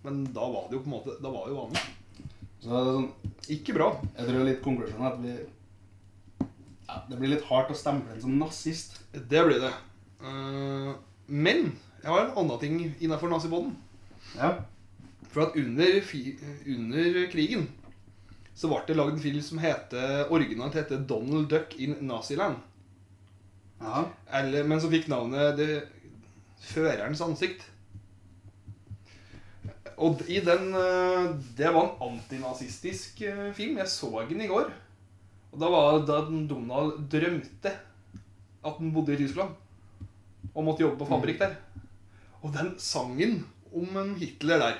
Speaker 2: Men da var det jo på en måte Da var det jo vanlig.
Speaker 1: Så det er sånn,
Speaker 2: Ikke bra.
Speaker 1: jeg tror litt konklusjonen er at vi ja, Det blir litt hardt å stemple en som nazist.
Speaker 2: Det blir det. Eh, men jeg har en annen ting innafor nazibånden.
Speaker 1: Ja.
Speaker 2: For at under, fi, under krigen så ble det lagd en film som heter originalt heter 'Donald Duck in Naziland'.
Speaker 1: ja.
Speaker 2: Eller, men som fikk navnet det, 'Førerens ansikt'. Og i den eh, Det var en antinazistisk eh, film. Jeg så den i går. Og da var det da den Donald drømte at han bodde i Tyskland og måtte jobbe på fabrikk der. Og den sangen om en Hitler der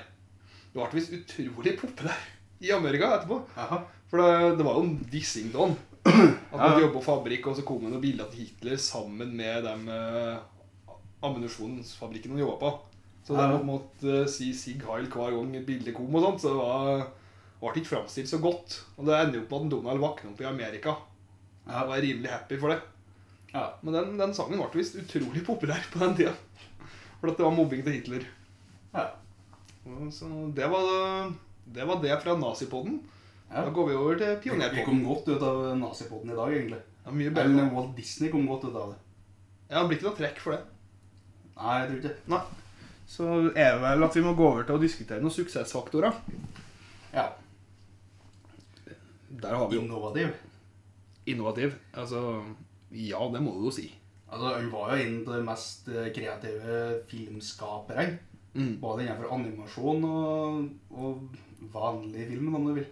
Speaker 2: Det ble visst utrolig populær i Amerika etterpå.
Speaker 1: Jaha.
Speaker 2: For det, det var jo en dissing da han. At
Speaker 1: Ja,
Speaker 2: han
Speaker 1: ja.
Speaker 2: jobbet på fabrikk, og så kom det noen bilder av Hitler sammen med dem eh, ammunisjonsfabrikken han jobbet på. Så
Speaker 1: Ja, ja.
Speaker 2: de måtte eh, si Sig Heil hver gang et bilde kom og sånt, så det var, ble ikke fremstilt så godt. Og det ender jo opp med at Donald våkner opp i Amerika.
Speaker 1: Ja.
Speaker 2: Og er rimelig happy for det.
Speaker 1: ja.
Speaker 2: Men den, den sangen ble visst utrolig populær på den tida. For at det var mobbing til Hitler.
Speaker 1: Ja.
Speaker 2: Og Så det var det, var det fra nazipoden.
Speaker 1: Ja.
Speaker 2: Da går vi over til
Speaker 1: Vi vi
Speaker 2: pionerpoden.
Speaker 1: kom godt ut av nazipoden i dag, egentlig.
Speaker 2: Det er mye bedre.
Speaker 1: Eller Walt Disney kom godt ut av det.
Speaker 2: Ja, det blir ikke noe trekk for det.
Speaker 1: Nei, jeg tror ikke det.
Speaker 2: Så er det vel at vi må gå over til å diskutere noen suksessfaktorer.
Speaker 1: Ja.
Speaker 2: Der har vi jo
Speaker 1: Innovativ.
Speaker 2: innovativ. Altså, ja, det må du jo si.
Speaker 1: Altså, Han var jo en av de mest eh, kreative filmskaperne.
Speaker 5: Mm.
Speaker 1: Både innenfor animasjon og, og vanlig film, om du vil.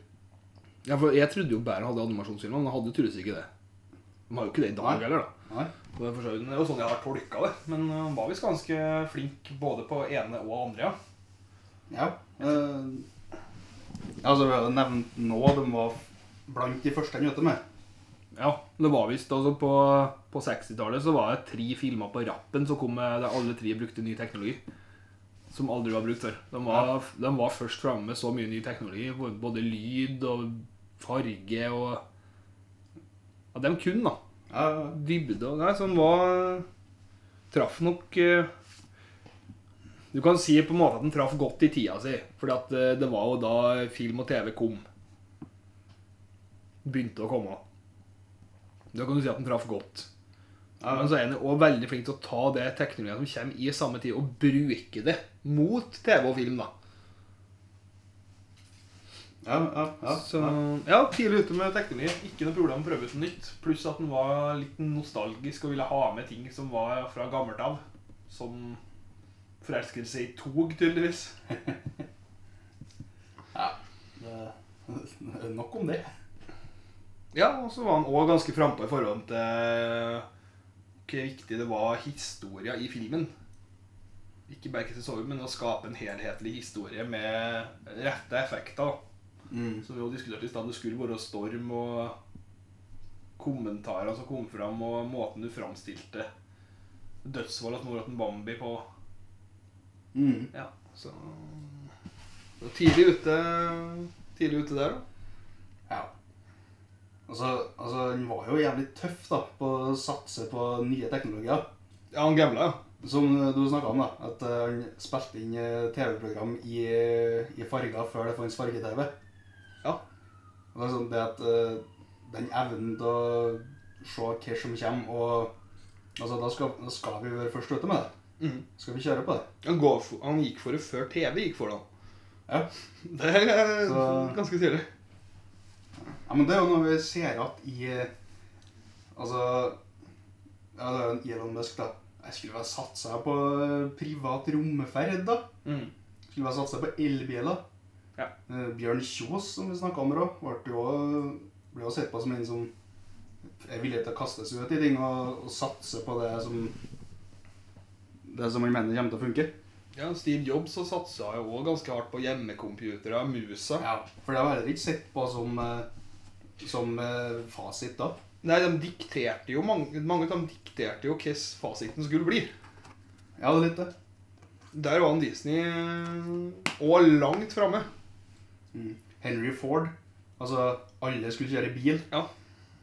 Speaker 5: Ja, for jeg trodde jo bare hadde animasjonsfilmer, men jeg hadde tydeligvis ikke det. De har jo ikke det i dag
Speaker 1: Nei.
Speaker 5: heller, da.
Speaker 1: Nei?
Speaker 2: Det er for så vidt- det er jo sånn jeg har tolka det. Men eh, han var visst ganske flink både på ene og andre, ja.
Speaker 1: Ja. Eh, altså, vi har nevnt nå, de var blant de første jeg møtte med.
Speaker 5: Ja, det var visst altså På, på 60-tallet så var det tre filmer på rappen som kom med der alle tre brukte ny teknologi. Som aldri var brukt før. De var, de var først framme med så mye ny teknologi. både- Både lyd og farge og Ja, de kunne, da.
Speaker 1: Ja, ja, ja.
Speaker 5: dybde og Nei, som var Traff nok eh, Du kan si på en måte at den traff godt i tida si. Fordi at eh, det var jo da film og TV kom. Begynte å komme. Da kan du si at den traff godt.
Speaker 1: Ja,
Speaker 5: Men så er han også veldig flink til å ta det teknologien som kommer i samme tid, og bruke det mot TV og film, da.
Speaker 1: ja, ja, ja.
Speaker 5: Så ja, tidlig ute.
Speaker 2: Ute med teknologi. Ikke noe problem å prøve ut noe nytt. Pluss at han var litt nostalgisk og ville ha med ting som var fra gammelt av. Som forelskelse i tog, tydeligvis.
Speaker 1: Det- Nok om det.
Speaker 2: Ja, og så var han òg ganske frampå i forhold til eh, hvor viktig det var historia i filmen. Ikke bare ikke til sove, men å skape en helhetlig historie med rette effekter. da.
Speaker 1: Mm.
Speaker 2: Som vi jo diskuterte i stad, det skulle være storm og kommentarer som kom fram, og måten du framstilte dødsfall at Morten Bambi på.
Speaker 1: Mm.
Speaker 2: Ja, så det var Tidlig ute, tidlig ute der, da.
Speaker 1: Ja. Altså, altså, han var jo jævlig tøff da, på å satse på nye teknologier.
Speaker 2: Ja, han gambla, ja.
Speaker 1: Som du snakka om, da, at eh, han spilte inn eh, TV-program i, i farger før det fantes farge-TV.
Speaker 2: Ja.
Speaker 1: Og det er sånn det at eh, den evnen til å se hva som kommer, og altså, da, skal, da skal vi være først ute med det.
Speaker 2: Mhm.
Speaker 1: Skal vi kjøre på det?
Speaker 2: Han, går for, han gikk for det før TV gikk for det.
Speaker 1: Ja.
Speaker 2: han. Det er eh,
Speaker 1: Så-
Speaker 2: ganske tidlig.
Speaker 1: Ja, men det er jo noe vi ser igjen i eh, Altså Ja, det er jo en Elon Musk, da. Jeg skulle vel satsa på eh, privat romferd, da.
Speaker 2: Mm.
Speaker 1: Skulle bare satse på elbiler.
Speaker 2: Ja.
Speaker 1: Eh, Bjørn Kjos, som vi snakka om her òg, ble jo ble jo sett på som en som er villig til å kaste seg ut i ting og, og satse på det som Det som han mener kommer til å funke.
Speaker 2: Ja, Steve Jobs så satsa jo òg ganske hardt på hjemmecomputere, musa.
Speaker 1: Ja, For det var heller ikke sett på som, eh, som eh, fasit da.
Speaker 2: Nei, de dikterte jo mange, mange av dem dikterte jo hvordan fasiten skulle bli.
Speaker 1: Ja, det er litt det.
Speaker 2: Der var han Disney eh, og langt framme.
Speaker 1: Mm. Henry Ford. Altså, alle skulle kjøre bil.
Speaker 2: Ja.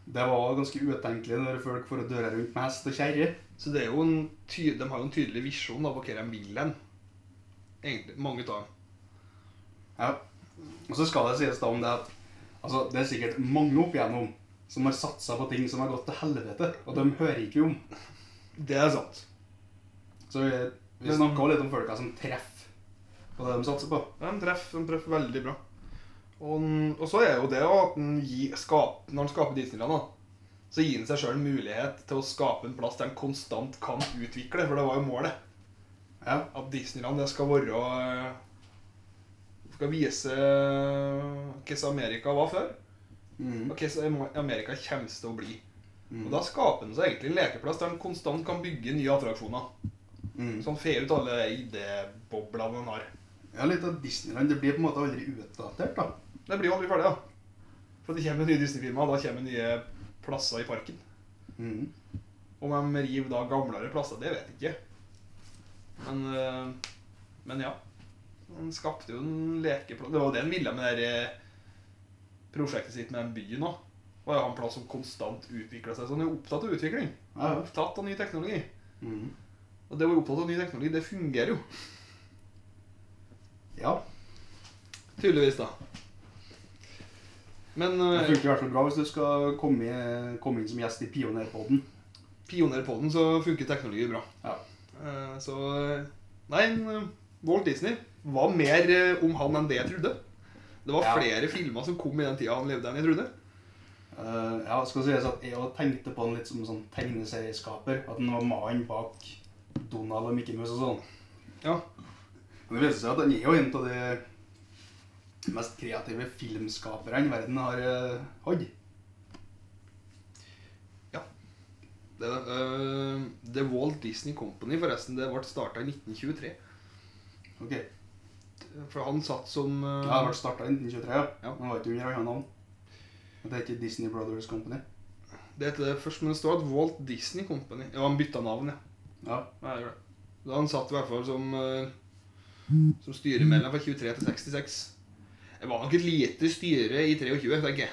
Speaker 1: Det var ganske utenkelig når folk får døre rundt med hest og kjerre.
Speaker 2: Så det er jo en ty de har jo en tydelig visjon da, på hva de vil hen. Egentlig, mange av dem.
Speaker 1: Ja. Og så skal det sies da om det at altså, det er sikkert mange opp igjennom som har satsa på ting som har gått til helvete, og dem hører ikke vi om.
Speaker 2: Det er sant.
Speaker 1: Så vi, vi snakka også litt om folka som treffer på det de satser på.
Speaker 2: Ja, de treffer, de treffer veldig bra. Og, den- og så er jo det jo at den gi- skap, når han skaper Disneyland, da, så gir han seg sjøl en mulighet til å skape en plass der han konstant kan utvikle, for det var jo målet.
Speaker 1: Ja.
Speaker 2: At Disneyland det skal være eh, Skal vise hvordan Amerika var før, og
Speaker 1: Mhm.
Speaker 2: hvordan Amerika kommer til å bli.
Speaker 1: Mhm.
Speaker 2: Og Da skaper han seg egentlig en lekeplass der han konstant kan bygge nye attraksjoner.
Speaker 1: Mhm.
Speaker 2: Så han får ut alle idéboblene han har.
Speaker 1: Ja, litt av Disneyland. Det blir på en måte aldri utdatert, da.
Speaker 2: Det blir jo aldri ferdig, da. For det kommer nye Disney-filmer, og da kommer nye plasser i parken.
Speaker 1: Mhm.
Speaker 2: Om de river da gamlere plasser, det vet jeg ikke. Men, eh, men ja. Han skapte jo en lekeplass. Det var jo det han ville med det der, eh, prosjektet sitt med den byen òg. Det var jo en plass som konstant utvikla seg. Så han er jo opptatt av utvikling.
Speaker 1: Ja, ja.
Speaker 2: Opptatt av ny teknologi.
Speaker 1: Mhm.
Speaker 2: Og det å være opptatt av ny teknologi, det fungerer jo.
Speaker 1: ja.
Speaker 2: Tydeligvis, da. Men
Speaker 1: Det
Speaker 2: eh,
Speaker 1: funker i hvert fall bra hvis du skal komme, i- komme inn som gjest i Pionerpodden.
Speaker 2: pionerpodden så funker teknologi bra.
Speaker 1: Ja.
Speaker 2: Eh, Så eh, Nei, en, eh, Walt Disney var mer eh, om han enn det jeg trodde. Det var
Speaker 1: Ja.
Speaker 2: flere filmer som kom i den tida han levde enn jeg trodde.
Speaker 1: Eh, ja, skal sies at jeg også tenkte på han litt som en sånn tegneserieskaper. At han var mannen bak Donald og Mickey Mouse og sånn.
Speaker 2: Ja.
Speaker 1: Men Og det viser seg at han er jo en av de mest kreative filmskaperne verden har eh, hatt.
Speaker 4: Det, øh, The Walt Disney Company, forresten, det ble starta i 1923.
Speaker 1: Ok,
Speaker 4: For han satt som øh,
Speaker 1: Ja, det ble starta i 1923, ja.
Speaker 4: Ja.
Speaker 1: Men det var ikke under annet navn. Og Det er ikke Disney Brothers Company.
Speaker 4: Det heter det først, men det står at Walt Disney Company. Ja, han bytta navn, ja.
Speaker 1: Ja,
Speaker 4: ja det gjorde det. Da han satt i hvert fall som, øh, som styremedlem fra 23 til 66. Det var nok et lite styre i 23, tenker jeg.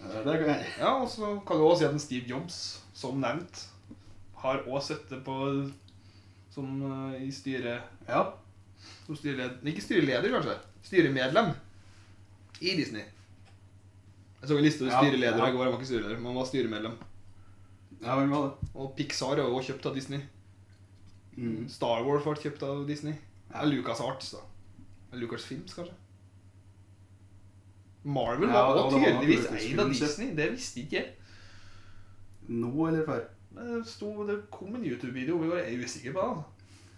Speaker 1: eh, det kan jeg.
Speaker 4: Ja, og så kan du også si at en Steve Jobs, som nevnt, har også sittet på som øh, i styret
Speaker 1: Ja.
Speaker 4: Som styreleder Ikke styreleder, kanskje. Styremedlem i Disney. Jeg så en liste over
Speaker 1: Ja,
Speaker 4: styreledere
Speaker 1: ja.
Speaker 4: i går. Han var ikke styreleder, men han var styremedlem.
Speaker 1: ja, hvem var det?
Speaker 4: Og Pixar er jo også kjøpt av Disney.
Speaker 1: Mm.
Speaker 4: Star Wars ble kjøpt av Disney. Ja, Lucas Arts, da. Lucas Films, kanskje. Marvel
Speaker 1: Ja,
Speaker 4: var
Speaker 1: det
Speaker 4: også
Speaker 1: var- det var
Speaker 4: tydeligvis
Speaker 1: Lucas
Speaker 4: eid av
Speaker 1: Films, ja.
Speaker 4: Disney. Det visste ikke jeg.
Speaker 1: Nå eller før?
Speaker 4: Men Det, Eh, sto, det kom en YouTube-video hvor jeg var usikker på det.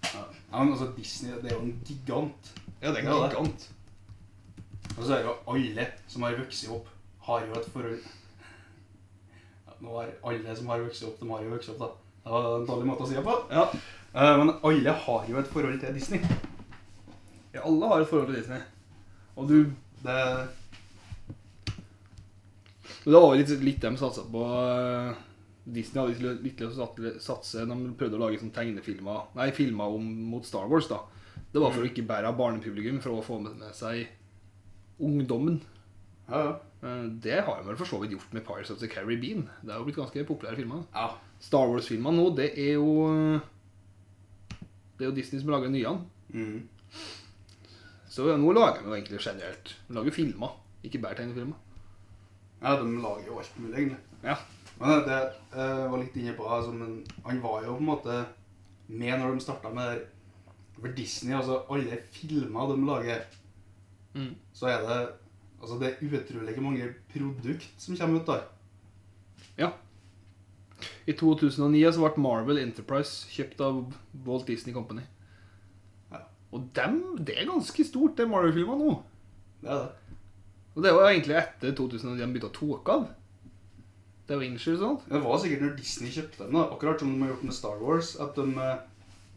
Speaker 4: altså.
Speaker 1: Ja. ja, men altså, Disney det er jo en gigant.
Speaker 4: Ja, det er en
Speaker 1: Ja, det.
Speaker 4: gigant.
Speaker 1: Og så er det jo alle som har vokst opp, har jo et forhold ja, Nå har alle som har vokst opp, de har jo vokst opp, da. Det var en dårlig måte å si det på.
Speaker 4: Ja.
Speaker 1: Eh, Men alle har jo et forhold til Disney.
Speaker 4: ja, alle har et forhold til Disney. Og du
Speaker 1: Det,
Speaker 2: Men det var jo litt, litt de satsa på eh, Disney hadde litt lyst- litt lyst til å sat- satse De prøvde å lage sånne tegnefilmer Nei, filmer om, mot Star Wars, da. Det var
Speaker 4: Mm.
Speaker 2: for å ikke bære av barnepublikum, for å få med med seg ungdommen.
Speaker 1: ja, ja.
Speaker 2: Eh, Det har de vel for så vidt gjort med Pirates of the Caribbean. Det er jo blitt ganske populære filmer.
Speaker 1: ja.
Speaker 2: Star Wars-filmer nå, det er jo eh, Det er jo Disney som lager nyene.
Speaker 1: Mm.
Speaker 2: Så ja, nå lager de jo egentlig generelt. De lager filmer, ikke bare tegnefilmer.
Speaker 1: ja, de lager jo alt mulig, egentlig.
Speaker 2: Ja.
Speaker 1: Men det eh, var litt inne på altså, men Han var jo på en måte med når de starta med det her. For Disney, altså alle filmer de lager,
Speaker 2: Mm.
Speaker 1: så er det Altså, det er utrolig mange produkt som kommer ut der.
Speaker 2: I 2009 så ble Marvel Enterprise kjøpt av Walt Disney Company.
Speaker 1: Ja.
Speaker 2: Og dem, det er ganske stort, det Marvel-filmen nå.
Speaker 1: Det er det.
Speaker 2: Og det var jo egentlig etter 2009 de begynte å tåke av. Det var Incher og sånt.
Speaker 1: Det var sikkert når Disney kjøpte dem, da, akkurat som de har gjort med Star Wars, at de eh,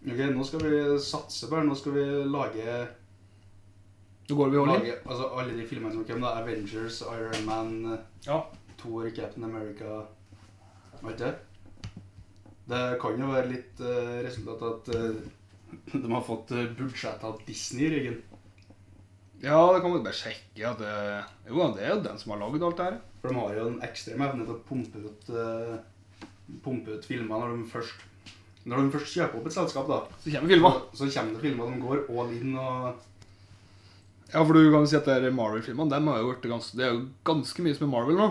Speaker 1: Ok, nå skal vi satse på det. Nå skal vi lage,
Speaker 2: Nå går vi og holder.
Speaker 1: lage altså, alle de filmene som kommer. da, Avengers, Iron Man, eh,
Speaker 4: Ja.
Speaker 1: Thor, Captain America Vet du? Det kan jo være litt eh, resultat at eh, de har fått eh, budsjettet av Disney i ryggen.
Speaker 2: Ja, det kan man bare sjekke at det, Jo, det er jo den som har lagd alt det her.
Speaker 1: For de har jo en ekstrem evne til å pumpe ut, uh, pumpe ut filmer når de først Når de først kjøper opp et selskap, da.
Speaker 2: Så kommer filmer.
Speaker 1: Så kommer det filmer som går all in og
Speaker 2: Ja, for du kan jo si at det er Marvel-filmene dem har jo vært ganske, Det er jo ganske mye som er Marvel nå.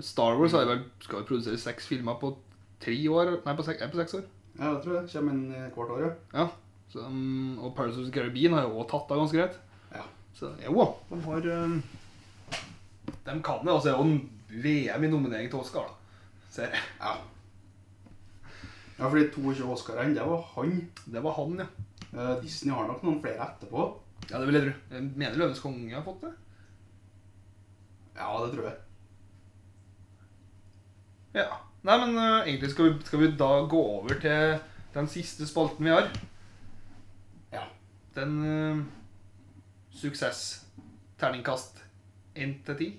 Speaker 2: Star Wars har jo vel, skal jo produsere seks filmer på tre år. Nei, på seks, er på seks år.
Speaker 1: Ja, jeg tror det kommer inn i hvert år, ja.
Speaker 2: Ja. Så, um, og Pirates of the Caribbean har jo også tatt av ganske greit.
Speaker 1: Ja.
Speaker 2: Så jo, de har um,
Speaker 4: De kan det. altså Det er jo en VM i nominering til Oscar. da. Ser jeg.
Speaker 1: Ja, ja fordi 22 Oscar-en, det var han.
Speaker 2: Det var han, ja.
Speaker 1: Eh, Disney har nok noen flere etterpå.
Speaker 2: Ja, det vil jeg tro. Jeg mener Løvenes konge har fått det.
Speaker 1: Ja, det tror jeg.
Speaker 2: Ja. Nei, men uh, egentlig skal vi, skal vi da gå over til den siste spalten vi har.
Speaker 1: Ja.
Speaker 2: Den uh, suksess. Terningkast 1 til 10.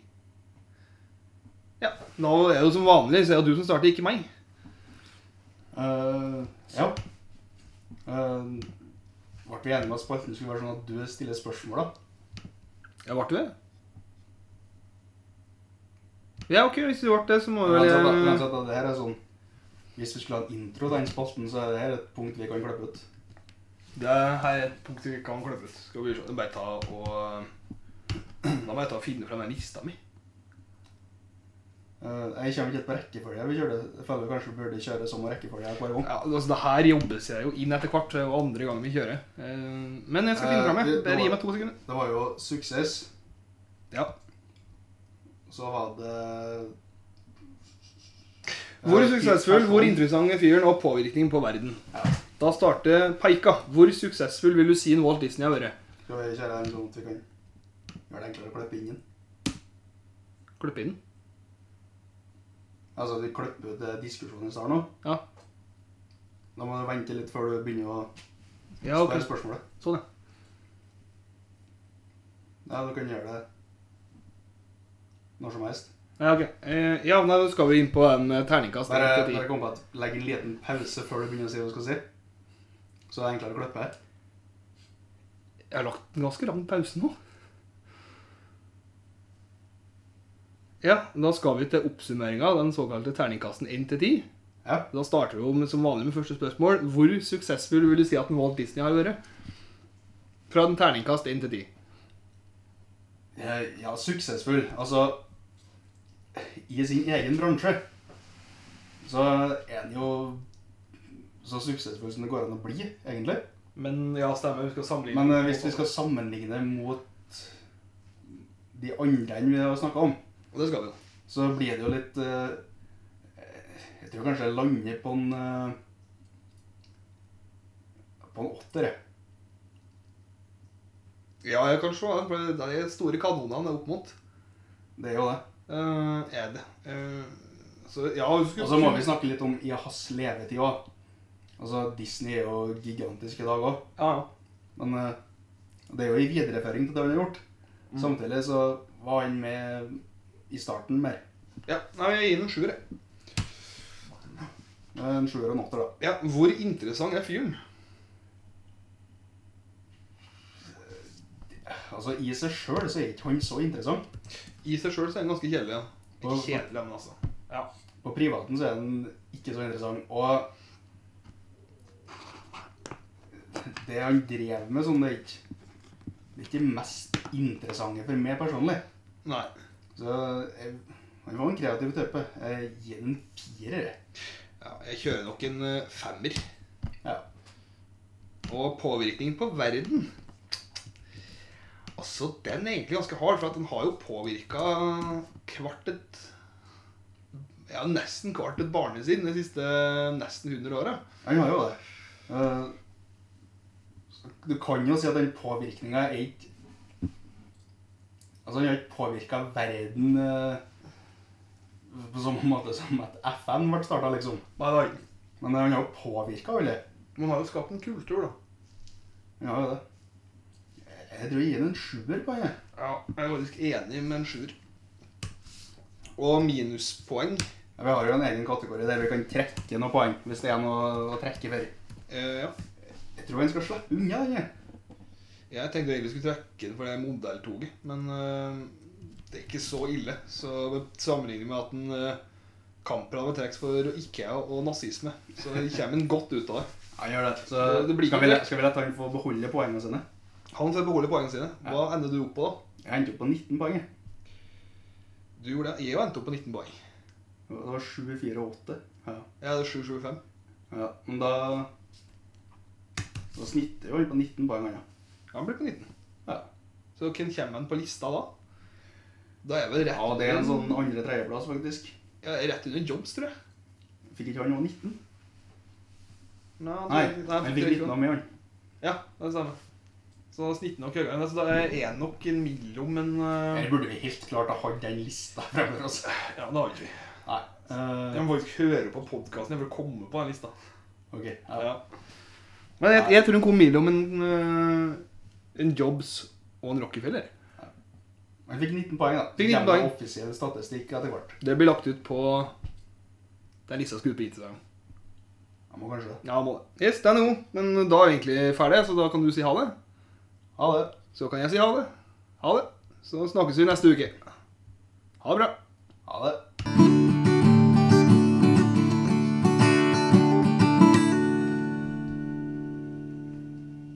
Speaker 2: Ja. Nå er det jo som vanlig, så er det du som starter, ikke meg.
Speaker 1: Eh, ja. Eh, ble vi enige om at spalten skulle være sånn at du stiller spørsmål, da?
Speaker 2: Ja, ble du det? Ja, ok, hvis du ble det, så må du vel
Speaker 1: Uansett, da-
Speaker 2: eh,
Speaker 1: uansett, da, det her er sånn Hvis vi skulle ha en intro til den spalten, så er det her et punkt vi kan klippe ut.
Speaker 4: Det her er et punkt vi kan klippe ut. Skal vi se. Bare ta og Da må jeg ta og finne fram den lista mi.
Speaker 1: Eh, jeg kommer ikke helt på rekkefølge. Vi kjører, jeg føler vi kanskje burde kjøre samme rekkefølge hver gang.
Speaker 2: Ja, altså Det her jobbes jeg jo inn etter hvert. Det er jo andre gangen vi kjører. Eh, Men jeg skal finne fram.
Speaker 1: Eh,
Speaker 2: jeg.
Speaker 1: det-
Speaker 2: Bare
Speaker 1: det
Speaker 2: gi
Speaker 1: var-
Speaker 2: meg to sekunder.
Speaker 1: Det var jo suksess.
Speaker 2: Ja.
Speaker 1: Så var det Eh,
Speaker 2: Hvor suksessfull, hvor interessant er fyren, og påvirkning på verden?
Speaker 1: Ja.
Speaker 6: Da starter Peika. Hvor suksessfull vil du si en Walt Disney har vært?
Speaker 1: Skal vi kjøre en sånn at vi kan gjøre det enklere å klippe inn den?
Speaker 6: Klipp inn.
Speaker 1: Altså, vi klipper ut eh, diskusjonen vi har nå.
Speaker 6: Ja.
Speaker 1: Da må du vente litt før du begynner å
Speaker 6: Ja, ok.
Speaker 1: spørre spørsmålet.
Speaker 6: Sånn, ja.
Speaker 1: Ja, du kan gjøre det når som helst.
Speaker 6: Ja, ok. Eh, ja, nei, da skal vi inn på en eh, terningkast.
Speaker 1: Bare,
Speaker 6: en til ti.
Speaker 1: bare kom på at legg en liten pause før du begynner å si hva du skal si. Så det er enklere å klippe her.
Speaker 6: Jeg har lagt en ganske lang pause nå. Ja, da skal vi til oppsummeringa, den såkalte terningkasten 1 til 10.
Speaker 1: Ja.
Speaker 6: Da starter vi jo med, som vanlig med første spørsmål. Hvor suksessfull vil du si at en Walt Disney har vært? Fra en terningkast 1 til 10.
Speaker 1: Eh, Ja, suksessfull. Altså, i sin egen bransje så er den jo så suksessfull som det går an å bli, egentlig.
Speaker 2: Men ja, stemmer. Vi skal sammenligne.
Speaker 1: Men eh, hvis vi skal sammenligne mot de andre enn vi har snakka om,
Speaker 6: Og det skal vi jo.
Speaker 1: så blir det jo litt eh, Jeg tror kanskje jeg lander på en eh, På en åtter, jeg.
Speaker 2: Ja, jeg kan se. den, for Det er de store kanonene det er opp mot.
Speaker 1: Det er jo det.
Speaker 2: Eh, er det. Eh, så ja, vi skulle
Speaker 1: Og så må vi snakke litt om i hans levetid òg. Altså, Disney er jo gigantisk i dag òg.
Speaker 2: Ja, ja.
Speaker 1: Men eh, det er jo i videreføring til det han har gjort. Samtidig så var han med i starten mer.
Speaker 2: ja. Nei, jeg gir den en sjuer, jeg.
Speaker 1: En sjuer og en åtter, da.
Speaker 2: Ja, hvor interessant er fyren?
Speaker 1: Altså, I seg sjøl så er ikke han så interessant.
Speaker 2: I seg sjøl er han ganske kjedelig. ja. Ikke
Speaker 1: Hva-
Speaker 2: kjedelig, men altså.
Speaker 1: På privaten så er den ikke så interessant. Og det han drev med sånn, det er ikke det er ikke det mest interessante for meg personlig.
Speaker 2: Nei.
Speaker 1: Så jeg, han var en kreativ type. Jeg gir den en firer. jeg.
Speaker 2: Ja, jeg kjører nok en eh, femmer.
Speaker 1: Ja.
Speaker 2: Og påvirkning på verden. Altså, den er egentlig ganske hard, for at den har jo påvirka hvert et Ja, nesten hvert et barnesinn de siste nesten 100 åra.
Speaker 1: Han har jo det. Eh, så Du kan jo si at den påvirkninga er ikke Altså, han har ikke påvirka verden eh, på samme måte som at FN ble starta, liksom.
Speaker 2: Nei, nei.
Speaker 1: Men eh, han har jo påvirka alle.
Speaker 2: Man har jo skapt en kultur, da.
Speaker 1: Han har jo det. Jeg tror jeg gir den en sjuer på henne.
Speaker 2: Ja, jeg er faktisk enig med en sjuer. Og minuspoeng
Speaker 1: Vi har jo en egen kategori der vi kan trekke noen poeng hvis det er noe å trekke for.
Speaker 2: eh, Ja.
Speaker 1: Jeg tror han skal slippe unna den. jeg.
Speaker 2: Jeg tenkte egentlig vi skulle trekke den for det modelltoget, men øh, det er ikke så ille. Så sammenlignet med at den øh, Kamprad med trekk for Ikea og nazisme. Så kommer den godt ut av det.
Speaker 1: Han gjør det. Så
Speaker 2: Det- det blir
Speaker 1: skal,
Speaker 2: ikke
Speaker 1: vi, la-
Speaker 2: det.
Speaker 1: skal vi la han få beholde poengene sine?
Speaker 2: Han får beholde poengene sine. Hva ender du opp på, da?
Speaker 1: Jeg endte opp på 19 poeng. jeg.
Speaker 2: Du gjorde det. Jeg endte opp på 19 poeng.
Speaker 1: Det var 7, 4 og 8. Ja.
Speaker 2: Jeg hadde 7-7-5.
Speaker 1: ja. Men da Da snitter jo han på 19 poeng, han, ja.
Speaker 2: Han ble på 19.
Speaker 1: Ja.
Speaker 2: Så hvem kommer han på lista da? Da er jeg vel rett,
Speaker 1: ja, det er en sånn andre-tredjeplass, faktisk.
Speaker 2: ja, jeg er rett under Jobs, tror jeg.
Speaker 1: Fikk ikke han òg 19?
Speaker 2: Nei, han-
Speaker 1: Nei,
Speaker 2: han
Speaker 1: han
Speaker 2: fikk
Speaker 1: fikk
Speaker 2: ikke
Speaker 1: 19 av meg, han.
Speaker 2: Ja, det er det samme. Så da snitter nok høyere. Så da er jeg nok en mellom en øh,
Speaker 1: Her burde vi helt klart ha hatt den lista fremfor oss.
Speaker 2: Ja, det har vi ikke.
Speaker 1: Nei. eh,
Speaker 2: Jeg må faktisk høre på podkasten for å komme på den lista.
Speaker 1: OK. Ja.
Speaker 2: Ja.
Speaker 6: Men jeg, jeg tror hun kom mellom en, eh, en Jobs og en Rockefeller.
Speaker 1: Han fikk 19 poeng, da.
Speaker 6: Fikk 19
Speaker 1: Gjennom
Speaker 6: poeng.
Speaker 1: offisiell statistikk etter hvert.
Speaker 6: Det blir lagt ut på Den lista skal ut på Instagram.
Speaker 1: Jeg må kanskje det.
Speaker 6: Ja, må det. Yes, den er god. Men da er vi egentlig ferdig, så da kan du si ha det.
Speaker 1: Ha det.
Speaker 6: Så kan jeg si ha det. Ha det. Så snakkes vi neste uke. Ha det bra.
Speaker 1: Ha det.